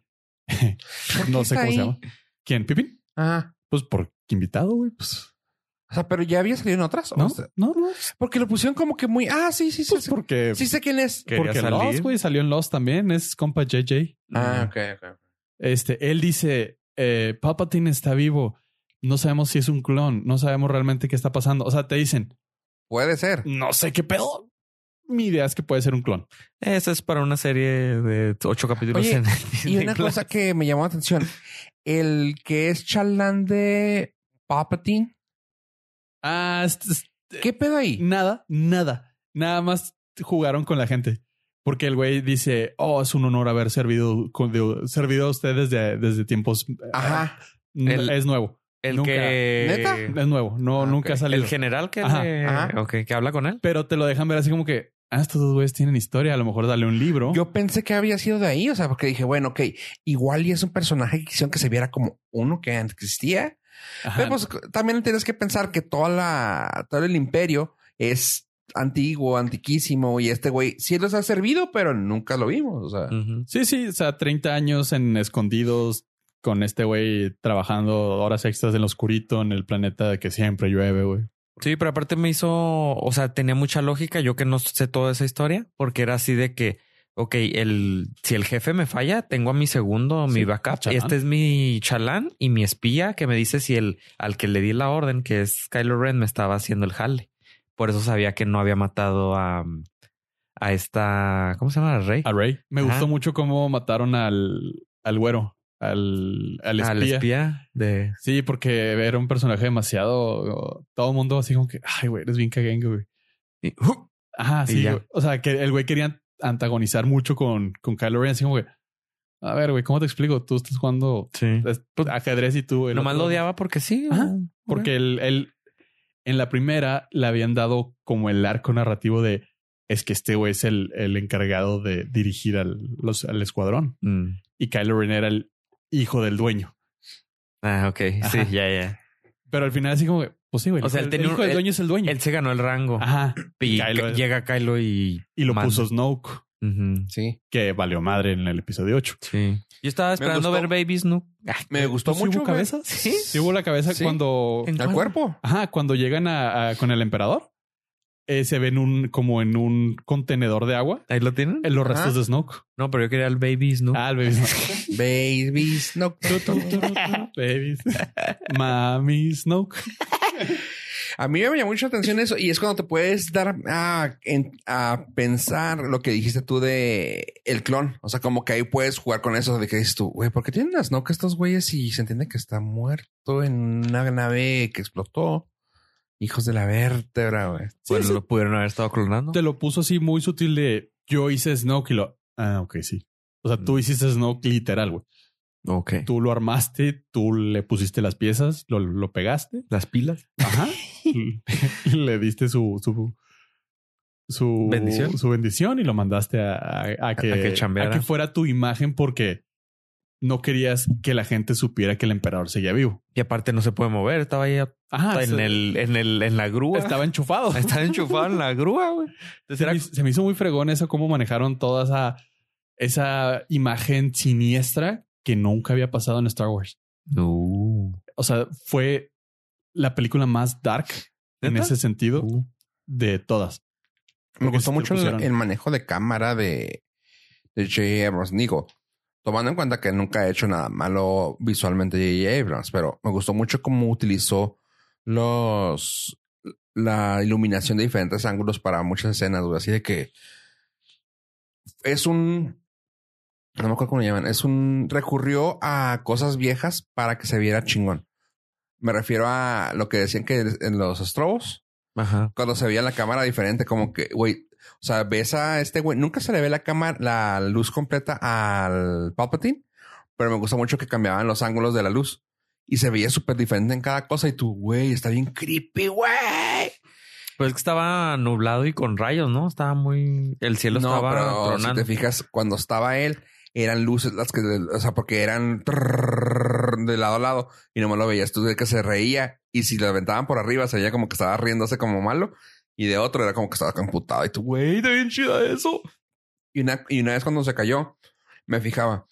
Speaker 2: No
Speaker 1: está
Speaker 2: sé cómo
Speaker 1: ahí?
Speaker 2: se llama. ¿Quién? ¿Pippin?
Speaker 1: Ajá.
Speaker 2: Pues porque invitado, güey. Pues,
Speaker 1: O sea, pero ya había salido en otras. ¿o
Speaker 2: no,
Speaker 1: sea?
Speaker 2: no, no.
Speaker 1: Porque lo pusieron como que muy, ah, sí, sí, sí.
Speaker 2: Pues
Speaker 1: sí,
Speaker 2: porque
Speaker 1: sí sé quién es.
Speaker 4: Quería
Speaker 2: Porque
Speaker 4: salir.
Speaker 2: Lost, güey, salió en Lost también. Es compa JJ.
Speaker 1: Ah, ok, ok.
Speaker 2: Este, él dice, eh, Palpatine está vivo. No sabemos si es un clon. No sabemos realmente qué está pasando. O sea, te dicen,
Speaker 1: Puede ser.
Speaker 2: no sé qué pedo. Mi idea es que puede ser un clon.
Speaker 4: Esa es para una serie de ocho capítulos.
Speaker 1: Oye,
Speaker 4: en
Speaker 1: Y una cosa que me llamó la atención, el que es chalán de Palpatine,
Speaker 2: Ah, es- es-
Speaker 1: ¿qué pedo ahí?
Speaker 2: nada, nada. Nada más jugaron con la gente. Porque el güey dice, oh, es un honor haber servido, con- de- servido a ustedes desde, desde tiempos. ah, eh,
Speaker 1: Ajá.
Speaker 4: El-
Speaker 2: es nuevo.
Speaker 4: El
Speaker 2: Nunca.
Speaker 4: que...
Speaker 1: ¿Neta?
Speaker 2: Es nuevo. No,
Speaker 1: Ah,
Speaker 2: nunca
Speaker 1: ok.
Speaker 2: ha salido.
Speaker 4: El general que...
Speaker 2: Ajá.
Speaker 4: le-
Speaker 1: Ajá.
Speaker 4: ok, que habla con él.
Speaker 2: pero te lo dejan ver así como que ah, estos dos güeyes tienen historia, a lo mejor dale un libro.
Speaker 1: Yo pensé que había sido de ahí, o sea, porque dije, bueno, ok, igual y es un personaje que quisieron que se viera como uno que antes existía.
Speaker 2: Ajá.
Speaker 1: Pero pues también tienes que pensar que toda la, todo el imperio es antiguo, antiquísimo, y este güey sí los ha servido, pero nunca lo vimos. O sea,
Speaker 4: Ujú.
Speaker 2: Sí, sí, o sea, 30 años en escondidos con este güey trabajando horas extras en lo oscurito en el planeta que siempre llueve, güey.
Speaker 4: Sí, pero aparte me hizo, o sea, tenía mucha lógica yo que no sé toda esa historia, porque era así de que, ok, el, si el jefe me falla, tengo a mi segundo, mi
Speaker 2: Sí,
Speaker 4: backup.
Speaker 2: chalán.
Speaker 4: Este es mi chalán y mi espía que me dice si el al que le di la orden, que es Kylo Ren, me estaba haciendo el jale. Por eso sabía que no había matado a, a esta, ¿cómo se llama? La Rey.
Speaker 2: A Rey. Me
Speaker 4: Ajá.
Speaker 2: gustó mucho cómo mataron al, al güero, al, al espía.
Speaker 4: Al espía de...
Speaker 2: Sí, porque era un personaje demasiado. Todo el mundo así como que, ay, güey, eres bien caguengue, güey.
Speaker 4: y- ¡Hu!
Speaker 2: Ajá,
Speaker 4: Y
Speaker 2: sí.
Speaker 4: ya.
Speaker 2: güey. O sea, que el güey quería antagonizar mucho con, con Kylo Ren, así como que, a ver, güey, ¿cómo te explico? Tú estás jugando
Speaker 4: Sí.
Speaker 2: Es pues, ajedrez y tú. el
Speaker 4: Nomás
Speaker 2: otro-
Speaker 4: lo odiaba porque sí.
Speaker 2: Ajá.
Speaker 4: ¿no?
Speaker 2: Porque él, él- en la primera le habían dado como el arco narrativo de es que este güey es el, el encargado de dirigir al, los- al escuadrón
Speaker 4: Mm.
Speaker 2: y Kylo Ren era el hijo del dueño.
Speaker 4: Ah, ok. Sí,
Speaker 2: Ajá.
Speaker 4: ya, ya.
Speaker 2: Pero al final así como que, pues sí, güey.
Speaker 4: O sea,
Speaker 2: el,
Speaker 4: él tenía
Speaker 2: el
Speaker 4: un-
Speaker 2: hijo del
Speaker 4: él-
Speaker 2: dueño es el dueño.
Speaker 4: Él se ganó el rango.
Speaker 2: Ajá.
Speaker 4: Y
Speaker 2: Kylo
Speaker 4: ca-
Speaker 2: es-
Speaker 4: llega Kylo y...
Speaker 2: Y lo
Speaker 4: Manda.
Speaker 2: puso Snoke,
Speaker 4: Ujú,
Speaker 1: sí.
Speaker 2: que valió madre en el episodio 8.
Speaker 4: Sí. Yo estaba esperando
Speaker 1: gustó.
Speaker 4: ver Baby Snook. Ah,
Speaker 1: Me gustó
Speaker 2: pues, ¿Sí
Speaker 1: mucho.
Speaker 2: hubo
Speaker 1: ver
Speaker 2: cabeza?
Speaker 4: ¿Sí?
Speaker 2: Sí hubo la cabeza
Speaker 1: Sí.
Speaker 2: cuando...
Speaker 4: ¿En
Speaker 1: ¿El
Speaker 4: cuál?
Speaker 1: cuerpo?
Speaker 2: Ajá, cuando llegan a- a- con el emperador, eh, se ven un, como en un contenedor de agua
Speaker 4: ¿Ahí lo tienen?
Speaker 2: En los
Speaker 1: Ajá.
Speaker 2: restos de Snoke.
Speaker 4: No, pero yo quería el Baby Snook.
Speaker 2: Ah, el baby
Speaker 1: Baby no.
Speaker 2: Snoke. Babies. Mami Snoke.
Speaker 1: A mí me llamó mucha atención eso y es cuando te puedes dar a, en- a pensar lo que dijiste tú de el clon. O sea, como que ahí puedes jugar con eso de que dices tú, güey, ¿por qué tienen las que estos güeyes y se entiende que está muerto en una nave que explotó? Hijos de la vértebra, güey.
Speaker 4: bueno, lo pudieron haber estado clonando.
Speaker 2: Te lo puso así muy sutil de yo hice Snoke y lo. Ah, ok, sí. O sea,
Speaker 1: Mm.
Speaker 2: tú hiciste Snoke literal, güey.
Speaker 4: Ok.
Speaker 2: Tú lo armaste, tú le pusiste las piezas, lo, lo pegaste.
Speaker 4: ¿Las pilas?
Speaker 2: Ajá. y le diste su. su su
Speaker 4: Bendición.
Speaker 2: su bendición y lo mandaste a, a- a que,
Speaker 4: a que chambeara.
Speaker 2: a que fuera tu imagen porque no querías que la gente supiera que el emperador seguía vivo.
Speaker 4: Y aparte no se puede mover. Estaba ahí en,
Speaker 2: Ajá, se-
Speaker 4: el, en, el, en la grúa.
Speaker 2: Estaba enchufado.
Speaker 4: Ah, Estaba enchufado en la grúa, güey. Entonces
Speaker 2: se,
Speaker 4: era...
Speaker 2: me, se me hizo muy fregón eso, cómo manejaron toda esa, esa imagen siniestra que nunca había pasado en Star Wars.
Speaker 4: No.
Speaker 2: O sea, fue la película más dark en
Speaker 4: ¿Neta? Uh.
Speaker 2: ese sentido de todas.
Speaker 1: Me
Speaker 2: Porque
Speaker 1: gustó
Speaker 2: sí
Speaker 1: mucho
Speaker 2: lo
Speaker 1: el,
Speaker 2: pusieron.
Speaker 1: el manejo de cámara de, de J.J. Abrams. Digo, tomando en cuenta que nunca ha hecho nada malo visualmente J.J. Abrams, pero me gustó mucho cómo utilizó los la iluminación de diferentes ángulos para muchas escenas, güey. Así de que es un. No me acuerdo cómo lo llaman. Es un. Recurrió a cosas viejas para que se viera chingón. Me refiero a lo que decían que en los estrobos,
Speaker 4: Ajá.
Speaker 1: cuando se veía la cámara diferente, como que, güey, o sea, ves a este güey, nunca se le ve la cámara, la luz completa al Palpatine, pero me gusta mucho que cambiaban los ángulos de la luz y se veía súper diferente en cada cosa. Y tú, güey, está bien creepy, güey.
Speaker 4: Pues es que estaba nublado y con rayos, ¿no? Estaba muy. El cielo
Speaker 1: si
Speaker 4: estaba tronando.
Speaker 1: te fijas, cuando estaba él, eran luces las que, o sea, porque eran trrrr de lado a lado y nomás lo veías tú de que se reía y si lo aventaban por arriba se veía como que estaba riéndose como malo y de otro era como que estaba computado y tú, güey, está bien chida eso. Y una, y una vez cuando se cayó, me fijaba,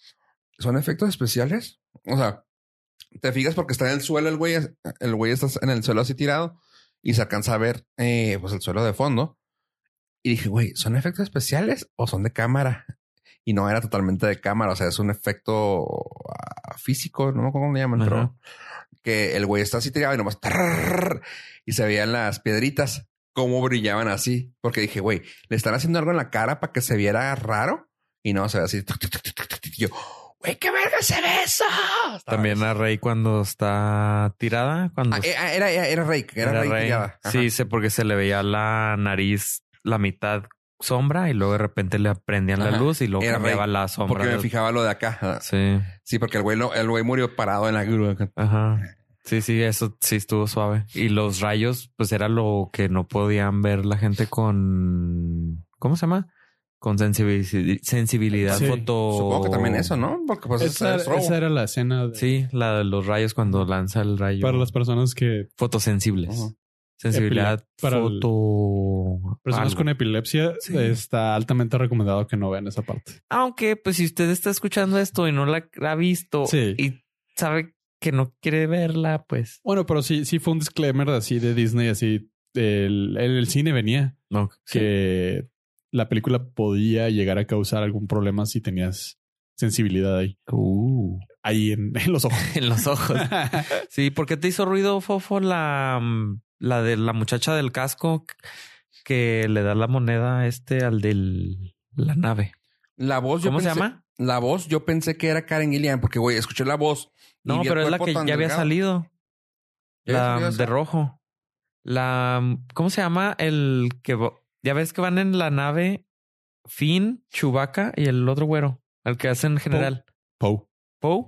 Speaker 1: ¿son efectos especiales? O sea, te fijas porque está en el suelo el güey, el güey está en el suelo así tirado y se alcanza a ver eh, pues el suelo de fondo. Y dije, güey, ¿son efectos especiales o son de cámara? Y no era totalmente de cámara, o sea, es un efecto ah, físico, no me acuerdo cómo le llaman,
Speaker 4: Ajá.
Speaker 1: pero que el güey está así tirado y nomás tarrrrr, y se veían las piedritas cómo brillaban así, porque dije, güey, le están haciendo algo en la cara para que se viera raro y no se ve así. tuc, tuc, tuc, tuc, tuc, tuc, tuc. Y Yo, güey, qué verga se ve eso. Estaba-
Speaker 4: También a Rey cuando está tirada. Cuando
Speaker 1: Ah, era, era, era, era Rey, era, Rey.
Speaker 4: Rey.
Speaker 1: tirada. Ajá.
Speaker 4: Sí, sé porque se le veía la nariz, la mitad sombra y luego de repente le prendían la
Speaker 1: Ajá.
Speaker 4: luz y luego
Speaker 1: Era
Speaker 4: cambiaba
Speaker 1: Rey,
Speaker 4: la sombra.
Speaker 1: porque me
Speaker 4: de-
Speaker 1: fijaba lo de acá.
Speaker 4: Sí,
Speaker 1: Sí, porque el güey, lo- el güey murió parado en la grúa.
Speaker 4: ajá. Sí, sí, eso sí estuvo suave. Y los rayos, pues era lo que no podían ver la gente con. ¿Cómo se llama? Con sensibilidad, sensibilidad
Speaker 2: Sí.
Speaker 4: foto.
Speaker 1: Supongo que también eso, ¿no? Porque pues
Speaker 2: esa,
Speaker 1: es robo.
Speaker 2: esa era la escena de-
Speaker 4: Sí, la de los rayos cuando lanza el rayo.
Speaker 2: para las personas que
Speaker 4: fotosensibles.
Speaker 1: Ujú.
Speaker 4: Sensibilidad
Speaker 2: Epile- para el-
Speaker 4: foto.
Speaker 2: personas
Speaker 4: algo.
Speaker 2: con epilepsia
Speaker 4: Sí.
Speaker 2: está altamente recomendado que no vean esa parte.
Speaker 4: Aunque, pues, si usted está escuchando esto y no la ha visto
Speaker 2: Sí.
Speaker 4: y sabe que no quiere verla, pues.
Speaker 2: Bueno, pero sí, sí fue un disclaimer así de Disney, así el, el, el cine venía
Speaker 4: No,
Speaker 2: que la película podía llegar a causar algún problema si tenías sensibilidad ahí, ahí en, en los ojos.
Speaker 4: uh, en los ojos. Sí, ¿por qué te hizo ruido, Fofo, la, mm, la de la muchacha del casco que le da la moneda a este al de la nave?
Speaker 1: La voz, yo
Speaker 4: ¿Cómo se
Speaker 1: pensé-
Speaker 4: llama?
Speaker 1: La voz, yo pensé que era Karen Gillian, porque güey, escuché la voz. y
Speaker 4: No,
Speaker 1: vi el
Speaker 4: pero es la
Speaker 1: cuerpo
Speaker 4: que ya
Speaker 1: tan
Speaker 4: había
Speaker 1: delgado.
Speaker 4: salido.
Speaker 1: ¿Ya había
Speaker 4: La
Speaker 1: salido esa?
Speaker 4: de rojo. La mm, ¿cómo se llama? El que va- ya ves que van en la nave Finn, Chewbacca y el otro güero, al que hacen general
Speaker 2: Poe,
Speaker 4: Poe.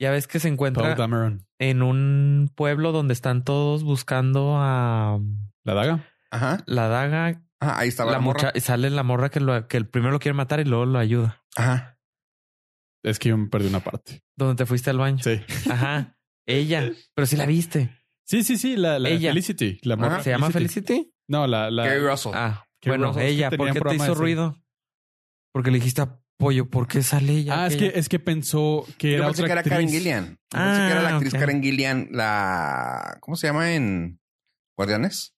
Speaker 4: Ya ves que se
Speaker 2: Poe
Speaker 4: encuentra
Speaker 2: Dameron.
Speaker 4: en un pueblo donde están todos buscando a
Speaker 2: La daga.
Speaker 1: Ajá.
Speaker 4: la daga,
Speaker 1: Ajá, ahí estaba
Speaker 4: la
Speaker 1: la, morra.
Speaker 4: mucha- y sale la morra que lo que el primero lo quiere matar y luego lo ayuda.
Speaker 1: Ajá.
Speaker 2: Es que yo me perdí una parte.
Speaker 4: Donde te fuiste al baño.
Speaker 2: Sí.
Speaker 4: Ajá. Ella, pero si la viste.
Speaker 2: Sí, sí, sí. La, la
Speaker 4: Ella.
Speaker 2: Felicity. La
Speaker 1: Ajá.
Speaker 2: morra
Speaker 4: ¿Se llama Felicity?
Speaker 2: No, la, la,
Speaker 1: Gary Russell.
Speaker 4: Ah,
Speaker 2: Que
Speaker 4: bueno,
Speaker 2: Rosas
Speaker 4: ella,
Speaker 2: que
Speaker 4: ¿por
Speaker 2: tenía
Speaker 4: qué te
Speaker 2: programa
Speaker 4: hizo
Speaker 2: ese.
Speaker 4: ruido? Porque le dijiste apoyo, ¿por qué sale ella?
Speaker 2: Ah, es
Speaker 4: aquella?
Speaker 2: que, es que pensó que
Speaker 1: Yo
Speaker 2: era
Speaker 1: pensé
Speaker 2: otra
Speaker 1: que era Karen
Speaker 2: actriz.
Speaker 1: Gillian. Yo pensé que era la
Speaker 4: Ah,
Speaker 1: actriz
Speaker 4: ok.
Speaker 1: Karen Gillian, la. ¿Cómo se llama en Guardianes?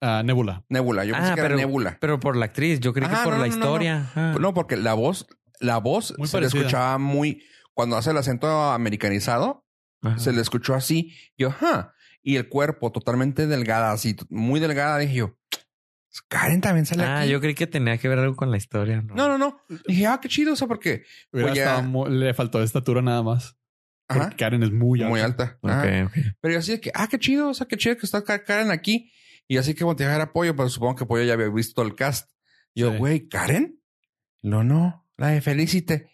Speaker 2: Ah, Nebula.
Speaker 1: Nebula. Yo pensé
Speaker 4: Ah,
Speaker 1: que era
Speaker 4: pero-
Speaker 1: Nebula.
Speaker 4: Pero por la actriz, yo creí
Speaker 1: Ajá,
Speaker 4: que por
Speaker 1: eh, Ah, no,
Speaker 4: la
Speaker 1: no, no, no.
Speaker 4: historia. Ah. Ajá.
Speaker 1: No, porque la voz, la voz
Speaker 2: Muy
Speaker 1: se le
Speaker 2: parecida.
Speaker 1: escuchaba muy. Cuando hace el acento americanizado,
Speaker 4: Ajá.
Speaker 1: se le escuchó así. Yo, ajá. Y el cuerpo totalmente delgada, así, t- muy delgada. Dije yo, "Pues, Karen también sale
Speaker 4: Ah,
Speaker 1: aquí.
Speaker 4: yo creí que tenía que ver algo con la historia. No,
Speaker 1: No, no, no. Dije, ah, qué chido. O sea, porque
Speaker 2: Hubiera
Speaker 1: Oye.
Speaker 2: estado mu- le faltó estatura nada más.
Speaker 1: Ajá.
Speaker 2: Porque Karen es muy alta.
Speaker 1: muy alta. Ajá.
Speaker 4: Ok, ok.
Speaker 1: Pero yo así de que, ah, qué chido, o sea, qué chido que está Ka- Karen aquí. Y así que volteé a ver a Pollo, pero supongo que Pollo ya había visto todo el cast. Y yo,
Speaker 2: Sí.
Speaker 1: güey, ¿Karen? No, no, la de Felicite.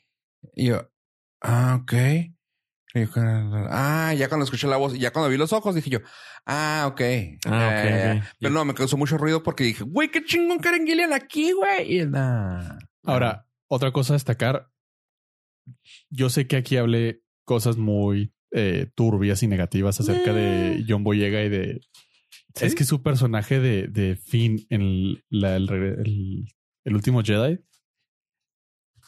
Speaker 1: Y yo, ah, ok. Y yo, ah, ya cuando escuché la voz, y ya cuando vi los ojos, dije yo, ah, ok.
Speaker 4: Ah,
Speaker 1: Ya,
Speaker 4: ok,
Speaker 1: ya,
Speaker 4: ok.
Speaker 1: ya. Pero no, me causó mucho ruido porque dije, güey, qué chingón Karen Gillian aquí, güey. Y nah.
Speaker 2: Ahora, otra cosa a destacar. Yo sé que aquí hablé cosas muy eh, turbias y negativas acerca de John Boyega y de. Es que su personaje de, de Finn en el, la- el re- el- el último Jedi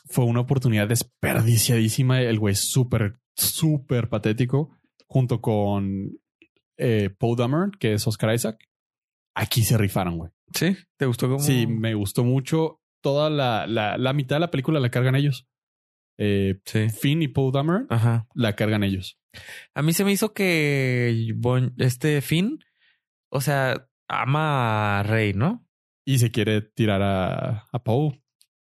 Speaker 2: fue una oportunidad desperdiciadísima. El güey es súper, súper patético junto con eh, Poe Dameron, que es Oscar Isaac. Aquí se rifaron, güey.
Speaker 4: Sí, ¿te gustó cómo?
Speaker 2: Sí, me gustó mucho. Toda la, la, la mitad de la película la cargan ellos. Eh,
Speaker 4: Sí.
Speaker 2: Finn y Poe
Speaker 4: Ah.
Speaker 2: Dameron
Speaker 4: Ajá.
Speaker 2: la cargan ellos.
Speaker 4: A mí se me hizo que Bon- este Finn o sea, ama a Rey, ¿no?
Speaker 2: Y se quiere tirar a, a Poe.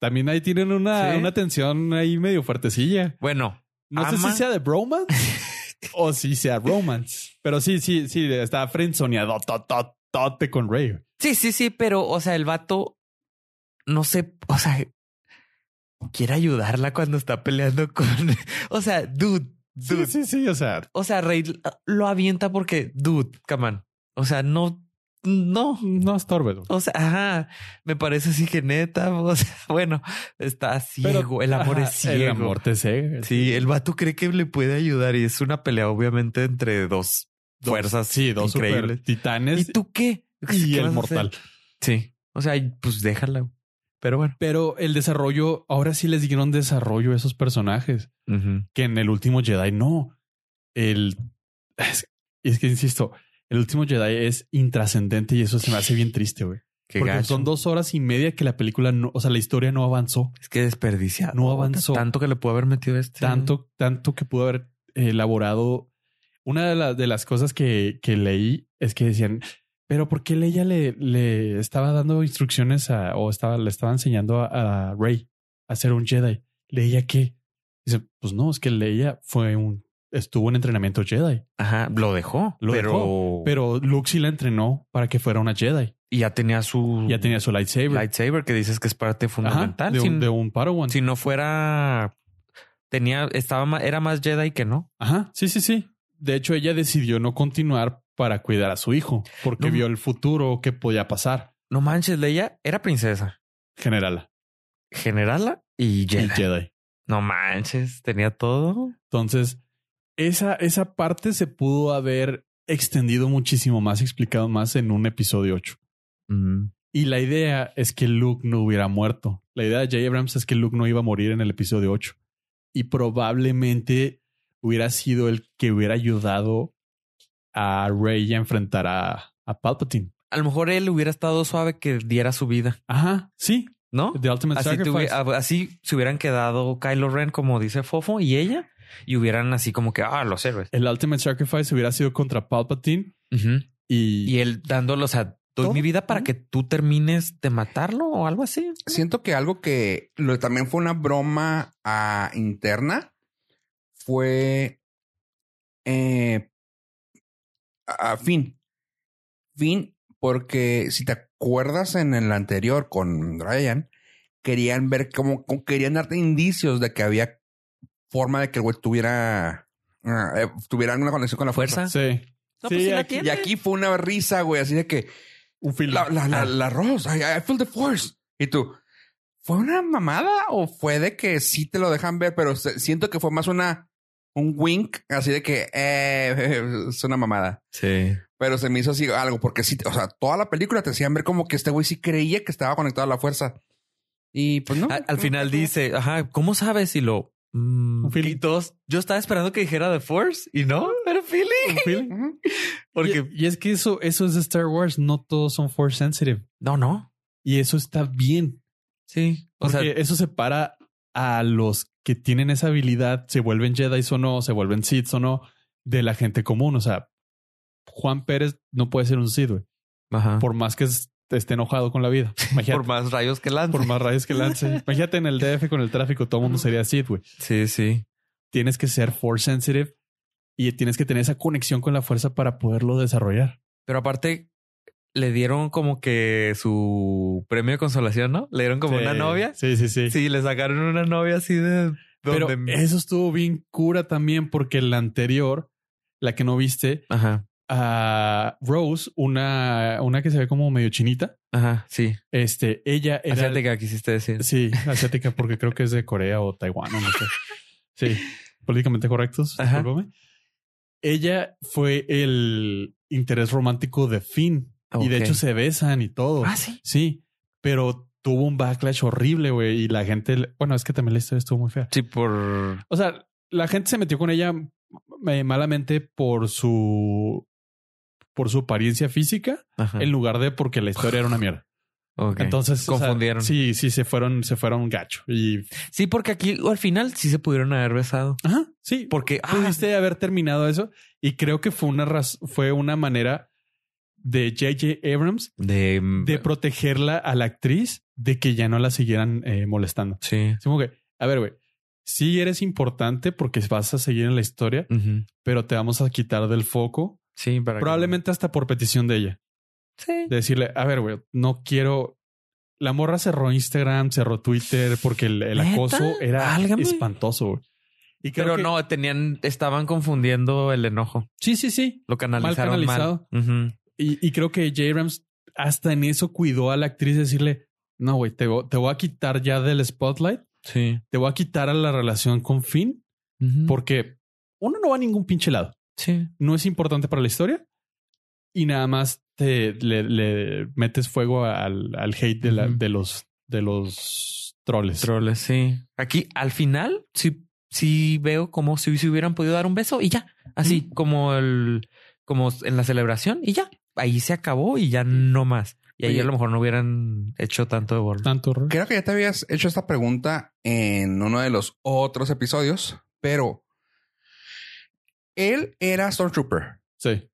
Speaker 2: También ahí tienen una,
Speaker 4: Sí.
Speaker 2: una tensión ahí medio fuertecilla.
Speaker 4: Bueno,
Speaker 2: No sé
Speaker 4: Ama.
Speaker 2: si sea de bromance o si sea romance. Pero sí, sí, sí, está frenzoneado tototote con Rey.
Speaker 4: sí, sí, sí, pero, o sea, el vato, no sé, o sea, quiere ayudarla cuando está peleando con, o sea, dude,
Speaker 2: Sí,
Speaker 4: dude.
Speaker 2: sí, sí, o sea,
Speaker 4: O sea, Rey lo avienta porque, dude, come on. O sea, no, no.
Speaker 2: no estorbes. güey.
Speaker 4: O sea, ajá, me parece así que neta, o sea, bueno, está ciego, el amor
Speaker 2: Ajá,
Speaker 4: es ciego.
Speaker 2: El amor te ciega.
Speaker 4: Sí, el vato cree que le puede ayudar y es una pelea obviamente entre dos,
Speaker 2: Dos-
Speaker 4: fuerzas
Speaker 2: Sí, dos
Speaker 4: increíbles.
Speaker 2: super titanes
Speaker 4: ¿Y tú qué?
Speaker 2: y
Speaker 4: ¿Qué
Speaker 2: el
Speaker 4: vas a hacer?
Speaker 2: mortal.
Speaker 4: Sí, o sea, pues déjala. güey. Pero bueno.
Speaker 2: Pero el desarrollo, ahora sí les dieron desarrollo a esos personajes, que en el último Jedi no. El es, es que insisto, el último Jedi es intrascendente y eso se me hace bien triste, güey.
Speaker 4: Qué
Speaker 2: Porque
Speaker 4: gacho.
Speaker 2: son dos horas y media que la película, no, o sea, la historia no avanzó
Speaker 4: Es que desperdiciado.
Speaker 2: No avanzó.
Speaker 4: Tanto que le pudo haber metido este.
Speaker 2: tanto, tanto que pudo haber elaborado. Una de, la- de las cosas que, que leí es que decían, pero ¿por qué ella le, le estaba dando instrucciones a, o estaba, le estaba enseñando a, a Rey a ser un Jedi? ¿Leía qué? Dice, pues no, es que Leia fue un, estuvo en entrenamiento Jedi,
Speaker 4: Ajá, lo dejó.
Speaker 2: Lo
Speaker 4: pero...
Speaker 2: dejó, pero Luke sí la entrenó para que fuera una Jedi.
Speaker 4: Y ya tenía su.
Speaker 2: Ya tenía su lightsaber.
Speaker 4: lightsaber que dices que es parte
Speaker 2: Ajá,
Speaker 4: Mm. fundamental.
Speaker 2: de,
Speaker 4: si,
Speaker 2: un, de un Padawan.
Speaker 4: si no fuera. Tenía, estaba ma- era más Jedi que no.
Speaker 2: Ajá, sí, sí, sí. De hecho, ella decidió no continuar para cuidar a su hijo, porque
Speaker 4: No.
Speaker 2: vio el futuro que podía pasar.
Speaker 4: No manches, Leia era princesa,
Speaker 2: Generala
Speaker 4: generala y
Speaker 2: y
Speaker 4: Jedi.
Speaker 2: Jedi.
Speaker 4: No manches, tenía todo.
Speaker 2: Entonces, esa, esa parte se pudo haber extendido muchísimo más, explicado más en un episodio 8. Y la idea es que Luke no hubiera muerto. La idea de J. Abrams es que Luke no iba a morir en el episodio 8. Y probablemente hubiera sido el que hubiera ayudado a Rey a enfrentar a, a Palpatine.
Speaker 4: A lo mejor él hubiera estado suave que diera su vida,
Speaker 2: Ajá, sí.
Speaker 4: ¿no?
Speaker 2: The Ultimate
Speaker 4: Así,
Speaker 2: Sacrifice.
Speaker 4: tuvi- a- así se hubieran quedado Kylo Ren, como dice Fofo, y ella, y hubieran así como que, ah, los héroes.
Speaker 2: El Ultimate Sacrifice hubiera sido contra Palpatine y,
Speaker 4: Y él dándolos a doy
Speaker 2: Todo.
Speaker 4: mi vida para que tú termines de matarlo o algo así.
Speaker 1: Siento que algo que lo- también fue una broma ah, interna fue eh, a, a Finn. Finn, porque si te acuerdas en el anterior con Ryan, querían ver cómo, cómo- querían darte indicios de que había forma de que el güey tuviera, ah, eh, tuviera una conexión con la fuerza.
Speaker 4: Fuerza.
Speaker 2: sí,
Speaker 4: No,
Speaker 2: Sí,
Speaker 4: pues sí la
Speaker 2: aquí-
Speaker 4: tiene.
Speaker 1: Y aquí fue una risa, güey, así de que
Speaker 2: un film.
Speaker 1: la, la, la,
Speaker 4: Ah.
Speaker 1: la Rose, I, I feel the force. Y tú, ¿fue una mamada o fue de que sí te lo dejan ver? Pero se- siento que fue más una, un wink, así de que eh, es una mamada.
Speaker 4: Sí.
Speaker 1: Pero se me hizo así algo, porque sí, o sea, toda la película te hacían ver como que este güey sí creía que estaba conectado a la fuerza. Y pues no.
Speaker 4: Al, al final dice, ajá, ¿cómo sabes? Y lo... mm,
Speaker 2: Un feeling.
Speaker 4: y todos- yo estaba esperando que dijera The Force y no, era feeling.
Speaker 2: Un film.
Speaker 1: Ujú.
Speaker 4: Porque...
Speaker 2: y, y es que eso, eso es de Star Wars, no todos son force sensitive.
Speaker 4: No, no.
Speaker 2: Y eso está bien.
Speaker 4: Sí. O
Speaker 2: Porque
Speaker 4: sea,
Speaker 2: eso separa a los que tienen esa habilidad, se vuelven Jedi o no, se vuelven Sith o no, de la gente común. O sea, Juan Pérez no puede ser un Sith, güey,
Speaker 4: ajá. Por,
Speaker 2: por más que es- esté enojado con la vida. Imagínate, por,
Speaker 4: Ah. más rayos que lanza.
Speaker 2: más rayos que lance. Imagínate en el DF con el tráfico, todo el mundo sería Sith, güey.
Speaker 4: Sí, sí.
Speaker 2: tienes que ser force sensitive y tienes que tener esa conexión con la fuerza para poderlo desarrollar.
Speaker 4: Pero aparte, le dieron como que su premio de consolación, ¿no? Le dieron como
Speaker 2: Sí.
Speaker 4: una novia.
Speaker 2: Sí, sí, sí.
Speaker 4: Sí, le sacaron una novia así de...
Speaker 2: Pero
Speaker 4: donde-
Speaker 2: eso estuvo bien cura también porque la anterior, la que no viste,
Speaker 4: Ajá,
Speaker 2: a Rose, una, una que se ve como medio chinita,
Speaker 4: ajá, sí.
Speaker 2: este, ella era...
Speaker 4: Fíjate que quisiste decir.
Speaker 2: Sí, asiática porque creo que es de Corea o Taiwán o no sé. Sí, políticamente correctos,
Speaker 4: Ajá.
Speaker 2: discúlpame. Ella fue el interés romántico de Finn y de
Speaker 4: Ah, Ok.
Speaker 2: hecho se besan y todo.
Speaker 4: Ah, sí.
Speaker 2: Sí, pero tuvo un backlash horrible, güey. Y la gente, bueno, es que también la historia estuvo muy fea.
Speaker 4: Sí, por...
Speaker 2: O sea, la gente se metió con ella eh, malamente por su por su apariencia física
Speaker 4: Ajá.
Speaker 2: en lugar de porque la historia era una mierda.
Speaker 4: Ah. Ok.
Speaker 2: Entonces o sea,
Speaker 4: Confundieron.
Speaker 2: sí, sí, se fueron, se fueron gacho. Y
Speaker 4: Sí, porque aquí al final sí se pudieron haber besado.
Speaker 2: ajá, sí,
Speaker 4: Porque ah,
Speaker 2: pudiste haber terminado eso. Y creo que fue una raz- fue una manera de J.J. Abrams
Speaker 4: De, mm,
Speaker 2: de protegerla a la actriz de que ya no la siguieran eh, molestando.
Speaker 4: sí.
Speaker 2: Es como que, a ver, güey, sí eres importante porque vas a seguir en la historia,
Speaker 4: Ujú.
Speaker 2: pero te vamos a quitar del foco,
Speaker 4: Sí, para que-
Speaker 2: probablemente hasta por petición de ella.
Speaker 4: Sí.
Speaker 2: De decirle, a ver, güey, no quiero. La morra cerró Instagram, cerró Twitter porque el, el
Speaker 4: ¿Neta?
Speaker 2: acoso era
Speaker 4: Válgame.
Speaker 2: espantoso. güey. Y creo
Speaker 4: Pero
Speaker 2: que-
Speaker 4: no, tenían, estaban confundiendo el enojo.
Speaker 2: Sí, sí, sí.
Speaker 4: Lo canalizaron mal.
Speaker 2: canalizado.
Speaker 4: Ujú.
Speaker 2: Y, y creo que J. Rams hasta en eso cuidó a la actriz de decirle, no, güey, te, vo- te voy a quitar ya del spotlight,
Speaker 4: Sí.
Speaker 2: te voy a quitar a la relación con Finn
Speaker 4: Ujú.
Speaker 2: porque uno no va a ningún pinche lado.
Speaker 4: Sí.
Speaker 2: No es importante para la historia y nada más te le, le metes fuego al, al hate de, la-
Speaker 4: Ujú.
Speaker 2: de los de los troles.
Speaker 4: Troles, sí. Aquí al final sí, sí veo como si se hubieran podido dar un beso y ya. Así como el como en la celebración y ya. Ahí se acabó y ya no más. Y ahí
Speaker 1: Oye.
Speaker 4: a lo mejor no hubieran hecho tanto de bordo.
Speaker 2: Tanto horror.
Speaker 1: Creo que ya te habías hecho esta pregunta en uno de los otros episodios, pero él era Stormtrooper.
Speaker 2: Sí.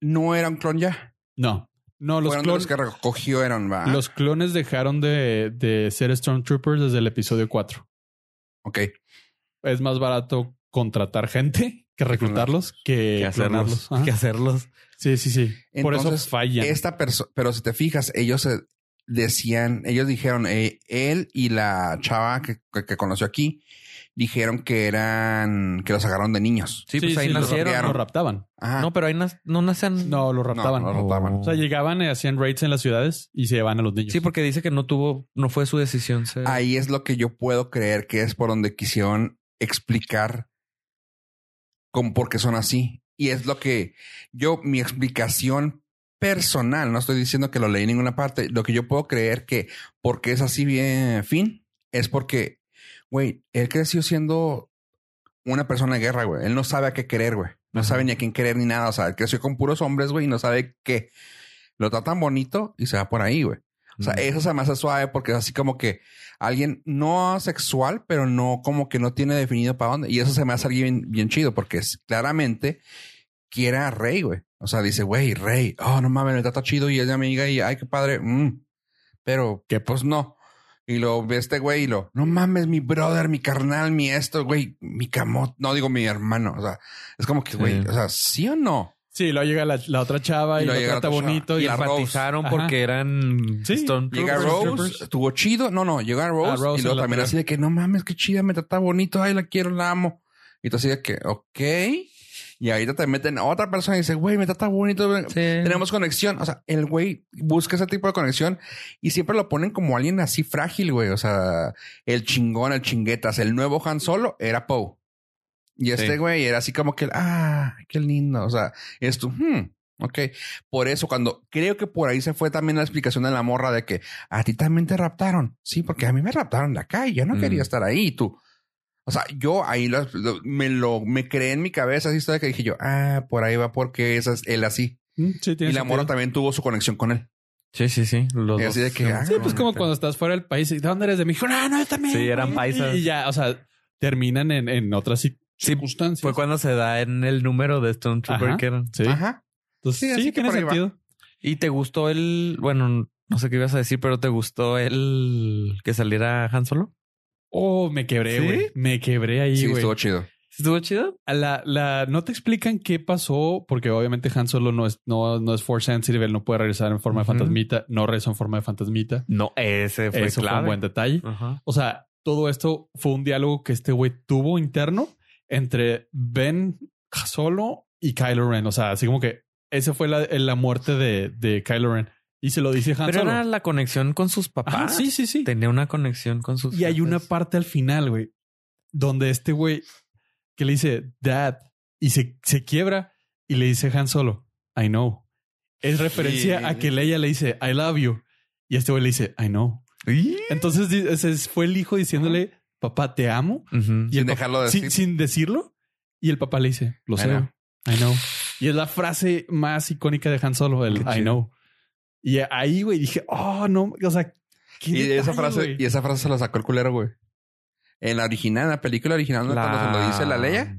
Speaker 1: No era un clon ya.
Speaker 2: No. No, los,
Speaker 1: Fueron de
Speaker 2: clon-
Speaker 1: los que recogió eran. ¿va?
Speaker 2: los clones dejaron de, de ser Stormtroopers desde el episodio 4.
Speaker 1: Ok.
Speaker 2: Es más barato contratar gente que reclutarlos que clonarlos. Ajá.
Speaker 4: Que hacerlos.
Speaker 2: Sí, sí, sí. Por eso
Speaker 1: Entonces,
Speaker 2: fallan.
Speaker 1: Esta persona, pero si te fijas, ellos se decían, ellos dijeron, eh, él y la chava que, que- que conoció aquí, dijeron que eran, que los sacaron de niños.
Speaker 4: Sí, pues ahí
Speaker 2: los
Speaker 4: nacieron.
Speaker 2: raptaron, Los raptaban.
Speaker 1: Ajá.
Speaker 4: No, pero ahí nas- no nacen.
Speaker 2: No, los raptaban.
Speaker 1: Ah. No, los raptaban.
Speaker 2: O sea, llegaban y hacían raids en las ciudades y se llevaban a los niños.
Speaker 4: Sí, porque dice que no tuvo, no fue su decisión. ser-
Speaker 1: Ahí es lo que yo puedo creer que es por donde quisieron explicar con por qué son así. Y es lo que yo, mi explicación personal, no estoy diciendo que lo leí en ninguna parte, lo que yo puedo creer que porque es así bien fin, es porque, güey, él creció siendo una persona de guerra, güey. Él no sabe a qué querer, güey. No
Speaker 4: Ajá.
Speaker 1: sabe ni a quién querer ni nada. O sea, él creció con puros hombres, güey, y no sabe qué. Lo tratan bonito y se va por ahí, güey. O sea,
Speaker 4: Mm.
Speaker 1: eso se me hace suave porque es así como que alguien no sexual, pero no como que no tiene definido para dónde. Y eso se me hace alguien bien chido porque es, claramente quiere a Rey, güey. O sea, dice, güey, Rey, oh, no mames, me trata chido y es mi amiga y ay, qué padre. mm. Pero que pues no. Y lo ve este güey y lo, no mames, mi brother, mi carnal, mi esto, güey, mi camot, no digo mi hermano. O sea, es como que, güey,
Speaker 4: Sí.
Speaker 1: o sea, sí o no.
Speaker 2: Sí, luego llega la, la otra chava y,
Speaker 1: Y
Speaker 2: lo
Speaker 1: luego llega la
Speaker 2: trata
Speaker 1: otra chava.
Speaker 2: bonito.
Speaker 4: y
Speaker 2: Y
Speaker 1: la Rose.
Speaker 4: enfatizaron
Speaker 2: Ajá.
Speaker 4: porque eran
Speaker 2: Sí.
Speaker 1: Llega
Speaker 4: Stormtroopers.
Speaker 1: Rose, estuvo chido. No, no, llega Rose,
Speaker 2: Ah, Rose
Speaker 1: y
Speaker 2: en
Speaker 1: luego
Speaker 2: la
Speaker 1: también
Speaker 2: primera.
Speaker 1: así de que no mames, qué chida, me trata bonito, ay, la quiero, la amo. Y tú así de que, ok. Y ahorita te meten a otra persona y dice, güey, me trata bonito, güey,
Speaker 4: Sí.
Speaker 1: tenemos conexión. O sea, el güey busca ese tipo de conexión y siempre lo ponen como alguien así frágil, güey. O sea, el chingón, el chinguetas, el nuevo Han Solo era Poe. Y este güey era así como que, ah, qué lindo. O sea, esto, hmm, ok. Por eso, cuando creo que por ahí se fue también la explicación de la morra de que a ti también te raptaron. Sí, porque a mí me raptaron de acá y yo no
Speaker 4: Mm.
Speaker 1: quería estar ahí. Y tú, o sea, yo ahí lo- lo- me lo me creé en mi cabeza esa historia que dije yo, ah, por ahí va porque esa es él así.
Speaker 2: Mm, Sí,
Speaker 1: Y
Speaker 2: tiene
Speaker 1: la
Speaker 2: sentido.
Speaker 1: morra también tuvo su conexión con él.
Speaker 4: Sí, sí, sí. Los
Speaker 1: Y así
Speaker 4: dos
Speaker 1: de que,
Speaker 4: se-
Speaker 1: ah,
Speaker 2: Sí, pues como cuando estás fuera del país y ¿de dónde eres? De México. Ah, No, no, yo también.
Speaker 4: Sí,
Speaker 2: güey".
Speaker 4: eran paisas.
Speaker 2: Y, ya, o sea, terminan en, en otras ci-
Speaker 4: Sí,
Speaker 2: circunstancias.
Speaker 4: Fue cuando se da en el número de Stormtrooper
Speaker 2: Ajá.
Speaker 4: que eran.
Speaker 2: Sí,
Speaker 1: Ajá.
Speaker 2: Entonces,
Speaker 1: Sí,
Speaker 2: sí,
Speaker 1: así que
Speaker 2: tiene
Speaker 1: por ahí va.
Speaker 2: sentido.
Speaker 4: ¿Y te gustó el... Bueno, no sé qué ibas a decir, pero ¿te gustó el que saliera Han Solo?
Speaker 2: Oh, me quebré,
Speaker 4: ¿Sí?
Speaker 2: güey. Me quebré ahí,
Speaker 1: Sí,
Speaker 2: güey.
Speaker 1: estuvo chido.
Speaker 4: ¿Estuvo chido?
Speaker 2: A la, la, no te explican qué pasó, porque obviamente Han Solo no es, no, no es Force Sensitive, él no puede regresar en forma
Speaker 4: Ujú.
Speaker 2: de fantasmita, no regresa en forma de fantasmita.
Speaker 4: No, ese fue
Speaker 2: Eso fue
Speaker 4: clave.
Speaker 2: un buen detalle.
Speaker 4: Ajá.
Speaker 2: O sea, todo esto fue un diálogo que este güey tuvo interno entre Ben Solo y Kylo Ren. O sea, así como que esa fue la, la muerte de, de Kylo Ren. Y se lo dice Han
Speaker 4: Pero
Speaker 2: Solo.
Speaker 4: era la conexión con sus papás.
Speaker 2: Ajá, sí, sí, sí.
Speaker 4: Tenía una conexión con sus
Speaker 2: Y hay una
Speaker 4: papás.
Speaker 2: parte al final, güey, donde este güey que le dice Dad y se, se quiebra y le dice Han Solo, I know. Es referencia a que Leia le dice I love you y este güey le dice I know. Entonces di- ese es- fue el hijo diciéndole papá te amo y
Speaker 4: Ujú.
Speaker 2: el
Speaker 1: Sin
Speaker 2: papá-
Speaker 1: dejarlo
Speaker 2: sin-
Speaker 1: decir.
Speaker 2: sin decirlo y el papá le dice lo
Speaker 1: I
Speaker 2: sé,
Speaker 1: know.
Speaker 2: I know. Y es la frase más icónica de Han Solo, el
Speaker 4: Qué
Speaker 2: I
Speaker 4: chido.
Speaker 2: know. Y ahí güey dije, "Oh, no, o sea, qué
Speaker 1: Y esa
Speaker 2: detalle,
Speaker 1: frase,
Speaker 2: güey".
Speaker 1: y esa frase se la sacó el culero, güey. En la original, en la película original, donde se lo dice la ley,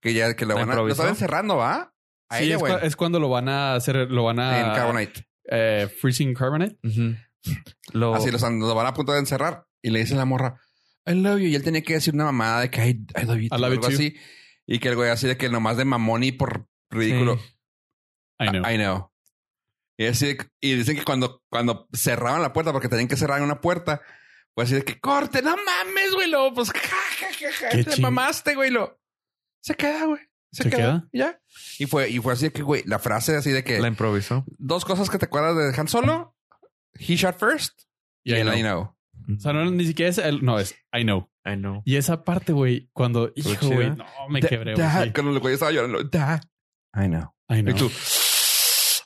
Speaker 1: que ya que lo
Speaker 4: ¿La
Speaker 1: van a, lo
Speaker 4: improvisó?
Speaker 1: estaban cerrando, ¿va? A
Speaker 2: Sí,
Speaker 1: ella,
Speaker 2: es,
Speaker 1: güey.
Speaker 2: cua- es cuando lo van a hacer, lo van a...
Speaker 1: en Carbonite.
Speaker 2: eh, freezing Carbonate.
Speaker 4: Ujú.
Speaker 2: Oh.
Speaker 4: Lo-
Speaker 1: Así los, los van a punto de encerrar y le dicen la morra, I love you. Y él tenía que decir una mamada de que I, I love you.
Speaker 2: I
Speaker 1: too",
Speaker 2: love you
Speaker 1: algo
Speaker 2: too.
Speaker 1: así. Y que el güey así de que nomás de mamón y por ridículo.
Speaker 4: Sí.
Speaker 2: I know.
Speaker 1: I know. Y, así- y dicen que cuando, cuando cerraban la puerta, porque tenían que cerrar una puerta, pues así de que corte, no mames, güey. Luego, pues, ja, ja, ja, ja,
Speaker 2: Qué
Speaker 1: te
Speaker 2: ching-
Speaker 1: mamaste, güey. Lo se queda, güey. Se,
Speaker 2: ¿Se
Speaker 1: queda.
Speaker 2: queda?
Speaker 1: Ya. Y fue, y fue así de que, güey, la frase así de que
Speaker 4: la improvisó.
Speaker 1: dos cosas que te acuerdas de Han Solo: He shot first y,
Speaker 2: Y I
Speaker 1: el
Speaker 2: know.
Speaker 1: I know.
Speaker 2: O sea, no, ni siquiera es... el- no, es I know.
Speaker 4: I know.
Speaker 2: Y esa parte, güey, cuando... Hijo,
Speaker 4: chida.
Speaker 2: güey, no, me
Speaker 1: Da-
Speaker 2: quebré, güey.
Speaker 1: da-
Speaker 2: sí.
Speaker 1: Cuando el güey estaba llorando, da. I know.
Speaker 2: I know.
Speaker 1: Y tú,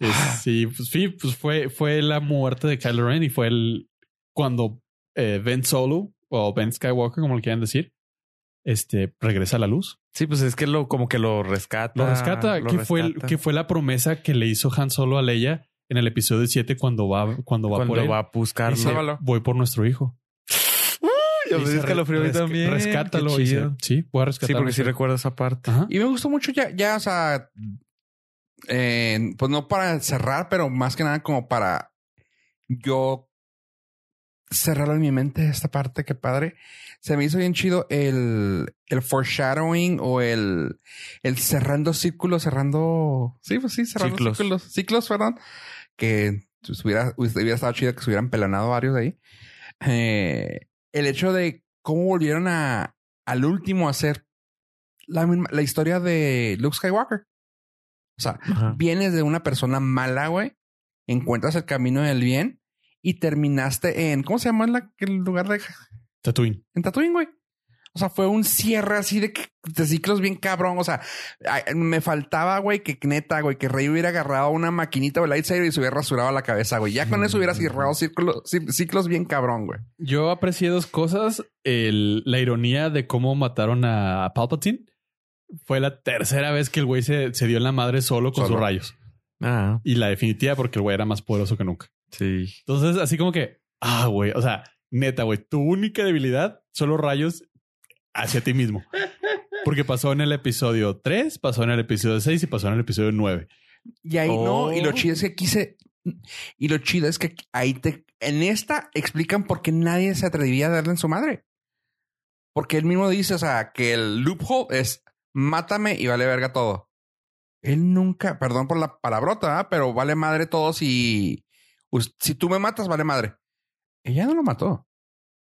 Speaker 4: Ah.
Speaker 2: Es- sí, pues, sí, pues fue, fue la muerte de Kylo Ren y fue el cuando eh, Ben Solo o Ben Skywalker, como le quieran decir, este regresa a la luz.
Speaker 4: Sí, pues es que lo como que lo rescata.
Speaker 2: Lo rescata.
Speaker 4: Ah, lo
Speaker 2: que fue el-
Speaker 4: rescata.
Speaker 2: que fue la promesa que le hizo Han Solo a Leia en el episodio 7 cuando va cuando va
Speaker 4: cuando
Speaker 2: por él?
Speaker 4: va a buscarlo.
Speaker 2: Dice, voy por nuestro hijo.
Speaker 4: Yo
Speaker 2: Y
Speaker 4: me
Speaker 2: dice,
Speaker 4: escalofrío a mí
Speaker 2: "Resc-
Speaker 4: también,
Speaker 2: Rescátalo.
Speaker 4: qué
Speaker 2: dice,
Speaker 4: chido.
Speaker 2: sí, voy a
Speaker 4: Sí,
Speaker 2: rescatarlo.
Speaker 4: porque sí recuerdo esa parte.
Speaker 2: Ajá.
Speaker 1: Y me gustó mucho ya, ya, o sea, eh, pues no para cerrar, pero más que nada como para yo cerrar en mi mente esta parte, que padre. Se me hizo bien chido el, el foreshadowing o el, el cerrando círculos, cerrando, sí, pues sí, cerrando
Speaker 4: Ciclos.
Speaker 1: círculos, ciclos, perdón, que pues, hubiera, hubiera estado chido que se hubieran pelonado varios de ahí. Eh, el hecho de cómo volvieron a, al último a hacer la, misma- la historia de Luke Skywalker. O sea,
Speaker 4: Ajá.
Speaker 1: vienes de una persona mala, güey, encuentras el camino del bien y terminaste en, ¿cómo se llama la- el lugar de
Speaker 2: Tatooine.
Speaker 1: en Tatooine, güey? O sea, fue un cierre así de, que- de ciclos bien cabrón. O sea, ay, me faltaba, güey, que neta, güey, que Rey hubiera agarrado una maquinita o lightsaber y se hubiera rasurado la cabeza, güey. Ya con eso hubiera cerrado círculo- cí- ciclos bien cabrón, güey.
Speaker 2: Yo aprecié dos cosas. El- la ironía de cómo mataron a Palpatine. Fue la tercera vez que el güey se, se dio en la madre solo con
Speaker 1: Solo.
Speaker 2: sus rayos.
Speaker 4: Ah,
Speaker 2: Y la definitiva porque el güey era más poderoso que nunca.
Speaker 4: sí.
Speaker 2: Entonces, así como que, ah, güey, o sea, neta, güey, tu única debilidad son los rayos hacia ti mismo. Porque pasó en el episodio 3, pasó en el episodio 6 y pasó en el episodio 9.
Speaker 1: Y ahí no, y lo
Speaker 4: Oh.
Speaker 1: chido es que aquí se. Y lo chido es que aquí- ahí te. En esta explican por qué nadie se atrevía a darle en su madre. Porque él mismo dice, o sea, que el loophole es mátame y vale verga todo. Él nunca, perdón por la palabrota, ¿verdad? pero vale madre todo si. us- Si tú me matas, vale madre. Ella no lo mató.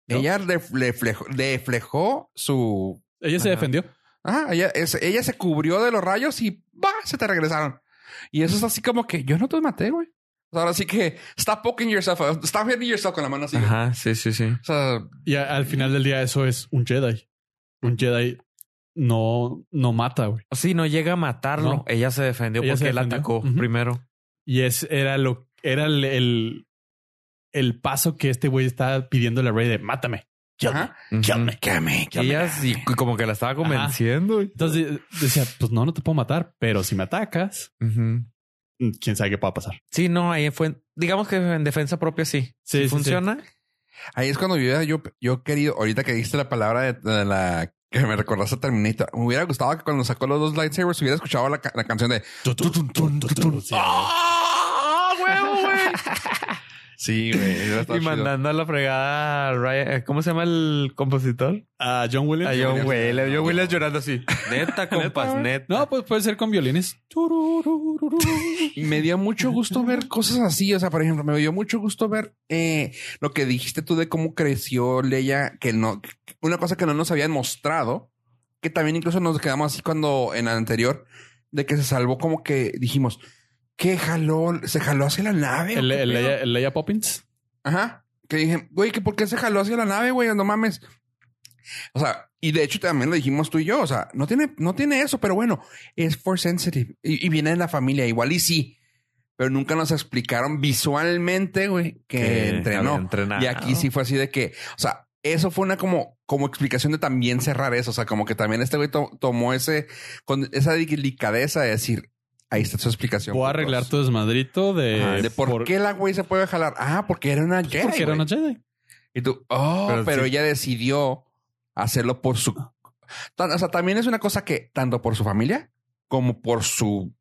Speaker 2: No.
Speaker 1: Ella ref- le flejo- deflejó su
Speaker 2: Ella se
Speaker 4: Ajá.
Speaker 2: defendió.
Speaker 1: Ah, ella, es- ella se cubrió de los rayos y va, se te regresaron. Y eso es así como que yo no te maté, güey. O sea, ahora sí que stop poking yourself, out. stop hitting yourself con la mano así. güey.
Speaker 4: Ajá, sí, sí, sí.
Speaker 1: O sea,
Speaker 2: Y a- al final del día eso es un Jedi. Un Jedi no, no mata, güey.
Speaker 4: Sí, no llega a matarlo.
Speaker 2: No.
Speaker 4: Ella se defendió
Speaker 2: Ella
Speaker 4: porque
Speaker 2: se
Speaker 4: él
Speaker 2: defendió.
Speaker 4: atacó
Speaker 2: Ujú.
Speaker 4: primero.
Speaker 2: Y es, era lo era el, el, el paso que este güey está pidiéndole a Rey de mátame. kill me,
Speaker 1: ajá.
Speaker 4: Ujú.
Speaker 1: Quédame,
Speaker 4: Y ella sí, como que la estaba convenciendo.
Speaker 2: Entonces decía, pues no, no te puedo matar, pero si me atacas, mm,
Speaker 4: Ujú.
Speaker 2: quién sabe qué pueda pasar.
Speaker 4: Sí, no, ahí fue. Digamos que en defensa propia sí.
Speaker 2: Sí,
Speaker 4: Sí,
Speaker 2: sí,
Speaker 4: funciona.
Speaker 1: Ahí es cuando yo, yo, yo querido, ahorita que dijiste la palabra de, de la que me recordaste a Terminator, me hubiera gustado que cuando sacó los dos lightsabers hubiera escuchado la, ca- la canción de
Speaker 2: Sí, güey.
Speaker 1: ¡Ah, huevo, güey! Sí, güey. hubiera estado
Speaker 4: Y
Speaker 1: chido.
Speaker 4: mandando a la fregada a Ryan- eh, ¿Cómo se llama el compositor?
Speaker 1: Ah.
Speaker 2: A John Williams.
Speaker 4: A John Williams. John Williams llorando así. Neta, compas, neta.
Speaker 2: No, pues puede ser con violines. Turururururu.
Speaker 1: me dio mucho gusto ver cosas así. O sea, por ejemplo, me dio mucho gusto ver eh, lo que dijiste tú de cómo creció Leia, que no, una cosa que no nos habían mostrado, que también incluso nos quedamos así cuando en la anterior, de que se salvó, como que dijimos, que jaló, se jaló hacia la nave.
Speaker 2: El,
Speaker 1: o qué
Speaker 2: el,
Speaker 1: pedo?"
Speaker 2: Leia- el Leia Poppins.
Speaker 1: Ajá. Que dije, güey, que por qué se jaló hacia la nave, güey, no mames. O sea, y de hecho también lo dijimos tú y yo, o sea, no tiene, no tiene eso, pero bueno, es force sensitive y, y viene de la familia, igual y sí, pero nunca nos explicaron visualmente, güey, que, entrenó.
Speaker 4: había entrenado.
Speaker 1: Y aquí sí fue así de que, o sea, eso fue una como, como explicación de también cerrar eso. O sea, como que también este güey to- tomó ese, con esa delicadeza de decir, ahí está su explicación.
Speaker 2: Voy a
Speaker 1: putos.
Speaker 2: arreglar tu desmadrito de,
Speaker 1: Ajá, de por, qué la güey se puede jalar. Ah, porque era una Jedi.
Speaker 2: Pues Porque era
Speaker 1: güey.
Speaker 2: una Jedi.
Speaker 1: Y tú, oh, pero,
Speaker 4: Pero sí.
Speaker 1: ella decidió hacerlo por su. tan- O sea, también es una cosa que tanto por su familia como por su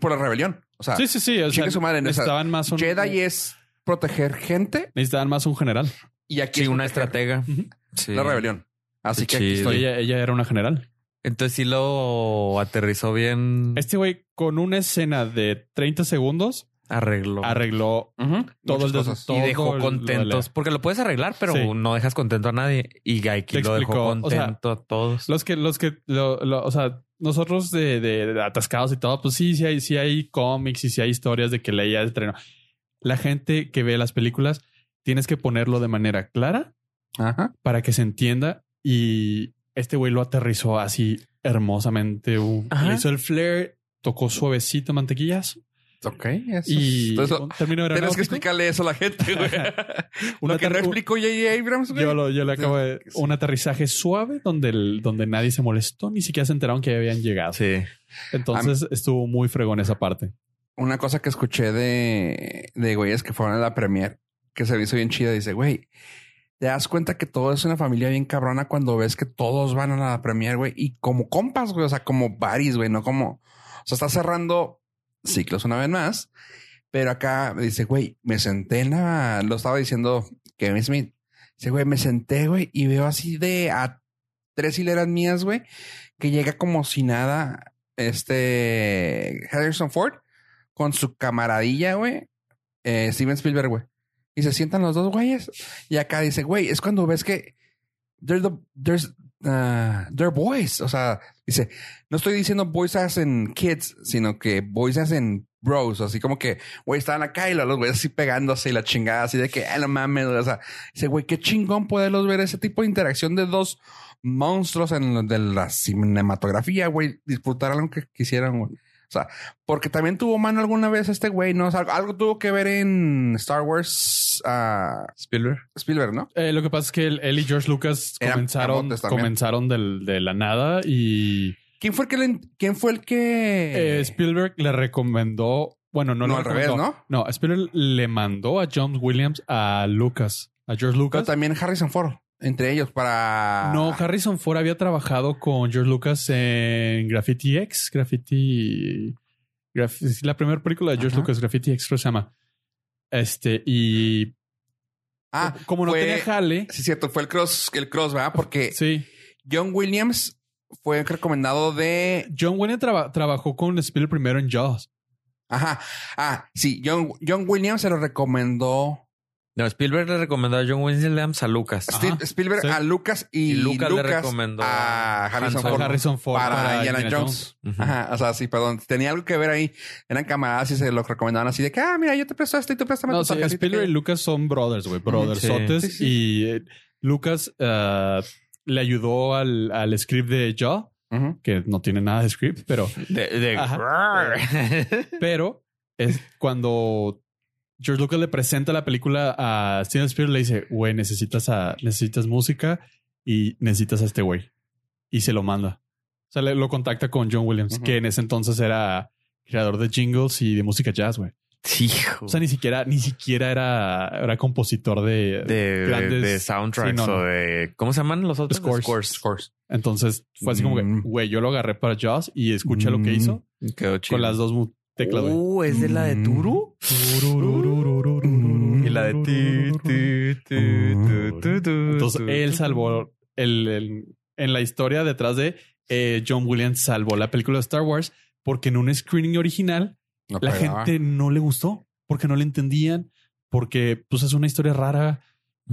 Speaker 1: por la rebelión. O sea,
Speaker 2: Sí, sí, sí. o sea,
Speaker 1: chingue Ah. su madre, ¿no? O sea,
Speaker 2: necesitaban más un
Speaker 1: Jedi es proteger gente
Speaker 2: necesitaban más un general.
Speaker 1: y aquí
Speaker 4: Sí,
Speaker 1: es
Speaker 4: una
Speaker 1: proteger
Speaker 4: estratega.
Speaker 2: Ujú.
Speaker 4: Sí.
Speaker 1: la rebelión. Así
Speaker 4: Qué
Speaker 1: que aquí
Speaker 4: chido.
Speaker 1: estoy.
Speaker 2: Ella, ella era una general.
Speaker 4: Entonces sí lo aterrizó bien.
Speaker 2: Este güey, con una escena de 30 segundos,
Speaker 4: Arregló.
Speaker 2: arregló
Speaker 1: Ujú.
Speaker 2: todo el
Speaker 1: Oh, Muchas
Speaker 2: des-
Speaker 1: cosas.
Speaker 2: todo
Speaker 4: y
Speaker 2: el-
Speaker 4: dejó
Speaker 2: lo de
Speaker 4: contentos.
Speaker 2: la-
Speaker 4: Porque lo puedes arreglar, pero
Speaker 2: Sí.
Speaker 4: no dejas contento a nadie. Y Gaiki
Speaker 2: Te
Speaker 4: lo dejó
Speaker 2: explicó, o sea,
Speaker 4: contento a todos.
Speaker 2: Los que, los que, lo- lo- o sea, nosotros de, de- de atascados y todo, pues sí, sí hay, sí hay cómics y sí hay historias de que leía el tren. La gente que ve las películas, tienes que ponerlo de manera clara
Speaker 1: Ajá.
Speaker 2: para que se entienda y este güey lo aterrizó así hermosamente. uh,
Speaker 4: Ajá.
Speaker 2: le hizo el flare, tocó suavecito mantequillas
Speaker 1: Ok. eso es-
Speaker 2: y
Speaker 1: Entonces,
Speaker 2: un término
Speaker 1: Tienes que
Speaker 2: aeronáutico.
Speaker 1: explicarle eso a la gente, güey.
Speaker 2: Una
Speaker 1: Lo que
Speaker 2: tar-
Speaker 1: no explicó J.J. Abrams, güey.
Speaker 2: Yo, lo- yo le acabo de...
Speaker 1: Sí.
Speaker 2: Un aterrizaje suave donde, el- donde nadie se molestó, ni siquiera se enteraron que habían llegado.
Speaker 4: Sí.
Speaker 2: Entonces estuvo muy fregón esa parte.
Speaker 1: Una cosa que escuché de, de güeyes que fueron a la premier, que se me hizo bien chida, dice, güey, te das cuenta que todo es una familia bien cabrona cuando ves que todos van a la premier, güey, y como compas, güey, o sea, como baris, güey, no como... O sea, está cerrando ciclos una vez más, pero acá dice, güey, me senté en la... Lo estaba diciendo Kevin Smith. Dice, güey, me senté, güey, y veo así de a tres hileras mías, güey, que llega como si nada este Harrison Ford con su camaradilla, güey, eh, Steven Spielberg, güey. Y se sientan los dos güeyes. Y acá dice, güey, es cuando ves que they're, the, there's, ah, they're boys. O sea, dice, no estoy diciendo boys as en kids, sino que boys as en bros. Así como que, güey, estaban acá y los güeyes así pegándose y la chingada así de que, ah, no mames. O sea, dice, güey, qué chingón poderlos ver ese tipo de interacción de dos monstruos en lo de la cinematografía, güey, disfrutar algo que quisieran, güey. O sea, porque también tuvo mano alguna vez este güey, ¿no? O sea, algo, algo tuvo que ver en Star Wars ah,
Speaker 4: Spielberg.
Speaker 1: Spielberg, ¿no?
Speaker 2: Eh, lo que pasa es que él, él y George Lucas
Speaker 1: Eran
Speaker 2: comenzaron,
Speaker 1: camotes también.
Speaker 2: comenzaron del- de la nada y
Speaker 1: ¿Quién fue el que le- quién fue el que
Speaker 2: eh, Spielberg le recomendó, bueno, no,
Speaker 1: no,
Speaker 2: le
Speaker 1: al revés,
Speaker 2: recomendó.
Speaker 1: ¿no?
Speaker 2: No, Spielberg le mandó a John Williams a Lucas, a George
Speaker 1: Pero
Speaker 2: Lucas.
Speaker 1: también Harrison Ford entre ellos para
Speaker 2: No, Harrison Ford había trabajado con George Lucas en Graffiti X, Graffiti... Graf- es la primera película de George
Speaker 1: Ajá.
Speaker 2: Lucas, Graffiti X, creo que se llama. Este, y
Speaker 1: Ah,
Speaker 2: como no
Speaker 1: fue-
Speaker 2: tenía jale,
Speaker 1: sí es cierto, fue el cross el cross, ¿verdad? Porque
Speaker 2: sí.
Speaker 1: John Williams fue el recomendado de
Speaker 2: John Wayne traba- trabajó con Spielberg primero en Jaws.
Speaker 1: ajá. Ah, sí, John John Williams se lo recomendó
Speaker 4: No, Spielberg le recomendó a John Williams a Lucas.
Speaker 2: Ajá,
Speaker 1: Steve- Spielberg
Speaker 2: sí.
Speaker 1: a Lucas y,
Speaker 4: Y
Speaker 1: Lucas,
Speaker 4: Lucas le recomendó
Speaker 1: a
Speaker 4: a
Speaker 1: Harrison
Speaker 4: Han
Speaker 2: A
Speaker 4: Solo.
Speaker 1: Ford.
Speaker 2: Harrison Ford
Speaker 1: para, Indiana, Jones.
Speaker 4: Ujú.
Speaker 1: Ajá, o sea, sí, perdón. Tenía algo que ver ahí. Eran camaradas y se lo recomendaban así de que, ah, mira, yo te presto esto y tú préstame
Speaker 2: No,
Speaker 1: tu
Speaker 2: sí,
Speaker 1: tarjetita".
Speaker 2: Spielberg y Lucas son brothers, güey. Brothersotes.
Speaker 1: Sí, sí,
Speaker 2: Y eh, Lucas ah, le ayudó al, al script de Jaws,
Speaker 1: Ujú.
Speaker 2: que no tiene nada de script, pero,
Speaker 4: De, de-
Speaker 2: pero es cuando George Lucas le presenta la película a Steven Spielberg, le dice, güey, necesitas, a, necesitas música y necesitas a este güey. Y se lo manda. O sea, le- lo contacta con John Williams,
Speaker 1: Ujú.
Speaker 2: que en ese entonces era creador de jingles y de música jazz, güey.
Speaker 4: Sí, hijo.
Speaker 2: O sea, ni siquiera, ni siquiera era, era compositor de,
Speaker 4: de,
Speaker 2: grandes-
Speaker 4: de soundtracks
Speaker 2: sí, no, no.
Speaker 4: o de. ¿ómo se llaman los otros?
Speaker 2: Scores.
Speaker 4: Scores.
Speaker 2: Entonces fue así como que,
Speaker 1: Mm.
Speaker 2: güey, yo lo agarré para Jaws y escuché lo que
Speaker 1: Mm.
Speaker 2: hizo
Speaker 4: Quedó chido.
Speaker 2: con las dos mu- teclas, güey.
Speaker 4: Uh, es de la de
Speaker 1: Mm.
Speaker 4: Turu.
Speaker 1: Mm.
Speaker 4: Y la de ti, ti, ti, tu, tu, tu,
Speaker 2: Entonces
Speaker 4: tu,
Speaker 2: él
Speaker 4: tu.
Speaker 2: salvó el, el- en la historia detrás de eh, John Williams salvó la película de Star Wars porque en un screening original
Speaker 1: No
Speaker 2: la
Speaker 1: pegaba.
Speaker 2: gente no le gustó porque no le entendían porque pues es una historia rara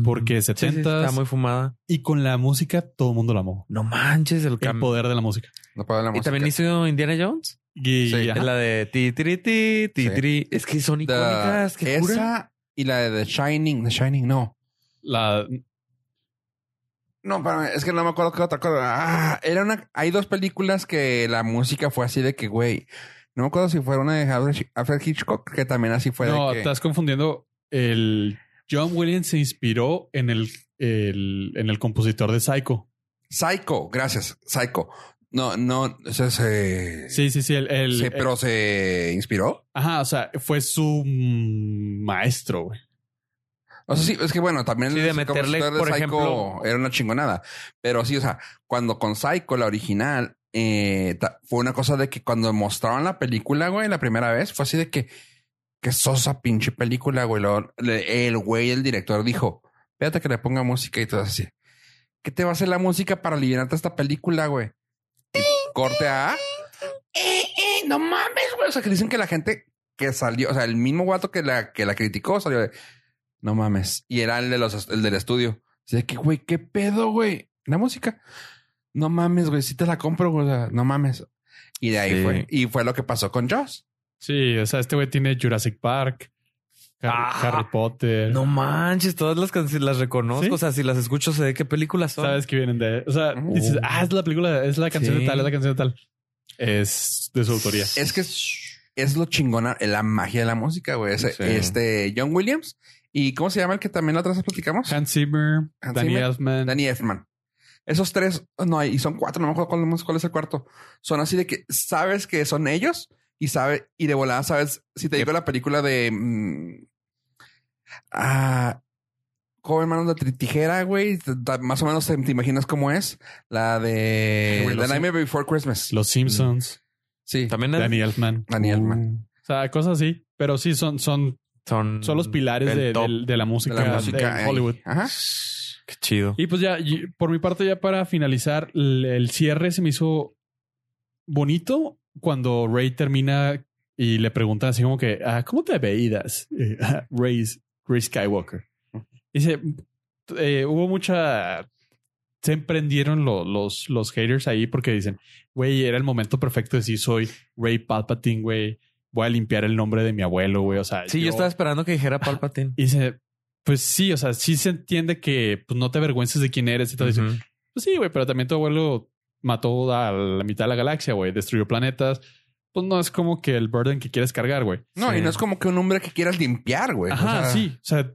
Speaker 2: porque
Speaker 4: Sí, sí,
Speaker 2: 70
Speaker 4: está muy fumada.
Speaker 2: y con la música todo el mundo la amó.
Speaker 4: No manches el
Speaker 2: El
Speaker 4: cambio.
Speaker 2: poder de la música.
Speaker 1: No pegaba la
Speaker 4: Y
Speaker 1: música.
Speaker 4: también hizo Indiana Jones.
Speaker 2: Y-
Speaker 1: Sí,
Speaker 2: ajá.
Speaker 4: Es la de ti, ti, ti, ti,
Speaker 1: Sí.
Speaker 4: ti. Es que son
Speaker 1: The-
Speaker 4: icónicas. ¿Qué
Speaker 1: esa
Speaker 4: cura?
Speaker 1: y la de The Shining. The Shining, no.
Speaker 2: la-
Speaker 1: No, espérame, es que no me acuerdo qué otra cosa. Ah, era una. Hay dos películas que la música fue así de que, güey. No me acuerdo si fue una de Alfred- Alfred Hitchcock, que también así fue
Speaker 2: no,
Speaker 1: de que.
Speaker 2: estás confundiendo. El John Williams se inspiró en el, el- en el compositor de Psycho.
Speaker 1: Psycho, gracias. Psycho. No, no, eh, se, se,
Speaker 2: Sí, sí, sí. El, el-
Speaker 1: se- pero se inspiró.
Speaker 2: ajá, o sea, fue su mm, maestro, güey.
Speaker 1: O sea, sí, es que bueno, también
Speaker 4: Sí, de
Speaker 1: el
Speaker 4: meterle,
Speaker 1: compositor de
Speaker 4: por
Speaker 1: Psycho
Speaker 4: ejemplo-
Speaker 1: era una chingonada. Pero sí, o sea, cuando con Psycho, la original, eh, ta- fue una cosa de que cuando mostraron la película, güey, la primera vez, fue así de que, que sosa pinche película, güey. Luego le- el güey, el director dijo, espérate que le ponga música y todo así. ¿Qué te va a hacer la música para aliviarte esta película, güey? Y corte a... Eh, eh, no mames, güey. O sea, que dicen que la gente que salió, o sea, el mismo guato que la, que la criticó salió de... No mames. Y era el, de los, el del estudio. Así de que, güey, ¿qué pedo, güey? La música no mames, güey, si te la compro, güey, o sea, no mames. Y de ahí
Speaker 4: Sí.
Speaker 1: fue. Y fue lo que pasó con Joss.
Speaker 2: Sí, o sea, este güey tiene Jurassic Park, Harry,
Speaker 4: Ah,
Speaker 2: Harry Potter.
Speaker 4: No manches, todas las canciones las reconozco.
Speaker 2: ¿Sí?
Speaker 4: O sea, si las escucho, sé de qué películas son.
Speaker 2: Sabes que vienen de. O sea,
Speaker 1: Oh.
Speaker 2: dices, ah, es la película, es la canción
Speaker 4: Sí.
Speaker 2: de tal, es la canción de tal. Es de su autoría.
Speaker 1: Es que es, es lo chingona, la magia de la música, güey. Ese-
Speaker 4: Sí.
Speaker 1: Este, John Williams. ¿Y cómo se llama el que también la otra vez platicamos?
Speaker 2: Hans Zimmer,
Speaker 1: Hans
Speaker 2: Danny
Speaker 1: Zimmer,
Speaker 2: Elfman.
Speaker 1: Danny Elfman. Esos tres, oh, no, y son cuatro, no me acuerdo cuál, cuál es el cuarto. Son así de que sabes que son ellos y sabe, y de volada sabes, si te digo la película de... mm, ah, Joven Manos de Tri- Tijera, güey, te- te- más o menos te, te imaginas cómo es. La de...
Speaker 2: Güey, lo
Speaker 1: The
Speaker 2: sé.
Speaker 1: Nightmare Before Christmas.
Speaker 2: Los Simpsons,
Speaker 1: Sí,
Speaker 4: También las-
Speaker 2: Danny Elfman. Uh.
Speaker 1: Danny Elfman.
Speaker 2: O sea, cosas así. Pero sí, son, son,
Speaker 4: son,
Speaker 2: son los pilares
Speaker 4: Mm, del
Speaker 2: de,
Speaker 4: top. Ah.
Speaker 2: del- de la
Speaker 1: De
Speaker 2: Uh, música de,
Speaker 1: la música. eh,
Speaker 2: Hollywood.
Speaker 1: Ajá.
Speaker 4: Qué chido.
Speaker 2: Y pues ya, y por mi parte, ya para finalizar, el, el cierre se me hizo bonito cuando Ray termina y le preguntan así como que, ah, ¿cómo te veías? Eh, Ray, Ray Skywalker. Dice, eh, hubo mucha... Se emprendieron lo- los, los haters ahí porque dicen, güey, era el momento perfecto de decir soy Ray Palpatine, güey. Voy a limpiar el nombre de mi abuelo, güey. O sea,
Speaker 4: Sí, yo, estaba esperando que dijera Palpatine.
Speaker 2: Y dice, pues sí, o sea, sí se entiende que pues, no te avergüences de quién eres y todo eso.
Speaker 4: Ujú.
Speaker 2: Pues sí, güey, pero también tu abuelo mató a la mitad de la galaxia, güey. Destruyó planetas. Pues no es como que el burden que quieres cargar, güey.
Speaker 1: No, y
Speaker 4: Sí.
Speaker 1: no es como que un hombre que quieras limpiar, güey. O
Speaker 2: Ajá,
Speaker 1: sea,
Speaker 2: sí. O sea,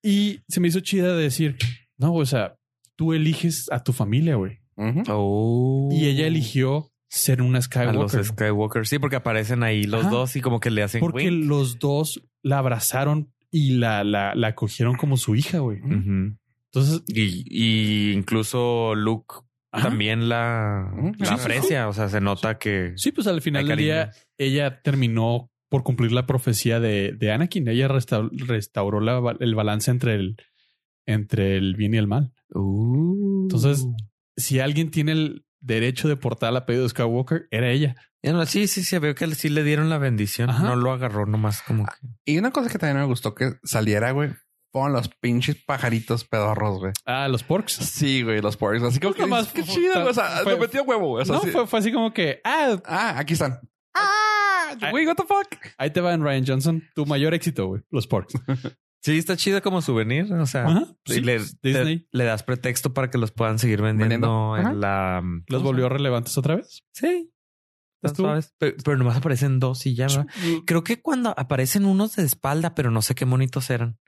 Speaker 2: y se me hizo chida de decir, no, güey, o sea, tú eliges a tu familia, güey.
Speaker 1: ujú.
Speaker 4: Oh.
Speaker 2: Y ella eligió ser una
Speaker 4: a los
Speaker 2: Skywalker.
Speaker 4: Skywalker. Sí, porque aparecen ahí los
Speaker 2: Ajá.
Speaker 4: dos y como que le hacen
Speaker 2: porque
Speaker 4: wink.
Speaker 2: los dos la abrazaron y la, la, la acogieron como su hija, güey.
Speaker 4: Ujú.
Speaker 2: Entonces,
Speaker 4: y, y incluso Luke
Speaker 2: Ajá. Mm,
Speaker 4: también la,
Speaker 1: Ujú. Sí,
Speaker 4: la
Speaker 1: sí,
Speaker 4: aprecia. O sea, se nota que
Speaker 2: Sí, pues al final
Speaker 4: Hay
Speaker 2: del día
Speaker 4: cariño.
Speaker 2: ella terminó por cumplir la profecía de, de Anakin. Ella resta- restauró la ba- el balance entre el, entre el bien y el mal.
Speaker 4: Uh.
Speaker 2: Entonces,
Speaker 4: Mm.
Speaker 2: si alguien tiene el derecho de portar el apellido de Skywalker, era ella.
Speaker 4: Ya no, sí, sí, sí, veo que sí le dieron la bendición.
Speaker 2: Ajá. Ah.
Speaker 4: No lo agarró nomás como que.
Speaker 1: Y una cosa que también me gustó que saliera, güey, fueron los pinches pajaritos pedorros, güey.
Speaker 2: Ah, los porks.
Speaker 1: Sí, güey, los Porgs. Así como que
Speaker 2: Pues nomás
Speaker 1: dices, qué
Speaker 2: fue-
Speaker 1: chido,
Speaker 2: fue-
Speaker 1: güey. O sea,
Speaker 2: fue-
Speaker 1: le metió huevo, güey. O sea,
Speaker 2: No,
Speaker 1: sí.
Speaker 2: fue, fue así como que, ah,
Speaker 1: Ah, aquí están. Ah,
Speaker 2: Ah.
Speaker 1: güey, what the fuck.
Speaker 2: ahí te van Ryan Johnson, tu mayor éxito, güey, los porks.
Speaker 4: Sí, está chida como souvenir. O sea,
Speaker 2: Ajá,
Speaker 4: y
Speaker 2: sí,
Speaker 4: le,
Speaker 2: pues, Disney.
Speaker 4: te- le das pretexto para que los puedan seguir vendiendo,
Speaker 1: Vendiendo.
Speaker 4: en la. mm,
Speaker 2: Los volvió relevantes otra vez.
Speaker 4: Sí. Están
Speaker 2: Estuvo.
Speaker 4: suaves. Pero, pero nomás aparecen dos y ya. ¿verdad? Creo que cuando aparecen unos de espalda, pero no sé qué monitos eran.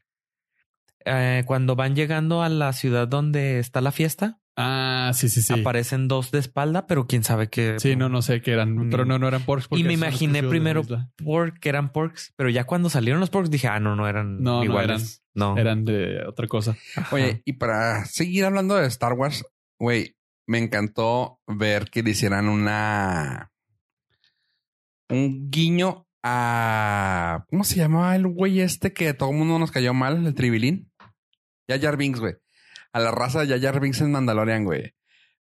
Speaker 4: Eh, cuando van llegando a la ciudad donde está la fiesta,
Speaker 2: Ah, sí, sí, sí.
Speaker 4: aparecen dos de espalda, pero quién sabe qué.
Speaker 2: Sí, no, no sé qué eran, pero no, no eran porks. porque
Speaker 4: Y me
Speaker 2: son
Speaker 4: imaginé
Speaker 2: exclusivos de
Speaker 4: primero
Speaker 2: Isla.
Speaker 4: Pork, eran porks, pero ya cuando salieron los porks dije, ah, no, no eran
Speaker 2: No, no
Speaker 4: iguales. No,
Speaker 2: Eran de otra cosa.
Speaker 4: Ajá.
Speaker 1: Oye, y para seguir hablando de Star Wars, güey, me encantó ver que le hicieran una. Un guiño a. ¿Cómo se llamaba el güey este que a todo el mundo nos cayó mal? El tribilín. Yayar Binks, güey. A la raza de Yayar Binks en Mandalorian, güey.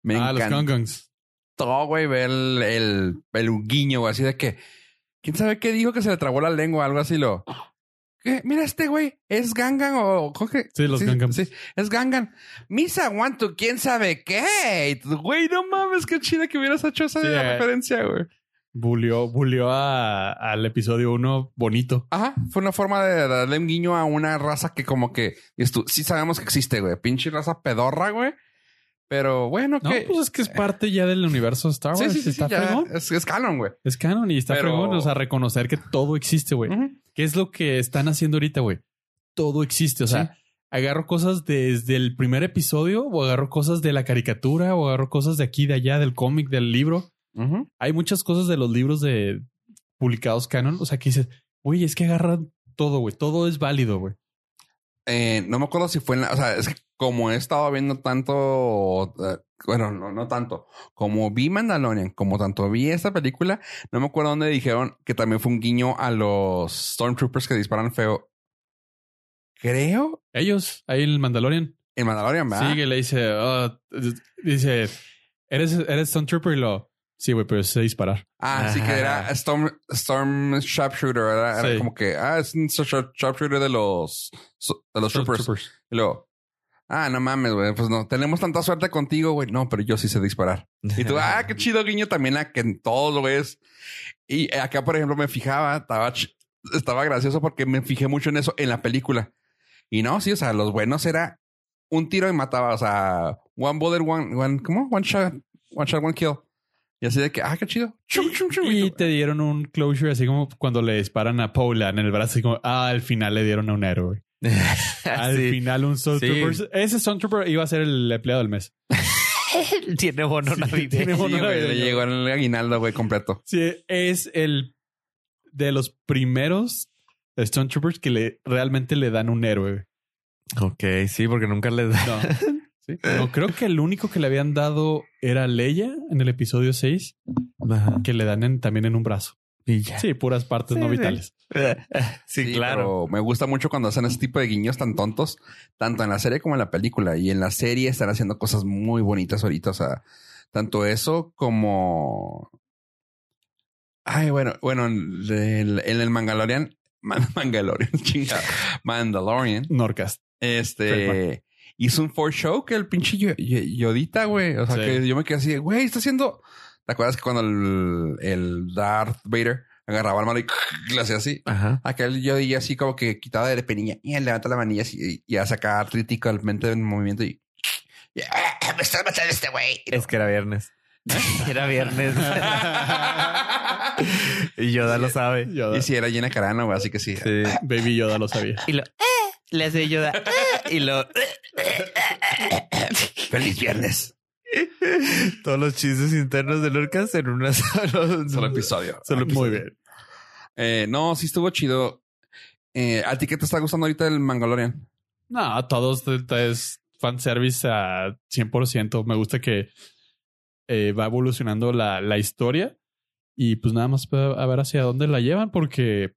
Speaker 1: Me
Speaker 2: ah, los
Speaker 1: encantó.
Speaker 2: Gongons.
Speaker 1: todo, güey, ver el, el, el guiño, güey, así de que. ¿Quién sabe qué dijo que se le trabó la lengua algo así? Lo. ¿Qué? Mira este güey, es Gangan o Jorge.
Speaker 2: Sí, los Gangan.
Speaker 1: Sí, es Gangan. Misa One, to quién sabe qué. Y tú, Güey, no mames, qué chida que hubieras hecho esa
Speaker 2: Sí, eh.
Speaker 1: referencia, güey.
Speaker 2: Bulió, bulió a- al episodio 1 bonito.
Speaker 1: Ajá, fue una forma de darle un guiño a una raza que, como que, dices tú, sí sabemos que existe, güey. Pinche raza pedorra, güey. Pero bueno,
Speaker 2: No,
Speaker 1: que.
Speaker 2: pues es que es parte ya del universo Star Wars.
Speaker 1: sí, sí, sí,
Speaker 2: está
Speaker 1: sí, ya
Speaker 2: fregón.
Speaker 1: es, es canon, güey.
Speaker 2: Es canon y está
Speaker 1: Pero-
Speaker 2: fregón. O sea, reconocer que todo existe, güey.
Speaker 1: Ujú.
Speaker 2: ¿Qué es lo que están haciendo ahorita, güey? Todo existe. O sea, agarro cosas desde el primer episodio o agarro cosas de la caricatura o agarro cosas de aquí, de allá, del cómic, del libro.
Speaker 1: Ujú.
Speaker 2: Hay muchas cosas de los libros de publicados canon. O sea, que dices, güey, es que agarran todo, güey. Todo es válido, güey.
Speaker 1: eh, no me acuerdo si fue en la, o sea, es que como he estado viendo tanto, eh, bueno, no, no tanto, como vi Mandalorian, como tanto vi esta película, no me acuerdo dónde dijeron que también fue un guiño a los Stormtroopers que disparan feo. Creo
Speaker 2: Ellos, ahí el Mandalorian.
Speaker 1: en Mandalorian, ¿verdad?
Speaker 2: Sí, que le dice, ah, dice, eres, eres Sun Trooper y lo. Sí, güey, pero sé disparar.
Speaker 1: Ah, sí que era Storm, Storm Sharpshooter, era, era
Speaker 2: Sí.
Speaker 1: como que, ah, es un shar- Sharpshooter de los, de los troopers. Y luego, ah, no mames, güey, pues no, tenemos tanta suerte contigo, güey. No, pero yo sí sé disparar. Y tú, ah, qué chido guiño también a que en todo lo ves. Y acá, por ejemplo, me fijaba, estaba, ch- estaba gracioso porque me fijé mucho en eso en la película. Y no, sí, o sea, los buenos era un tiro y mataba, o sea, one bullet, one, one, ¿cómo? One shot, one shot, one kill. Y así de que, ah, qué chido. Chum, chum, chum.
Speaker 2: Y
Speaker 1: tú,
Speaker 2: te dieron un closure, así como cuando le disparan a Paula en el brazo, así como, ah, al final le dieron a un héroe. Al
Speaker 4: Ah, Sí.
Speaker 2: final un Sun
Speaker 4: Sí.
Speaker 2: Trooper. Ese Sun Trooper iba a ser el empleado del mes.
Speaker 4: Tiene bono navideño.
Speaker 2: tiene
Speaker 1: Sí,
Speaker 2: bono
Speaker 1: güey,
Speaker 2: navideño.
Speaker 1: le llegó el aguinaldo, güey, completo.
Speaker 2: Sí, es el de los primeros Stone Troopers que le, realmente le dan un héroe.
Speaker 4: Ok, sí, porque nunca les da.
Speaker 2: No. Sí. No, creo que el único que le habían dado era Leia en el episodio 6,
Speaker 4: Ajá.
Speaker 2: que le dan en- también en un brazo.
Speaker 4: Y ya.
Speaker 2: Sí, puras partes
Speaker 4: Sí,
Speaker 2: no
Speaker 4: sí.
Speaker 2: vitales.
Speaker 4: Sí, claro.
Speaker 1: pero me gusta mucho cuando hacen ese tipo de guiños tan tontos, tanto en la serie como en la película. Y en la serie están haciendo cosas muy bonitas ahorita. O sea, tanto eso como. Ay, bueno, bueno, en el, en el Mandalorian. Man- Mandalorian, chinga. Mandalorian.
Speaker 2: Norcast.
Speaker 1: Este. Hizo un for show que el pinche Yo- Yo- Yodita, güey. O sea,
Speaker 2: Sí.
Speaker 1: que yo me quedé así, de, güey, está haciendo. ¿Te acuerdas que cuando el, el Darth Vader agarraba el mano y le hacía así?
Speaker 4: Ajá.
Speaker 1: Aquel Ah, yo dije así como que quitaba de penilla y él levanta la manilla así, y ya saca críticamente el movimiento y... y, "Ah, me estás matando este güey.
Speaker 4: Es que era viernes. era viernes. y Yoda lo sabe.
Speaker 2: Yoda.
Speaker 1: Y si era llena carana, güey, así que sí.
Speaker 4: Sí.
Speaker 2: Baby Yoda lo sabía.
Speaker 4: Y lo "Eh", le hace Yoda "Eh", y lo eh,
Speaker 1: Feliz viernes.
Speaker 4: todos los chistes internos de Lucas en una sola
Speaker 1: Solo episodio.
Speaker 2: Muy bien.
Speaker 1: Eh, no, sí estuvo chido. Eh, ¿A ti qué te está gustando ahorita el Mandalorian?
Speaker 2: No, todos te- te- es fanservice a 100%. Me gusta que eh, va evolucionando la, la historia y pues nada más pa- a ver hacia dónde la llevan porque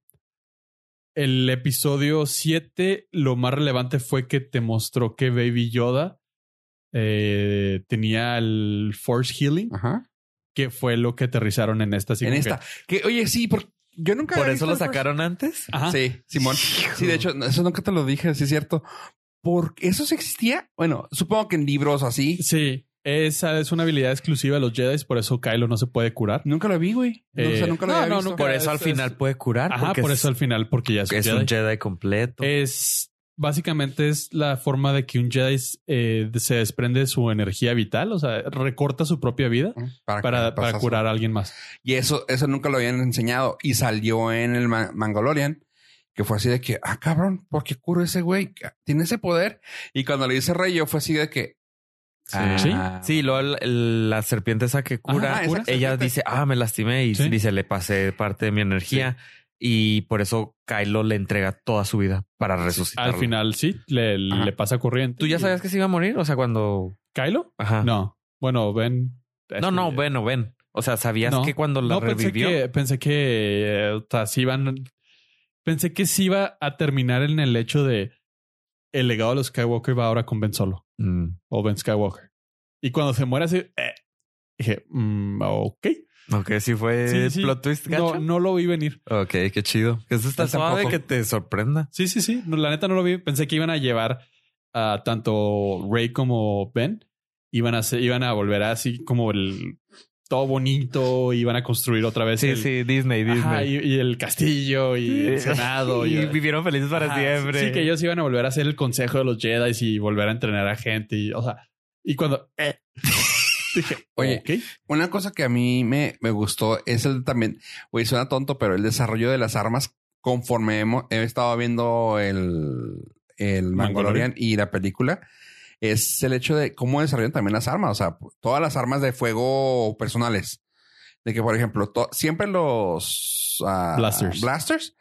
Speaker 2: el episodio 7 lo más relevante fue que te mostró que Baby Yoda eh, tenía el Force Healing,
Speaker 1: Ajá.
Speaker 2: que fue lo que aterrizaron en esta. así
Speaker 1: en
Speaker 2: como que-
Speaker 1: esta. Que, oye, sí, por... yo nunca...
Speaker 4: Por
Speaker 1: había visto
Speaker 4: eso lo
Speaker 1: el Force-
Speaker 4: sacaron antes.
Speaker 2: Ajá.
Speaker 1: Sí, Simón. Sí, de hecho, eso nunca te lo dije, sí es cierto. Porque eso sí existía. Bueno, supongo que en libros así.
Speaker 2: Sí, esa es una habilidad exclusiva de los Jedi, por eso Kylo no se puede curar.
Speaker 1: Nunca lo vi, güey. No, o sea,
Speaker 2: Eh,
Speaker 1: nunca lo
Speaker 2: no,
Speaker 1: había
Speaker 2: no,
Speaker 1: visto.
Speaker 2: nunca.
Speaker 4: Por eso al
Speaker 2: Es-
Speaker 4: final
Speaker 2: es-
Speaker 4: puede curar.
Speaker 2: Ajá,
Speaker 4: porque
Speaker 2: por
Speaker 4: es-
Speaker 2: eso al final, porque ya es, un
Speaker 4: es
Speaker 2: Jedi. Eh,
Speaker 4: un Jedi completo.
Speaker 2: Es básicamente es la forma de que un Jedi eh, se desprende de su energía vital, o sea, recorta su propia vida
Speaker 4: Ah,
Speaker 1: Para,
Speaker 2: para,
Speaker 1: que
Speaker 2: para
Speaker 1: pasas-
Speaker 2: curar a alguien más.
Speaker 1: Y eso, eso nunca lo habían enseñado. Y salió en el Ma- Mangolorian, que fue así de que, ah, cabrón, ¿por qué curo ese güey? Tiene ese poder. Y cuando le dice Rey, yo fue así de que.
Speaker 4: Sí.
Speaker 1: ah,
Speaker 4: Sí, luego el- el- la serpiente esa que cura,
Speaker 1: Ajá, esa
Speaker 4: cura, ella
Speaker 1: serpiente.
Speaker 4: dice, ah, me lastimé y
Speaker 2: Sí.
Speaker 4: dice, le pasé parte de mi energía y por eso Kylo le entrega toda su vida para resucitarlo.
Speaker 2: Al final, sí, le,
Speaker 1: Ajá.
Speaker 2: le pasa corriente.
Speaker 4: ¿Tú ya sabías que se iba a morir? O sea, cuando...
Speaker 2: Kylo?
Speaker 4: Ajá.
Speaker 2: No. Bueno, Ben.
Speaker 4: No, no,
Speaker 2: este,
Speaker 4: ven o ven. O sea, ¿sabías
Speaker 2: No.
Speaker 4: que cuando pues, la
Speaker 2: No, pensé
Speaker 4: revivió?
Speaker 2: que, pensé que eh, o sea, sí iban. Pensé que sí iba a terminar en el hecho de el legado de los Skywalker va ahora con Ben Solo
Speaker 4: Mm.
Speaker 2: o Ben Skywalker. Y cuando se muere así, eh, dije, mm, ok.
Speaker 4: Ok, sí fue
Speaker 2: Sí, sí.
Speaker 4: plot twist, gacho.
Speaker 2: No, no lo vi venir.
Speaker 4: Ok, qué chido. Eso está
Speaker 1: Yo
Speaker 4: suave
Speaker 1: tampoco.
Speaker 4: que te sorprenda.
Speaker 2: Sí, sí, sí. No, la neta no lo vi. Pensé que iban a llevar a tanto Rey como Ben. Iban a, ser- iban a volver así como el todo bonito. Iban a construir otra vez.
Speaker 4: Sí,
Speaker 2: el-
Speaker 4: sí, Disney, Disney.
Speaker 2: Ajá, y, y el castillo y el senado.
Speaker 4: y
Speaker 2: y,
Speaker 4: vivieron felices para
Speaker 2: Ajá,
Speaker 4: siempre.
Speaker 2: Sí, sí, que ellos iban a volver a hacer el consejo de los Jedi y volver a entrenar a gente. Y, o sea, y cuando. eh, dije,
Speaker 1: Oye.
Speaker 2: ok.
Speaker 1: Una cosa que a mí me, me gustó es el también, güey, suena tonto, pero el desarrollo de las armas conforme hemos, he estado viendo el, el Mandalorian y la película, es el hecho de cómo desarrollan también las armas, o sea, todas las armas de fuego personales. De que, por ejemplo, to- siempre los ah,
Speaker 2: Blasters.
Speaker 1: blasters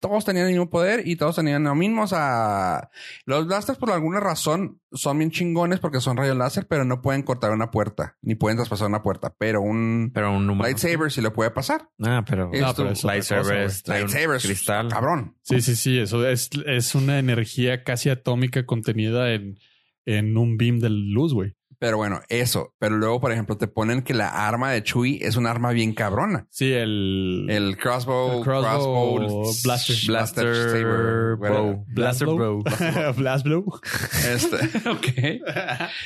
Speaker 1: todos tenían el mismo poder y todos tenían lo mismo. O sea, los blasters por alguna razón son bien chingones porque son rayos láser, pero no pueden cortar una puerta, ni pueden traspasar una puerta. Pero un
Speaker 4: Pero un humano.
Speaker 1: lightsaber sí lo puede pasar.
Speaker 4: Ah, pero.
Speaker 1: Es tu-
Speaker 2: pero es otra cosa,
Speaker 4: lightsaber es trae un
Speaker 1: Lightsaber es
Speaker 4: cristal.
Speaker 1: Cabrón.
Speaker 2: Sí, sí, sí. Eso es, es una energía casi atómica contenida en, en un beam de luz, güey.
Speaker 1: Pero bueno, eso. Pero luego, por ejemplo, te ponen que la arma de Chui es un arma bien cabrona.
Speaker 2: Sí, el.
Speaker 1: El crossbow,
Speaker 2: El crossbow blaster.
Speaker 1: blaster, saber, whatever.
Speaker 4: Blaster Bro. Blaster Bro.
Speaker 2: Blast Blue.
Speaker 1: Este,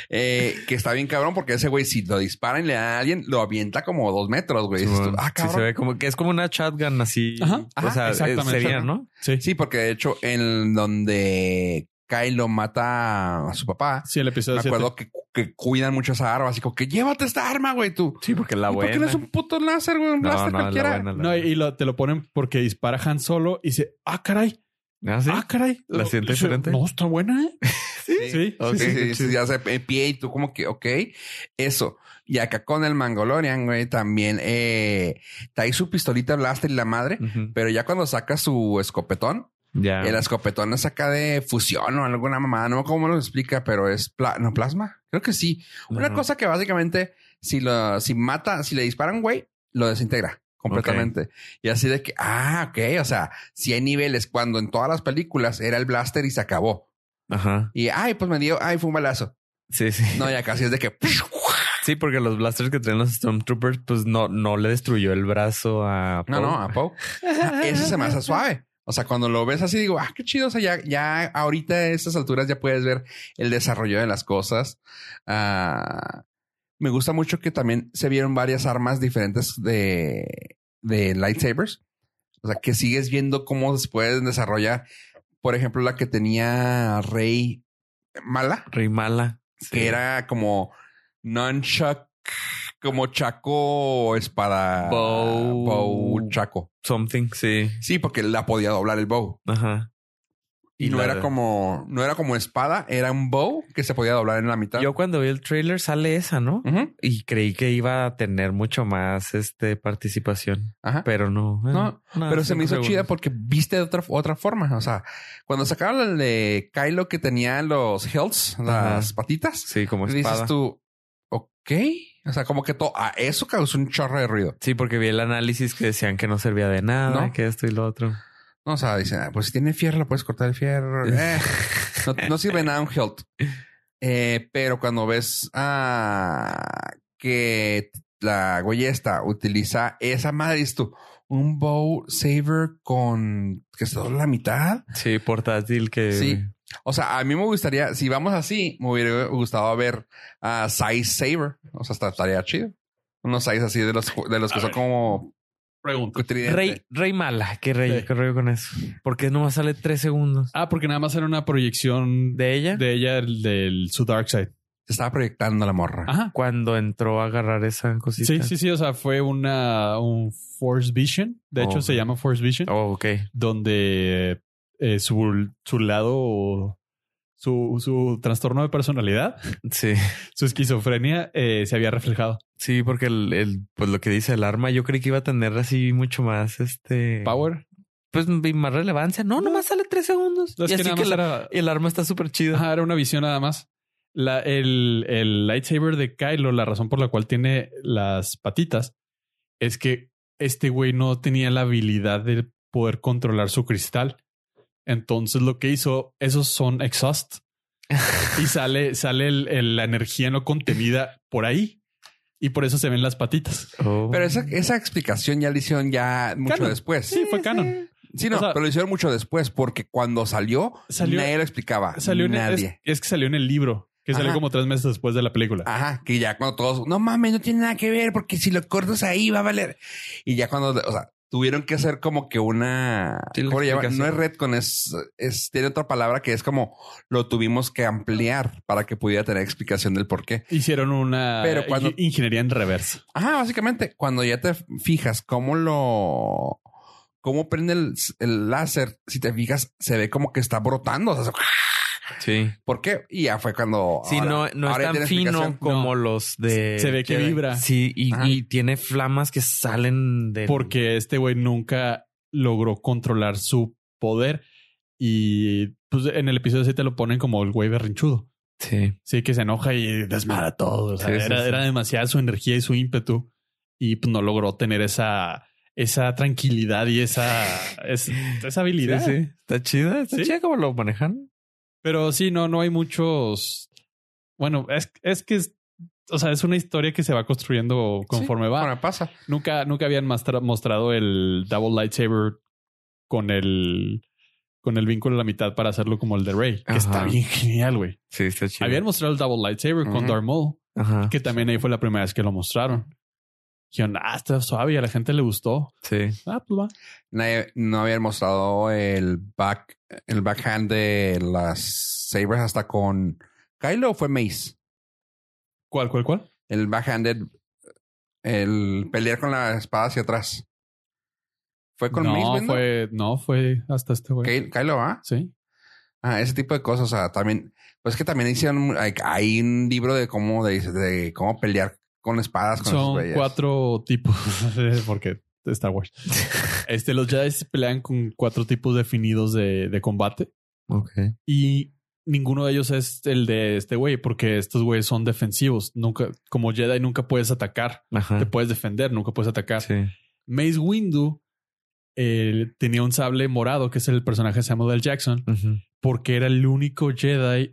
Speaker 1: eh, que está bien cabrón porque ese güey, si lo disparan y le da a alguien, lo avienta como dos metros, güey.
Speaker 4: Sí,
Speaker 1: Dices tú,
Speaker 4: bueno,
Speaker 1: ah,
Speaker 4: sí,
Speaker 1: cabrón.
Speaker 4: se ve como que es como una shotgun así.
Speaker 2: Ajá,
Speaker 4: o sea,
Speaker 1: ajá,
Speaker 4: eh,
Speaker 2: exactamente.
Speaker 4: sería, ¿no?
Speaker 2: Sí.
Speaker 1: Sí, porque de hecho, en donde Kylo mata a su papá,
Speaker 2: Sí, el episodio
Speaker 1: me
Speaker 2: 7.
Speaker 1: acuerdo que, que cuidan mucho esa arma, así como que llévate esta arma, güey, tú.
Speaker 4: Sí, porque la
Speaker 1: ¿Y ¿Por qué no es un puto láser, güey? Un
Speaker 4: No,
Speaker 1: blaster
Speaker 4: no, la
Speaker 1: cualquiera.
Speaker 4: buena. la
Speaker 2: No, y,
Speaker 4: buena.
Speaker 2: y lo- te lo ponen porque dispara Han Solo y dice, ah, caray,
Speaker 4: Ah, sí.
Speaker 2: ah, caray.
Speaker 4: ¿La
Speaker 2: Lo-
Speaker 4: siente
Speaker 2: dice,
Speaker 4: diferente?
Speaker 2: No, está buena, ¿eh? Sí, sí,
Speaker 1: Ok,
Speaker 2: sí,
Speaker 1: sí,
Speaker 2: sí,
Speaker 1: sí,
Speaker 2: sí.
Speaker 1: ya se eh, pie y tú como que, ok, eso. Y acá con el Mangolorian, güey, también eh, trae su pistolita blaster y la madre,
Speaker 4: Ujú.
Speaker 1: pero ya cuando saca su escopetón,
Speaker 4: Ya.
Speaker 1: el escopetón la saca de fusión o alguna mamada, no me acuerdo cómo lo explica, pero es pla- no, plasma, creo que sí. Una
Speaker 4: Ajá.
Speaker 1: cosa que básicamente, si lo, si mata, si le disparan, güey, lo desintegra completamente. Y así de que, ah, ok, o sea, si hay niveles cuando en todas las películas era el blaster y se acabó.
Speaker 4: Ajá.
Speaker 1: Y, ay, pues me dio, ay, fue un balazo.
Speaker 4: Sí, sí.
Speaker 1: No, ya casi es de que.
Speaker 4: Sí, porque los blasters que traen los Stormtroopers, pues no, no le destruyó el brazo a.
Speaker 1: No,
Speaker 4: Poe.
Speaker 1: no, a Poe. Ah, Eso se me hace suave. O sea, cuando lo ves así, digo, ah, qué chido. O sea, ya, ya ahorita a estas alturas ya puedes ver el desarrollo de las cosas. Ah, me gusta mucho que también se vieron varias armas diferentes de, de lightsabers. O sea, que sigues viendo cómo se pueden desarrollar. Por ejemplo, la que tenía Rey Mala,
Speaker 4: Rey Mala.
Speaker 1: que era como nunchuck, como chaco, espada,
Speaker 4: Bow.
Speaker 1: bow, chaco.
Speaker 4: Something, sí.
Speaker 1: Sí, porque la podía doblar el bow.
Speaker 4: Ajá.
Speaker 1: Y, no
Speaker 4: la-
Speaker 1: era como, no era como espada, era un bow que se podía doblar en la mitad.
Speaker 4: Yo cuando vi el trailer sale esa, ¿no?
Speaker 1: Ujú,
Speaker 4: Y creí que iba a tener mucho más este participación,
Speaker 1: ajá.
Speaker 4: pero no. eh,
Speaker 1: No,
Speaker 4: nada,
Speaker 1: Pero se me hizo
Speaker 4: cinco
Speaker 1: chida
Speaker 4: segundos.
Speaker 1: porque viste de otra, otra forma. O sea, cuando sacaron el de Kylo que tenía los healths, las
Speaker 4: Ajá.
Speaker 1: patitas,
Speaker 4: Sí, como espada.
Speaker 1: dices tú, ok. O sea, como que todo, ah, eso causó un chorro de ruido.
Speaker 4: Sí, porque vi el análisis que decían que no servía de nada,
Speaker 1: No.
Speaker 4: que esto y lo otro.
Speaker 1: No, o sea, dicen, ah, pues si tiene fierro, puedes cortar el fierro. Eh, no, no sirve nada un health. Eh, pero cuando ves ah, que la goyesta utiliza esa madre, dices tú, un bow saber con que se dobla la mitad.
Speaker 4: Sí, portátil que
Speaker 1: Sí. O sea, a mí me gustaría, si vamos así, me hubiera gustado ver a size saber. O sea, está- estaría chido. Unos size así de los, de los que son como
Speaker 2: Pregunta.
Speaker 1: tridente.
Speaker 4: Rey, Rey Mala, qué rey,
Speaker 2: Sí.
Speaker 4: qué rollo con eso. Porque nomás sale tres segundos
Speaker 2: Ah, porque nada más era una proyección de,
Speaker 4: de ella
Speaker 2: ella del, del- su Dark Side.
Speaker 1: Se estaba proyectando la morra.
Speaker 2: Ajá.
Speaker 4: cuando entró a agarrar esa cosita.
Speaker 2: Sí, sí, sí. O sea, fue una un Force Vision. De hecho,
Speaker 4: Oh.
Speaker 2: se llama Force Vision.
Speaker 4: Oh, ok.
Speaker 2: Donde eh, su, su lado, su, su trastorno de personalidad,
Speaker 4: Sí.
Speaker 2: su esquizofrenia, eh, se había reflejado.
Speaker 4: Sí, porque el, el, pues lo que dice el arma, yo creí que iba a tener así mucho más este
Speaker 2: Power.
Speaker 4: Pues y más relevancia. No, nomás sale tres segundos.
Speaker 2: Es
Speaker 4: y así
Speaker 2: que nada
Speaker 4: que
Speaker 2: más
Speaker 4: la-
Speaker 2: era-
Speaker 4: el arma está súper chida.
Speaker 2: Ajá, Ah, era una visión nada más. La- el, el lightsaber de Kylo, la razón por la cual tiene las patitas, es que este güey no tenía la habilidad de poder controlar su cristal. Entonces lo que hizo, esos son exhaust. y sale, sale el- el- la energía no contenida por ahí. Y por eso se ven las patitas.
Speaker 4: Oh.
Speaker 1: Pero esa, esa explicación ya la hicieron ya mucho
Speaker 2: Canon.
Speaker 1: después.
Speaker 2: Sí, fue canon.
Speaker 1: Sí, no,
Speaker 2: O sea-
Speaker 1: pero lo hicieron mucho después porque cuando salió,
Speaker 2: Salió-
Speaker 1: nadie lo explicaba.
Speaker 2: Salió en- es-
Speaker 1: nadie.
Speaker 2: es, que salió en el libro, que salió
Speaker 1: Ajá. Ah.
Speaker 2: como tres meses después de la película.
Speaker 1: Ajá, que ya cuando todos, no mames, no tiene nada que ver porque si lo cortas ahí va a valer. Y ya cuando, o sea, tuvieron que hacer como que una...
Speaker 4: Sí, la
Speaker 1: ¿cómo le llaman? No
Speaker 4: explicación.
Speaker 1: es retcon, es, es, tiene otra palabra que es como lo tuvimos que ampliar para que pudiera tener explicación del por qué.
Speaker 2: Hicieron una
Speaker 1: Pero cuando-
Speaker 2: inge- ingeniería en reversa.
Speaker 1: Ajá, básicamente, cuando ya te fijas cómo lo. cómo prende el, el láser, si te fijas, se ve como que está brotando. o sea, ¡ah!
Speaker 4: Sí.
Speaker 1: ¿Por qué? Y ya fue cuando.
Speaker 4: Sí,
Speaker 1: ahora-
Speaker 4: no, no
Speaker 1: ahora ya
Speaker 4: es tan
Speaker 1: tiene
Speaker 4: fino
Speaker 1: explicación.
Speaker 4: como los de.
Speaker 2: Se ve que
Speaker 4: Jedi.
Speaker 2: vibra.
Speaker 4: Sí, y,
Speaker 1: Ajá.
Speaker 4: y tiene flamas que salen de.
Speaker 2: Porque este güey nunca logró controlar su poder. Y pues en el episodio 7 lo ponen como el güey berrinchudo.
Speaker 4: Sí.
Speaker 2: Sí, que se enoja y desmara todo. O sea,
Speaker 4: Sí, sí,
Speaker 2: era,
Speaker 4: sí.
Speaker 2: era demasiada su energía y su ímpetu. Y pues, no logró tener esa, esa tranquilidad y esa, es- esa habilidad.
Speaker 4: Está chida. Está
Speaker 2: Sí.
Speaker 4: chida como lo manejan.
Speaker 2: Pero sí, no, no hay muchos. Bueno, es, es que es, o sea, es una historia que se va construyendo conforme va.
Speaker 1: Bueno, pasa.
Speaker 2: Nunca, nunca habían mastra- mostrado el Double Lightsaber con el con el vínculo a la mitad para hacerlo como el de Rey, que
Speaker 4: Ajá.
Speaker 2: está bien genial, güey.
Speaker 4: Sí, está chido.
Speaker 2: Habían mostrado el Double Lightsaber con
Speaker 1: Ujú.
Speaker 2: Darth Maul,
Speaker 4: Ajá.
Speaker 2: que también ahí fue la primera vez que lo mostraron. Dijeron, ah, está suave y a la gente le gustó.
Speaker 4: Sí.
Speaker 2: Ah, pues va.
Speaker 1: Nadie- no habían mostrado el back, el backhand de las Sabres hasta con Kylo o fue Mace.
Speaker 2: ¿Cuál, cuál, cuál?
Speaker 1: El backhanded, el pelear con la espada hacia atrás. Fue con Mace,
Speaker 2: No,
Speaker 1: güey, ¿no?
Speaker 2: fue, no, fue hasta este güey.
Speaker 1: Ky- Kylo, ¿ah?
Speaker 2: Sí.
Speaker 1: Ah, ese tipo de cosas. O sea, también, pues que también hicieron, like, hay un libro de cómo, de, de cómo pelear con espadas. Con esos
Speaker 2: Son
Speaker 1: güeyes.
Speaker 2: cuatro tipos, porque Star Wars. Este, los Jedi se pelean con cuatro tipos definidos de, de combate
Speaker 4: Ok.
Speaker 2: y ninguno de ellos es el de este güey, porque estos güeyes son defensivos. Nunca, como Jedi, nunca puedes atacar. Te
Speaker 4: Ajá.
Speaker 2: puedes defender, nunca puedes atacar.
Speaker 4: Ah. Sí.
Speaker 2: Mace Windu eh, tenía un sable morado, que es el personaje de Samuel L. Jackson,
Speaker 4: Ujú.
Speaker 2: porque era el único Jedi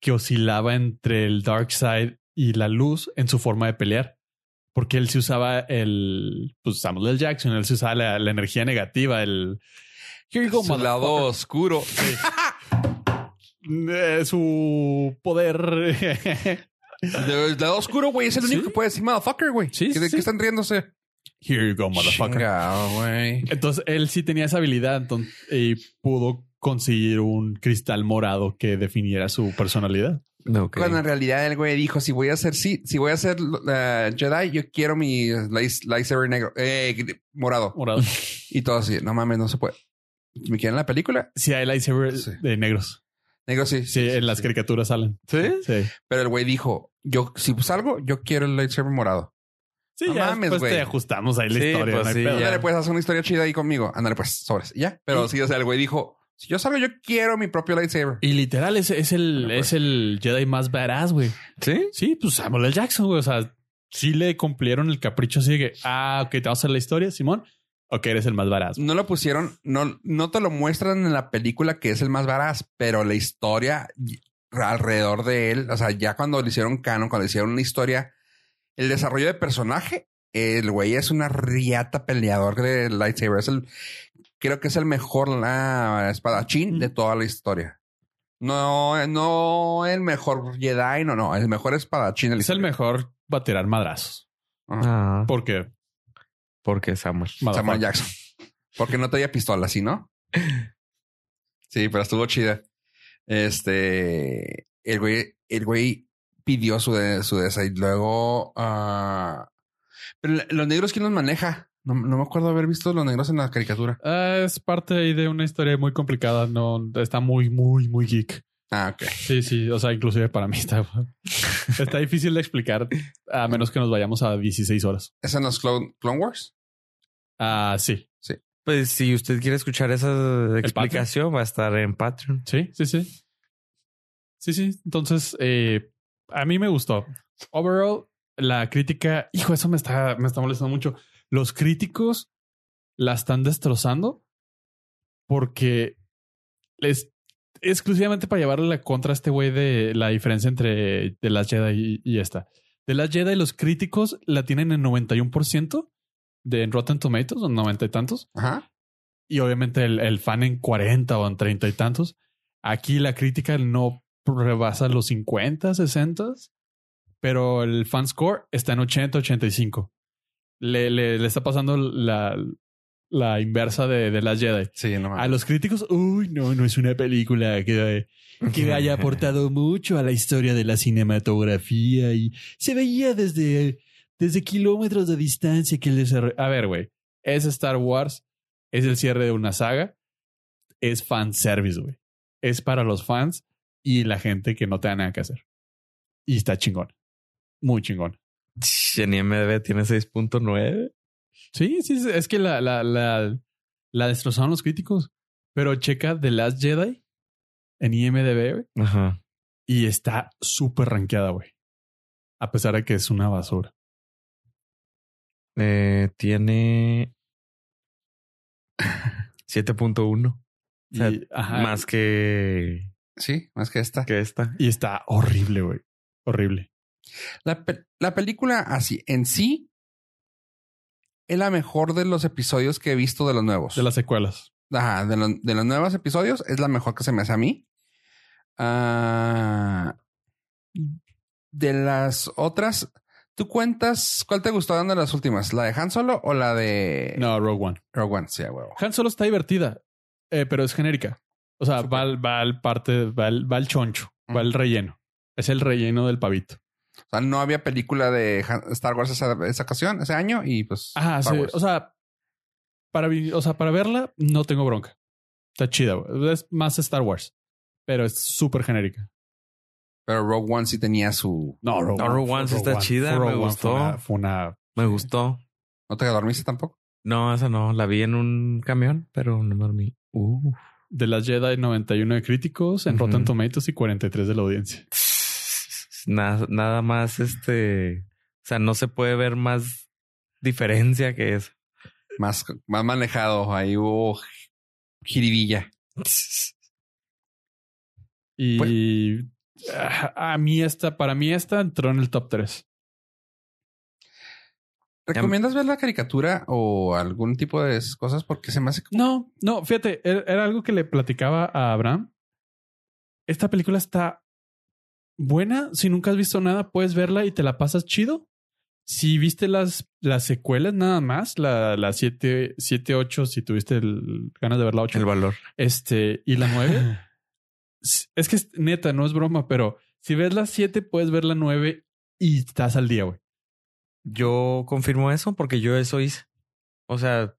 Speaker 2: que oscilaba entre el Dark Side y la luz en su forma de pelear. Porque él se usaba el. Pues Samuel L. Jackson, él se usaba la, la energía negativa, el. Here you go,
Speaker 1: Su lado
Speaker 2: motherfucker.
Speaker 1: oscuro.
Speaker 2: Eh, su poder.
Speaker 1: El lado oscuro, güey, es el único
Speaker 2: Sí.
Speaker 1: que puede decir motherfucker, güey.
Speaker 2: Sí, sí,
Speaker 1: ¿De
Speaker 2: sí.
Speaker 1: qué están riéndose?
Speaker 2: Here you go, motherfucker.
Speaker 1: Chingado, güey.
Speaker 2: Entonces él sí tenía esa habilidad enton- y pudo conseguir un cristal morado que definiera su personalidad.
Speaker 4: No, ok.
Speaker 1: Cuando en realidad el güey dijo, si voy a ser, sí, si voy a ser eh, Jedi, yo quiero mi lights- lightsaber negro, eh, gr- morado.
Speaker 2: Morado.
Speaker 1: Y todo así, no mames, no se puede. ¿Me quieren la película?
Speaker 2: Sí, hay lightsaber
Speaker 1: Sí.
Speaker 2: de negros.
Speaker 1: Negro sí.
Speaker 2: Sí, ¿Eh? en las caricaturas salen.
Speaker 4: ¿Sí?
Speaker 2: Sí.
Speaker 1: Pero el güey dijo, yo, si salgo, yo quiero el lightsaber morado.
Speaker 2: Sí,
Speaker 1: No
Speaker 2: ya
Speaker 1: mames,
Speaker 2: después te
Speaker 1: güey.
Speaker 2: ajustamos ahí la
Speaker 4: Sí,
Speaker 2: historia.
Speaker 4: pues
Speaker 2: no hay
Speaker 4: sí,
Speaker 2: pedo.
Speaker 4: ya.
Speaker 1: Ándale, pues, haz una historia chida ahí conmigo. Ándale, pues, sobres. Y Ya. Pero sí, o sea, el güey dijo, si yo salgo, yo quiero mi propio lightsaber.
Speaker 2: Y literal, es, es el,
Speaker 1: Ándale, pues.
Speaker 2: es el Jedi más badass, güey.
Speaker 4: ¿Sí?
Speaker 2: Sí, pues Samuel L. Jackson, güey. O sea, sí le cumplieron el capricho así de que, ah, ok, te vamos a hacer la historia, Simón. Ok, eres el más badass.
Speaker 1: No lo pusieron, no, no te lo muestran en la película que es el más varaz, pero la historia y- alrededor de él, o sea, ya cuando le hicieron canon, cuando le hicieron una historia, el desarrollo de personaje, el güey es una riata peleador de lightsaber. Es el, creo que es el mejor la, espadachín de toda la historia. No, no el mejor Jedi, no, no, el mejor espadachín. de la
Speaker 2: Es el
Speaker 1: historia.
Speaker 2: mejor va a tirar madrazos.
Speaker 4: Ah,
Speaker 2: Porque
Speaker 4: porque Samuel.
Speaker 1: Samuel Jackson. Porque no traía pistola, ¿sí, no? Sí, pero estuvo chida. Este, el güey, el güey pidió su de, su de esa y luego, ah, pero la- los negros, ¿quién los maneja? No, no me acuerdo haber visto los negros en la caricatura.
Speaker 2: Ah, es parte ahí de una historia muy complicada. No, está muy, muy, muy geek.
Speaker 1: Ah, ok.
Speaker 2: Sí, sí. O sea, inclusive para mí está, está difícil de explicar a menos que nos vayamos a 16 horas.
Speaker 1: ¿Es en los Clone, Clone Wars?
Speaker 2: Ah, sí.
Speaker 4: Pues si usted quiere escuchar esa explicación, va a estar en Patreon.
Speaker 2: Sí, sí, sí. Sí, sí. Entonces, eh, a mí me gustó. Overall, la crítica, hijo, eso me está, me está molestando mucho. Los críticos la están destrozando porque es exclusivamente para llevarle la contra a este güey de la diferencia entre The Last Jedi y, y esta. The Last Jedi, los críticos la tienen en 91% de en Rotten Tomatoes, o 90 y tantos
Speaker 1: Ajá.
Speaker 2: y obviamente el, el fan en 40 o en 30 y tantos. Aquí la crítica no rebasa los 50, 60, pero el fan score está en 80, 85. Le, le, le está pasando la, la inversa de, de las Jedi.
Speaker 1: Sí, no
Speaker 2: A
Speaker 1: mames.
Speaker 2: los críticos, uy, no, no es una película que, que haya aportado mucho a la historia de la cinematografía y se veía desde, desde kilómetros de distancia que el desarrollo. A ver, güey, es Star Wars, es el cierre de una saga, es fan service, güey. Es para los fans y la gente que no tenga nada que hacer. Y está chingón. Muy chingón.
Speaker 4: En IMDb tiene 6.9.
Speaker 2: Sí, sí, es que la, la, la, la destrozaron los críticos. Pero checa The Last Jedi en IMDB güey,
Speaker 4: Ajá.
Speaker 2: y está súper rankeada, güey. A pesar de que es una basura.
Speaker 4: Eh, tiene 7.1 O sea,
Speaker 2: Y, ajá,
Speaker 4: más que,
Speaker 1: Sí, más que esta.
Speaker 4: que esta.
Speaker 2: y está horrible, güey. Horrible.
Speaker 1: La, pe- la película así en sí es la mejor de los episodios que he visto de los nuevos.
Speaker 2: De las secuelas.
Speaker 1: Ajá, de, lo- de los nuevos episodios es la mejor que se me hace a mí. Ah, de las otras, ¿tú cuentas cuál te gustó de las últimas? ¿La de Han Solo o la
Speaker 4: Eh.
Speaker 1: de
Speaker 2: No, Rogue One.
Speaker 1: Rogue One? Sí, a huevo.
Speaker 2: Han Solo está divertida, eh, pero es genérica. O sea, va al, va al parte, va al, va al choncho, va al relleno. Es el relleno del pavito.
Speaker 1: O sea, no había película de Han- Star Wars esa, esa ocasión, ese año, y pues.
Speaker 2: Ajá,
Speaker 1: Star
Speaker 2: sí.
Speaker 1: Wars.
Speaker 2: O sea, para, vi- o sea, para verla no tengo bronca. Está chida, güey. Es más Star Wars, pero es súper genérica.
Speaker 1: Pero Rogue One sí tenía su.
Speaker 2: No,
Speaker 4: No, Rogue One sí está chida, me gustó.
Speaker 2: Fue una, fue una-
Speaker 4: Me gustó.
Speaker 1: ¿No te dormiste tampoco?
Speaker 4: No, esa no. La vi en un camión, pero no me dormí. Uh.
Speaker 2: de las Jedi 91 de críticos en Rotten
Speaker 4: Ujú.
Speaker 2: Tomatoes y 43 de la audiencia.
Speaker 4: Nada, nada más este. O sea, no se puede ver más diferencia que eso.
Speaker 1: Más, más manejado. Ahí hubo jiribilla.
Speaker 2: Y
Speaker 4: Pues
Speaker 2: ah, a mí esta, para mí esta entró en el top 3.
Speaker 1: ¿Recomiendas ver la caricatura o algún tipo de esas cosas? Porque se me hace como.
Speaker 2: No, no, fíjate, era, era algo que le platicaba a Abraham. Esta película está buena. Si nunca has visto nada, puedes verla y te la pasas chido. Si viste las, las secuelas nada más, la 7, 8, si tuviste el- ganas de ver la 8,
Speaker 4: El valor.
Speaker 2: este, y la 9. es que es neta, no es broma, pero si ves la 7, puedes ver la 9 y estás al día, güey.
Speaker 4: Yo confirmo eso porque yo eso hice. O sea,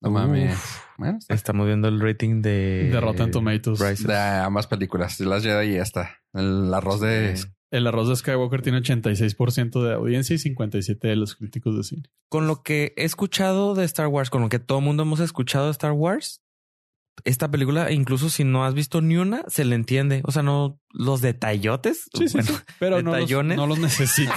Speaker 1: No mames. Bueno, está-
Speaker 4: estamos viendo el rating de.
Speaker 2: De Rotten Tomatoes.
Speaker 4: Rises.
Speaker 1: de ambas películas, de las Jedi y esta. El arroz de.
Speaker 4: Sí.
Speaker 2: El arroz de Skywalker tiene 86% de audiencia y 57% de los críticos de cine.
Speaker 4: Con lo que he escuchado de Star Wars, con lo que todo el mundo hemos escuchado de Star Wars, esta película, incluso si no has visto ni una, se le entiende. O sea, no los detallotes
Speaker 2: Sí, sí,
Speaker 4: bueno,
Speaker 2: sí. Pero no los,
Speaker 4: detallones.
Speaker 2: no los necesita.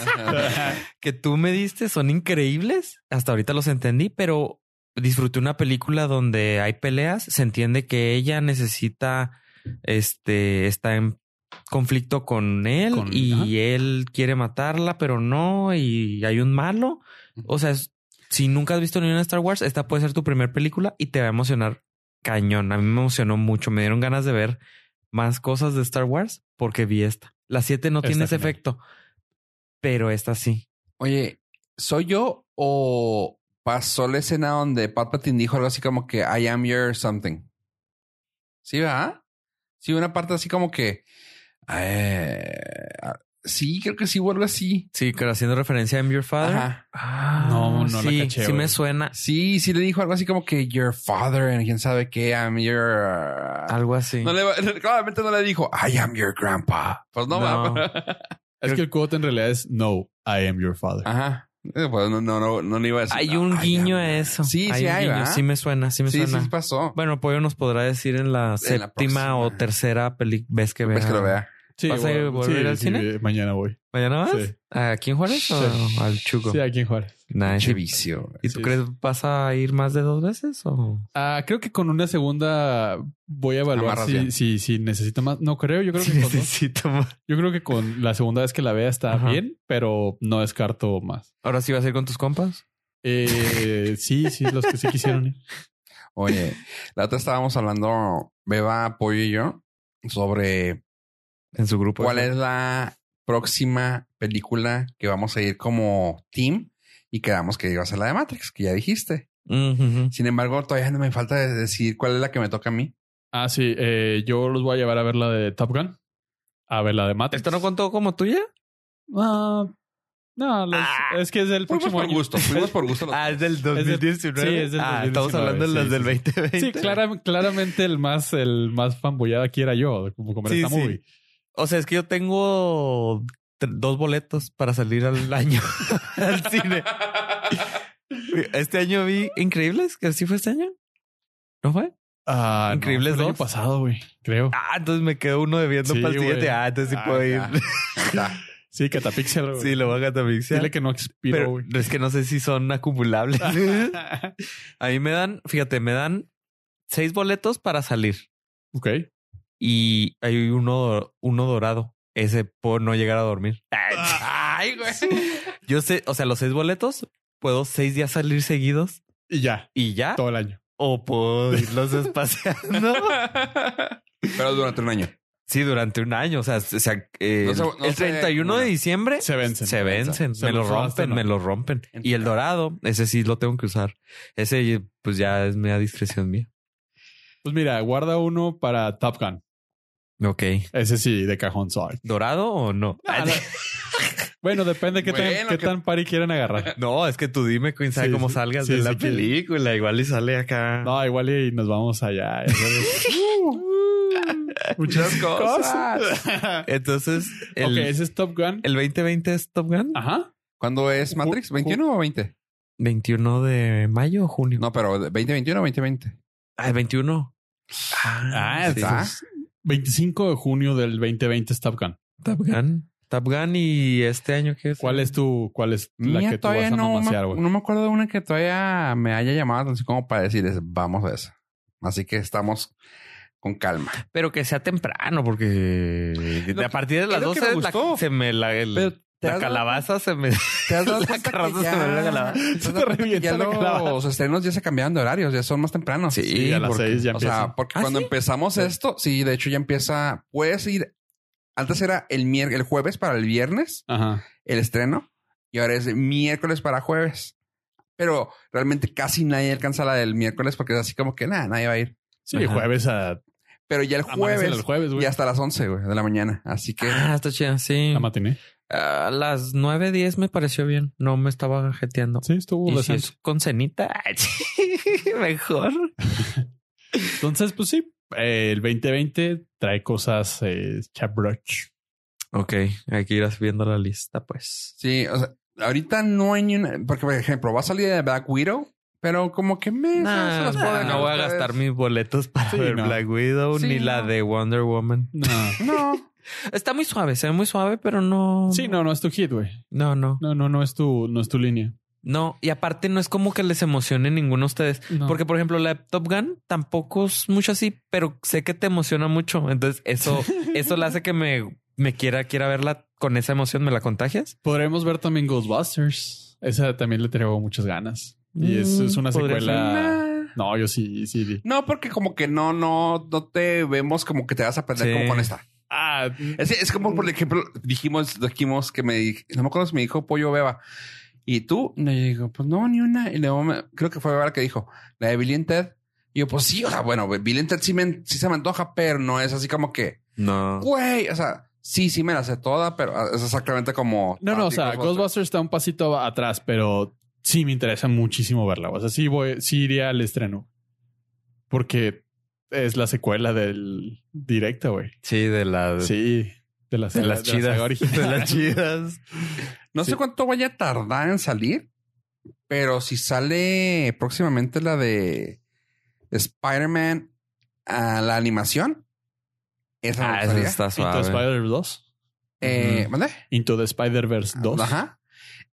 Speaker 4: que tú me diste son increíbles. Hasta ahorita los entendí, pero disfruté una película donde hay peleas. Se entiende que ella necesita, este, está en conflicto con él
Speaker 2: Con-
Speaker 4: y
Speaker 2: ajá.
Speaker 4: él quiere matarla, pero no, y hay un malo. O sea, es- si nunca has visto ni una Star Wars, esta puede ser tu primera película y te va a emocionar cañón. A mí me emocionó mucho. Me dieron ganas de ver más cosas de Star Wars porque vi esta. La 7 no
Speaker 2: Está
Speaker 4: tiene ese
Speaker 2: genial.
Speaker 4: efecto, pero esta sí.
Speaker 1: Oye, ¿soy yo o pasó la escena donde Palpatine dijo algo así como que I am your something? ¿Sí, va? Sí, una parte así como que. eh, sí, creo que sí, vuelvo así.
Speaker 4: Sí, pero haciendo referencia a I'm Your Father.
Speaker 1: Ajá.
Speaker 4: Ah,
Speaker 2: No, no la
Speaker 4: sí,
Speaker 2: caché,
Speaker 4: Sí
Speaker 2: güey.
Speaker 4: me suena
Speaker 1: Sí, sí le dijo algo así como que your father, and quién sabe qué, I'm your.
Speaker 4: algo así.
Speaker 1: No le, claramente no le dijo I am your grandpa. Pues no,
Speaker 4: No.
Speaker 1: va.
Speaker 2: es que el quote en realidad es No, I am your father.
Speaker 4: Ah,
Speaker 1: Ajá. Eh, Pues no, no, no, no le iba a decir.
Speaker 4: hay
Speaker 1: "No,
Speaker 4: un
Speaker 1: I
Speaker 4: guiño
Speaker 1: am
Speaker 4: a
Speaker 1: your-".
Speaker 4: eso.
Speaker 1: Sí,
Speaker 4: hay
Speaker 1: sí,
Speaker 4: un
Speaker 1: hay,
Speaker 4: guiño.
Speaker 1: ¿verdad?
Speaker 4: Sí me suena, sí me
Speaker 1: Sí,
Speaker 4: suena.
Speaker 1: sí pasó.
Speaker 4: Bueno, Pollo nos podrá decir en la séptima
Speaker 1: próxima.
Speaker 4: o tercera peli- vez que vea.
Speaker 1: Pues que lo vea.
Speaker 2: Sí,
Speaker 4: ¿Vas a ir-
Speaker 2: bueno,
Speaker 4: volver
Speaker 2: sí,
Speaker 4: al
Speaker 2: sí,
Speaker 4: cine?
Speaker 2: Mañana voy.
Speaker 4: ¿Mañana vas?
Speaker 2: Sí.
Speaker 4: ¿Aquí en Juárez o
Speaker 2: Sí.
Speaker 4: al Chuco?
Speaker 2: Sí, aquí en Juárez.
Speaker 4: Nice.
Speaker 1: Pinche vicio. güey.
Speaker 4: ¿Y tú
Speaker 2: Sí.
Speaker 4: crees vas a ir más de dos veces o...?
Speaker 2: Ah, creo que con una segunda voy a evaluar
Speaker 1: Amarras
Speaker 2: si,
Speaker 1: bien.
Speaker 2: si, si necesito más. No creo, yo creo que con dos.
Speaker 4: necesito más.
Speaker 2: Yo creo que con la segunda vez que la vea está
Speaker 4: Ajá.
Speaker 2: bien, pero no descarto más.
Speaker 4: ¿Ahora sí vas a ir con tus compas?
Speaker 2: Eh, sí, sí, los que sí quisieron ir.
Speaker 1: Oye, la otra estábamos hablando, Beba, Pollo y yo, sobre
Speaker 4: En su grupo.
Speaker 1: cuál es la próxima película que vamos a ir como team y quedamos que iba a ser la de Matrix, que ya dijiste.
Speaker 4: Ujú.
Speaker 1: Sin embargo, todavía no me falta de- decir cuál es la que me toca a mí.
Speaker 2: Ah, sí, eh, yo los voy a llevar a ver la de Top Gun, a ver la de Matrix.
Speaker 4: ¿Esto no contó como tuya?
Speaker 2: Ah, no, los- es que es del
Speaker 1: Fuimos
Speaker 2: próximo
Speaker 1: por
Speaker 2: año.
Speaker 1: gusto, fuimos por gusto.
Speaker 4: Ah, es del
Speaker 2: del-
Speaker 4: 2019.
Speaker 2: sí, es del
Speaker 4: Ah, estamos
Speaker 2: 2019,
Speaker 4: hablando de
Speaker 2: sí,
Speaker 4: las
Speaker 2: sí,
Speaker 4: del 2020.
Speaker 2: Sí, clara- claramente el más, el más fanboyado aquí era yo, como como en
Speaker 4: Sí,
Speaker 2: esta
Speaker 4: sí.
Speaker 2: movie.
Speaker 4: O sea, es que yo tengo tre- dos boletos para salir al año al cine. Este año vi Increíbles, que sí fue este año. ¿No fue?
Speaker 2: Ah, no,
Speaker 4: Increíbles
Speaker 2: fue el año
Speaker 4: dos.
Speaker 2: pasado, güey. Creo.
Speaker 4: Ah, entonces me quedó uno debiendo
Speaker 2: Sí,
Speaker 4: pastillas
Speaker 2: güey.
Speaker 4: de ah, entonces sí
Speaker 2: Ah,
Speaker 4: puedo ir.
Speaker 2: ya. Sí, Catapixel, güey.
Speaker 4: sí, lo voy a catapixear.
Speaker 2: Dile que no expiró,
Speaker 4: Pero
Speaker 2: güey.
Speaker 4: es que no sé si son acumulables. a mí me dan, fíjate, me dan seis boletos para salir
Speaker 2: ok.
Speaker 4: y hay uno, uno dorado. Ese por no llegar a dormir.
Speaker 2: Ah,
Speaker 4: Ay, güey. Yo sé, o sea, los seis boletos, puedo seis días salir seguidos
Speaker 2: Y ya,
Speaker 4: y ya.
Speaker 2: todo el año.
Speaker 4: O puedo irlos espaciando.
Speaker 1: Pero durante un año.
Speaker 4: Sí, durante un año. O sea, s- o sea, eh,
Speaker 1: No se- no
Speaker 4: el
Speaker 1: se
Speaker 4: 31 de
Speaker 1: acumula.
Speaker 4: diciembre
Speaker 2: Se vencen.
Speaker 4: se vencen.
Speaker 2: Se
Speaker 4: me lo
Speaker 2: los robaste,
Speaker 4: rompen,
Speaker 2: ¿no?
Speaker 4: me lo rompen. Y el dorado, ese sí lo tengo que usar. Ese, pues ya es media discreción mía.
Speaker 2: Pues mira, guarda uno para Top Gun.
Speaker 4: Ok.
Speaker 2: Ese sí, de cajón soy.
Speaker 4: ¿Dorado o no?
Speaker 2: Ah, no. Bueno, depende qué tan,
Speaker 1: Bueno,
Speaker 2: qué
Speaker 1: que-
Speaker 2: tan pari quieren agarrar.
Speaker 4: No, es que tú dime, quién sabe
Speaker 2: Sí,
Speaker 4: cómo
Speaker 2: sí.
Speaker 4: salgas
Speaker 2: Sí,
Speaker 4: de
Speaker 2: sí
Speaker 4: la
Speaker 2: que-
Speaker 4: película. Igual y sale acá.
Speaker 2: No, igual y nos vamos allá.
Speaker 4: muchas Entonces, el,
Speaker 2: ok, ese Ah. es Top Gun.
Speaker 4: el 2020 es Top Gun.
Speaker 2: Ajá.
Speaker 1: ¿Cuándo es Matrix? ¿21 o 20?
Speaker 4: 21 de mayo o junio.
Speaker 1: No, pero ¿20, 21 o 2020?
Speaker 4: Ah, el 21.
Speaker 2: Ah,
Speaker 4: sí.
Speaker 1: está.
Speaker 2: 25 de junio del 2020 es Top Gun.
Speaker 4: Top Gun. Top Gun y este año que es.
Speaker 2: ¿Cuál es tu, cuál es la
Speaker 1: Mía,
Speaker 2: que tú vas
Speaker 1: todavía
Speaker 2: a
Speaker 1: no, me,
Speaker 2: mamasear, güey?
Speaker 1: no me acuerdo de una que todavía me haya llamado así como para decir es, vamos a eso. Así que estamos con calma.
Speaker 4: Pero que sea temprano, porque
Speaker 1: Lo
Speaker 4: a
Speaker 1: que-
Speaker 4: partir de las
Speaker 1: es lo que
Speaker 4: 12
Speaker 1: me
Speaker 4: la-
Speaker 1: gustó.
Speaker 4: se me la, el-
Speaker 1: Pero, ¿te
Speaker 4: la
Speaker 1: has dado
Speaker 4: calabaza se me.
Speaker 1: ¿Te has dado
Speaker 4: La
Speaker 1: cuenta
Speaker 4: carroza
Speaker 1: que ya,
Speaker 4: se me ve la calabaza.
Speaker 1: ¿te has
Speaker 2: Se
Speaker 1: dado
Speaker 2: te
Speaker 1: cuenta que
Speaker 2: revienta
Speaker 1: ya
Speaker 2: la calabaza.
Speaker 1: los estrenos ya se cambiaron de horarios, ya son más tempranos.
Speaker 2: Sí, a las
Speaker 4: porque-
Speaker 2: 6 ya
Speaker 1: O
Speaker 2: empieza.
Speaker 1: sea, porque
Speaker 4: ¿Ah,
Speaker 1: cuando
Speaker 4: sí?
Speaker 1: empezamos esto, sí, de hecho ya empieza, puedes ir, antes era el, mier- el jueves para el viernes,
Speaker 2: Ajá.
Speaker 1: el estreno, y ahora es de miércoles para jueves. Pero realmente casi nadie alcanza la del miércoles porque es así como que nada, nadie va a ir.
Speaker 2: Sí,
Speaker 4: Ajá.
Speaker 2: jueves a
Speaker 1: Pero ya el
Speaker 2: amanece
Speaker 1: jueves,
Speaker 2: el jueves, güey.
Speaker 1: ya hasta las 11 güey, de la mañana. Así que
Speaker 4: Ah, está chida, sí. Ah,
Speaker 2: La matiné.
Speaker 4: A las 9, 10 me pareció bien. No me estaba jeteando.
Speaker 2: Sí, estuvo
Speaker 4: Y si
Speaker 2: decente.
Speaker 4: es con cenita, ay, sí, mejor.
Speaker 2: Entonces, pues sí, eh, el 2020 trae cosas eh, chabroch.
Speaker 4: Ok, hay que ir viendo la lista, pues.
Speaker 1: sí, o sea, ahorita no hay ni una. Porque, por ejemplo, va a salir de Black Widow, pero como que me. se
Speaker 4: Nah,
Speaker 1: las puedo dejar
Speaker 4: no voy a
Speaker 1: ustedes.
Speaker 4: gastar mis boletos para
Speaker 2: Sí,
Speaker 4: ver
Speaker 2: no.
Speaker 4: Black Widow
Speaker 1: Sí,
Speaker 4: ni la
Speaker 1: no.
Speaker 4: de Wonder Woman.
Speaker 2: No.
Speaker 1: No.
Speaker 4: Está muy suave, se ve muy suave, pero no.
Speaker 2: Sí, no, no es tu hit, güey.
Speaker 4: No, no.
Speaker 2: No, no, no es tu, no es tu línea.
Speaker 4: No, y aparte no es como que les emocione ninguno de ustedes.
Speaker 2: No.
Speaker 4: Porque, por ejemplo, la de Top Gun tampoco es mucho así, pero sé que te emociona mucho. Entonces, eso, eso le hace que me, me quiera, quiera verla con esa emoción. ¿Me la contagias?
Speaker 2: podremos ver también Ghostbusters. Esa también le traigo muchas ganas. Y es,
Speaker 4: Mm,
Speaker 2: es una
Speaker 4: podría
Speaker 2: secuela.
Speaker 1: Nah.
Speaker 2: No, yo sí, sí. di-
Speaker 1: No, porque como que no, no, no te vemos como que te vas a perder
Speaker 4: Sí.
Speaker 1: como con esta.
Speaker 2: Ah,
Speaker 1: Es, es como, por ejemplo, dijimos, dijimos que me dij- no me acuerdo si me dijo Pollo Beba. Y tú, le digo, pues no, ni una. Y luego me- creo que fue Beba la que dijo, la de Billy and Ted. Y yo, pues sí, o sea, bueno, Billy and Ted sí, me- sí se me antoja, pero no es así como que,
Speaker 4: No.
Speaker 1: güey, o sea, sí, sí me la sé toda, pero es exactamente como.
Speaker 2: no, no, o sea,
Speaker 1: Ghostbusters.
Speaker 2: Ghostbusters está un pasito atrás, pero sí me interesa muchísimo verla. O sea, sí, voy, sí iría al estreno. Porque es la secuela del directa, güey.
Speaker 4: Sí, de la.
Speaker 2: Sí, de las,
Speaker 4: De las
Speaker 2: de la saga
Speaker 4: chidas.
Speaker 2: original.
Speaker 4: De las chidas.
Speaker 1: No
Speaker 2: Sí.
Speaker 1: sé cuánto vaya a tardar en salir, pero si sale próximamente la de Spider-Man a la animación, esa me
Speaker 4: Ah, eso
Speaker 1: gustaría.
Speaker 4: está
Speaker 2: Into the
Speaker 4: suave.
Speaker 2: Spider-Verse 2.
Speaker 1: Eh,
Speaker 4: Ujú.
Speaker 1: ¿mande?
Speaker 2: Into the Spider-Verse 2.
Speaker 1: Ajá.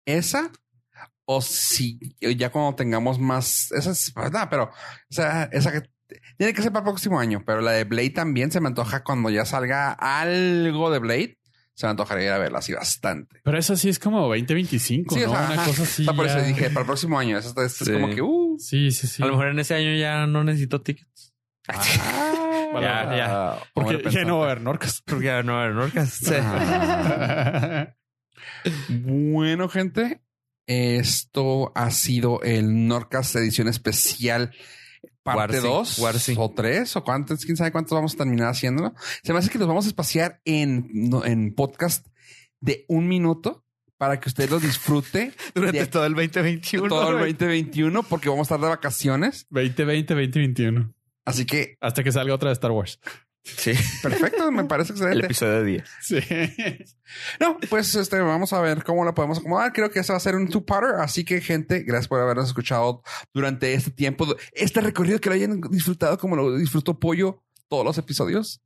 Speaker 1: Esa. O si eh, ya cuando tengamos más. Esa es. pues, nada, pero. O sea, esa que. Tiene que ser para el próximo año, pero la de Blade también se me antoja cuando ya salga algo de Blade. Se me antojaría ir a verla así bastante.
Speaker 2: Pero esa sí es como 2025,
Speaker 1: Sí,
Speaker 2: ¿no?
Speaker 1: o sea,
Speaker 2: Una
Speaker 1: ajá.
Speaker 2: cosa así.
Speaker 1: O sea, por eso
Speaker 2: ya-
Speaker 1: dije, para el próximo año. Eso está- esto
Speaker 4: Sí.
Speaker 1: es como que. Uh,
Speaker 2: Sí, sí, sí.
Speaker 4: A lo mejor en ese año ya no necesito tickets. Ya,
Speaker 1: Ah,
Speaker 4: ya.
Speaker 2: Ah. Porque ya no va a haber norcas.
Speaker 4: Porque ya no, no alcancé.
Speaker 1: Bueno, gente, esto ha sido el Norcas edición especial parte
Speaker 4: Warsi,
Speaker 1: 2
Speaker 4: Warsi.
Speaker 1: o 3 o cuántos, quién sabe cuántos vamos a terminar haciéndolo. Se me hace que los vamos a espaciar en, no, en podcast de un minuto para que usted los disfrute
Speaker 4: Durante
Speaker 1: de-
Speaker 4: todo el 2021.
Speaker 1: todo el
Speaker 4: güey.
Speaker 1: 2021 porque vamos a estar de vacaciones.
Speaker 2: 2020, 2021.
Speaker 1: Así que
Speaker 2: Hasta que salga otra de Star Wars.
Speaker 4: Sí,
Speaker 1: Perfecto, me parece
Speaker 4: el
Speaker 1: excelente.
Speaker 4: episodio 10.
Speaker 6: Sí.
Speaker 1: No, pues este, vamos a ver cómo la podemos acomodar. Creo que ese va a ser un two-parter. Así que, gente, gracias por habernos escuchado durante este tiempo, este recorrido que lo hayan disfrutado como lo disfrutó Pollo todos los episodios.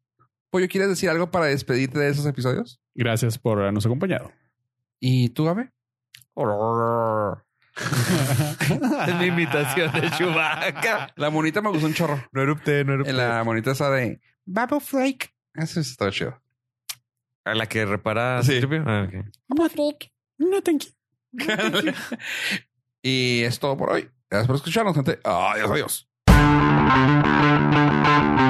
Speaker 1: Pollo, ¿quieres decir algo para despedirte de esos episodios?
Speaker 6: Gracias por habernos acompañado.
Speaker 1: ¿Y tú, Gabe?
Speaker 4: Es mi invitación de Chewbacca.
Speaker 1: La monita me gustó un chorro.
Speaker 4: No erupte, no erupte.
Speaker 1: En la
Speaker 6: pues-
Speaker 1: monita esa de Bubble Flake. Eso está chido.
Speaker 4: ¿A la que repara
Speaker 1: Sí.
Speaker 4: Citripio? Ah, ok.
Speaker 6: No, thank you.
Speaker 1: y es todo por hoy. Gracias por escucharnos, gente. Adiós, adiós.
Speaker 7: Thank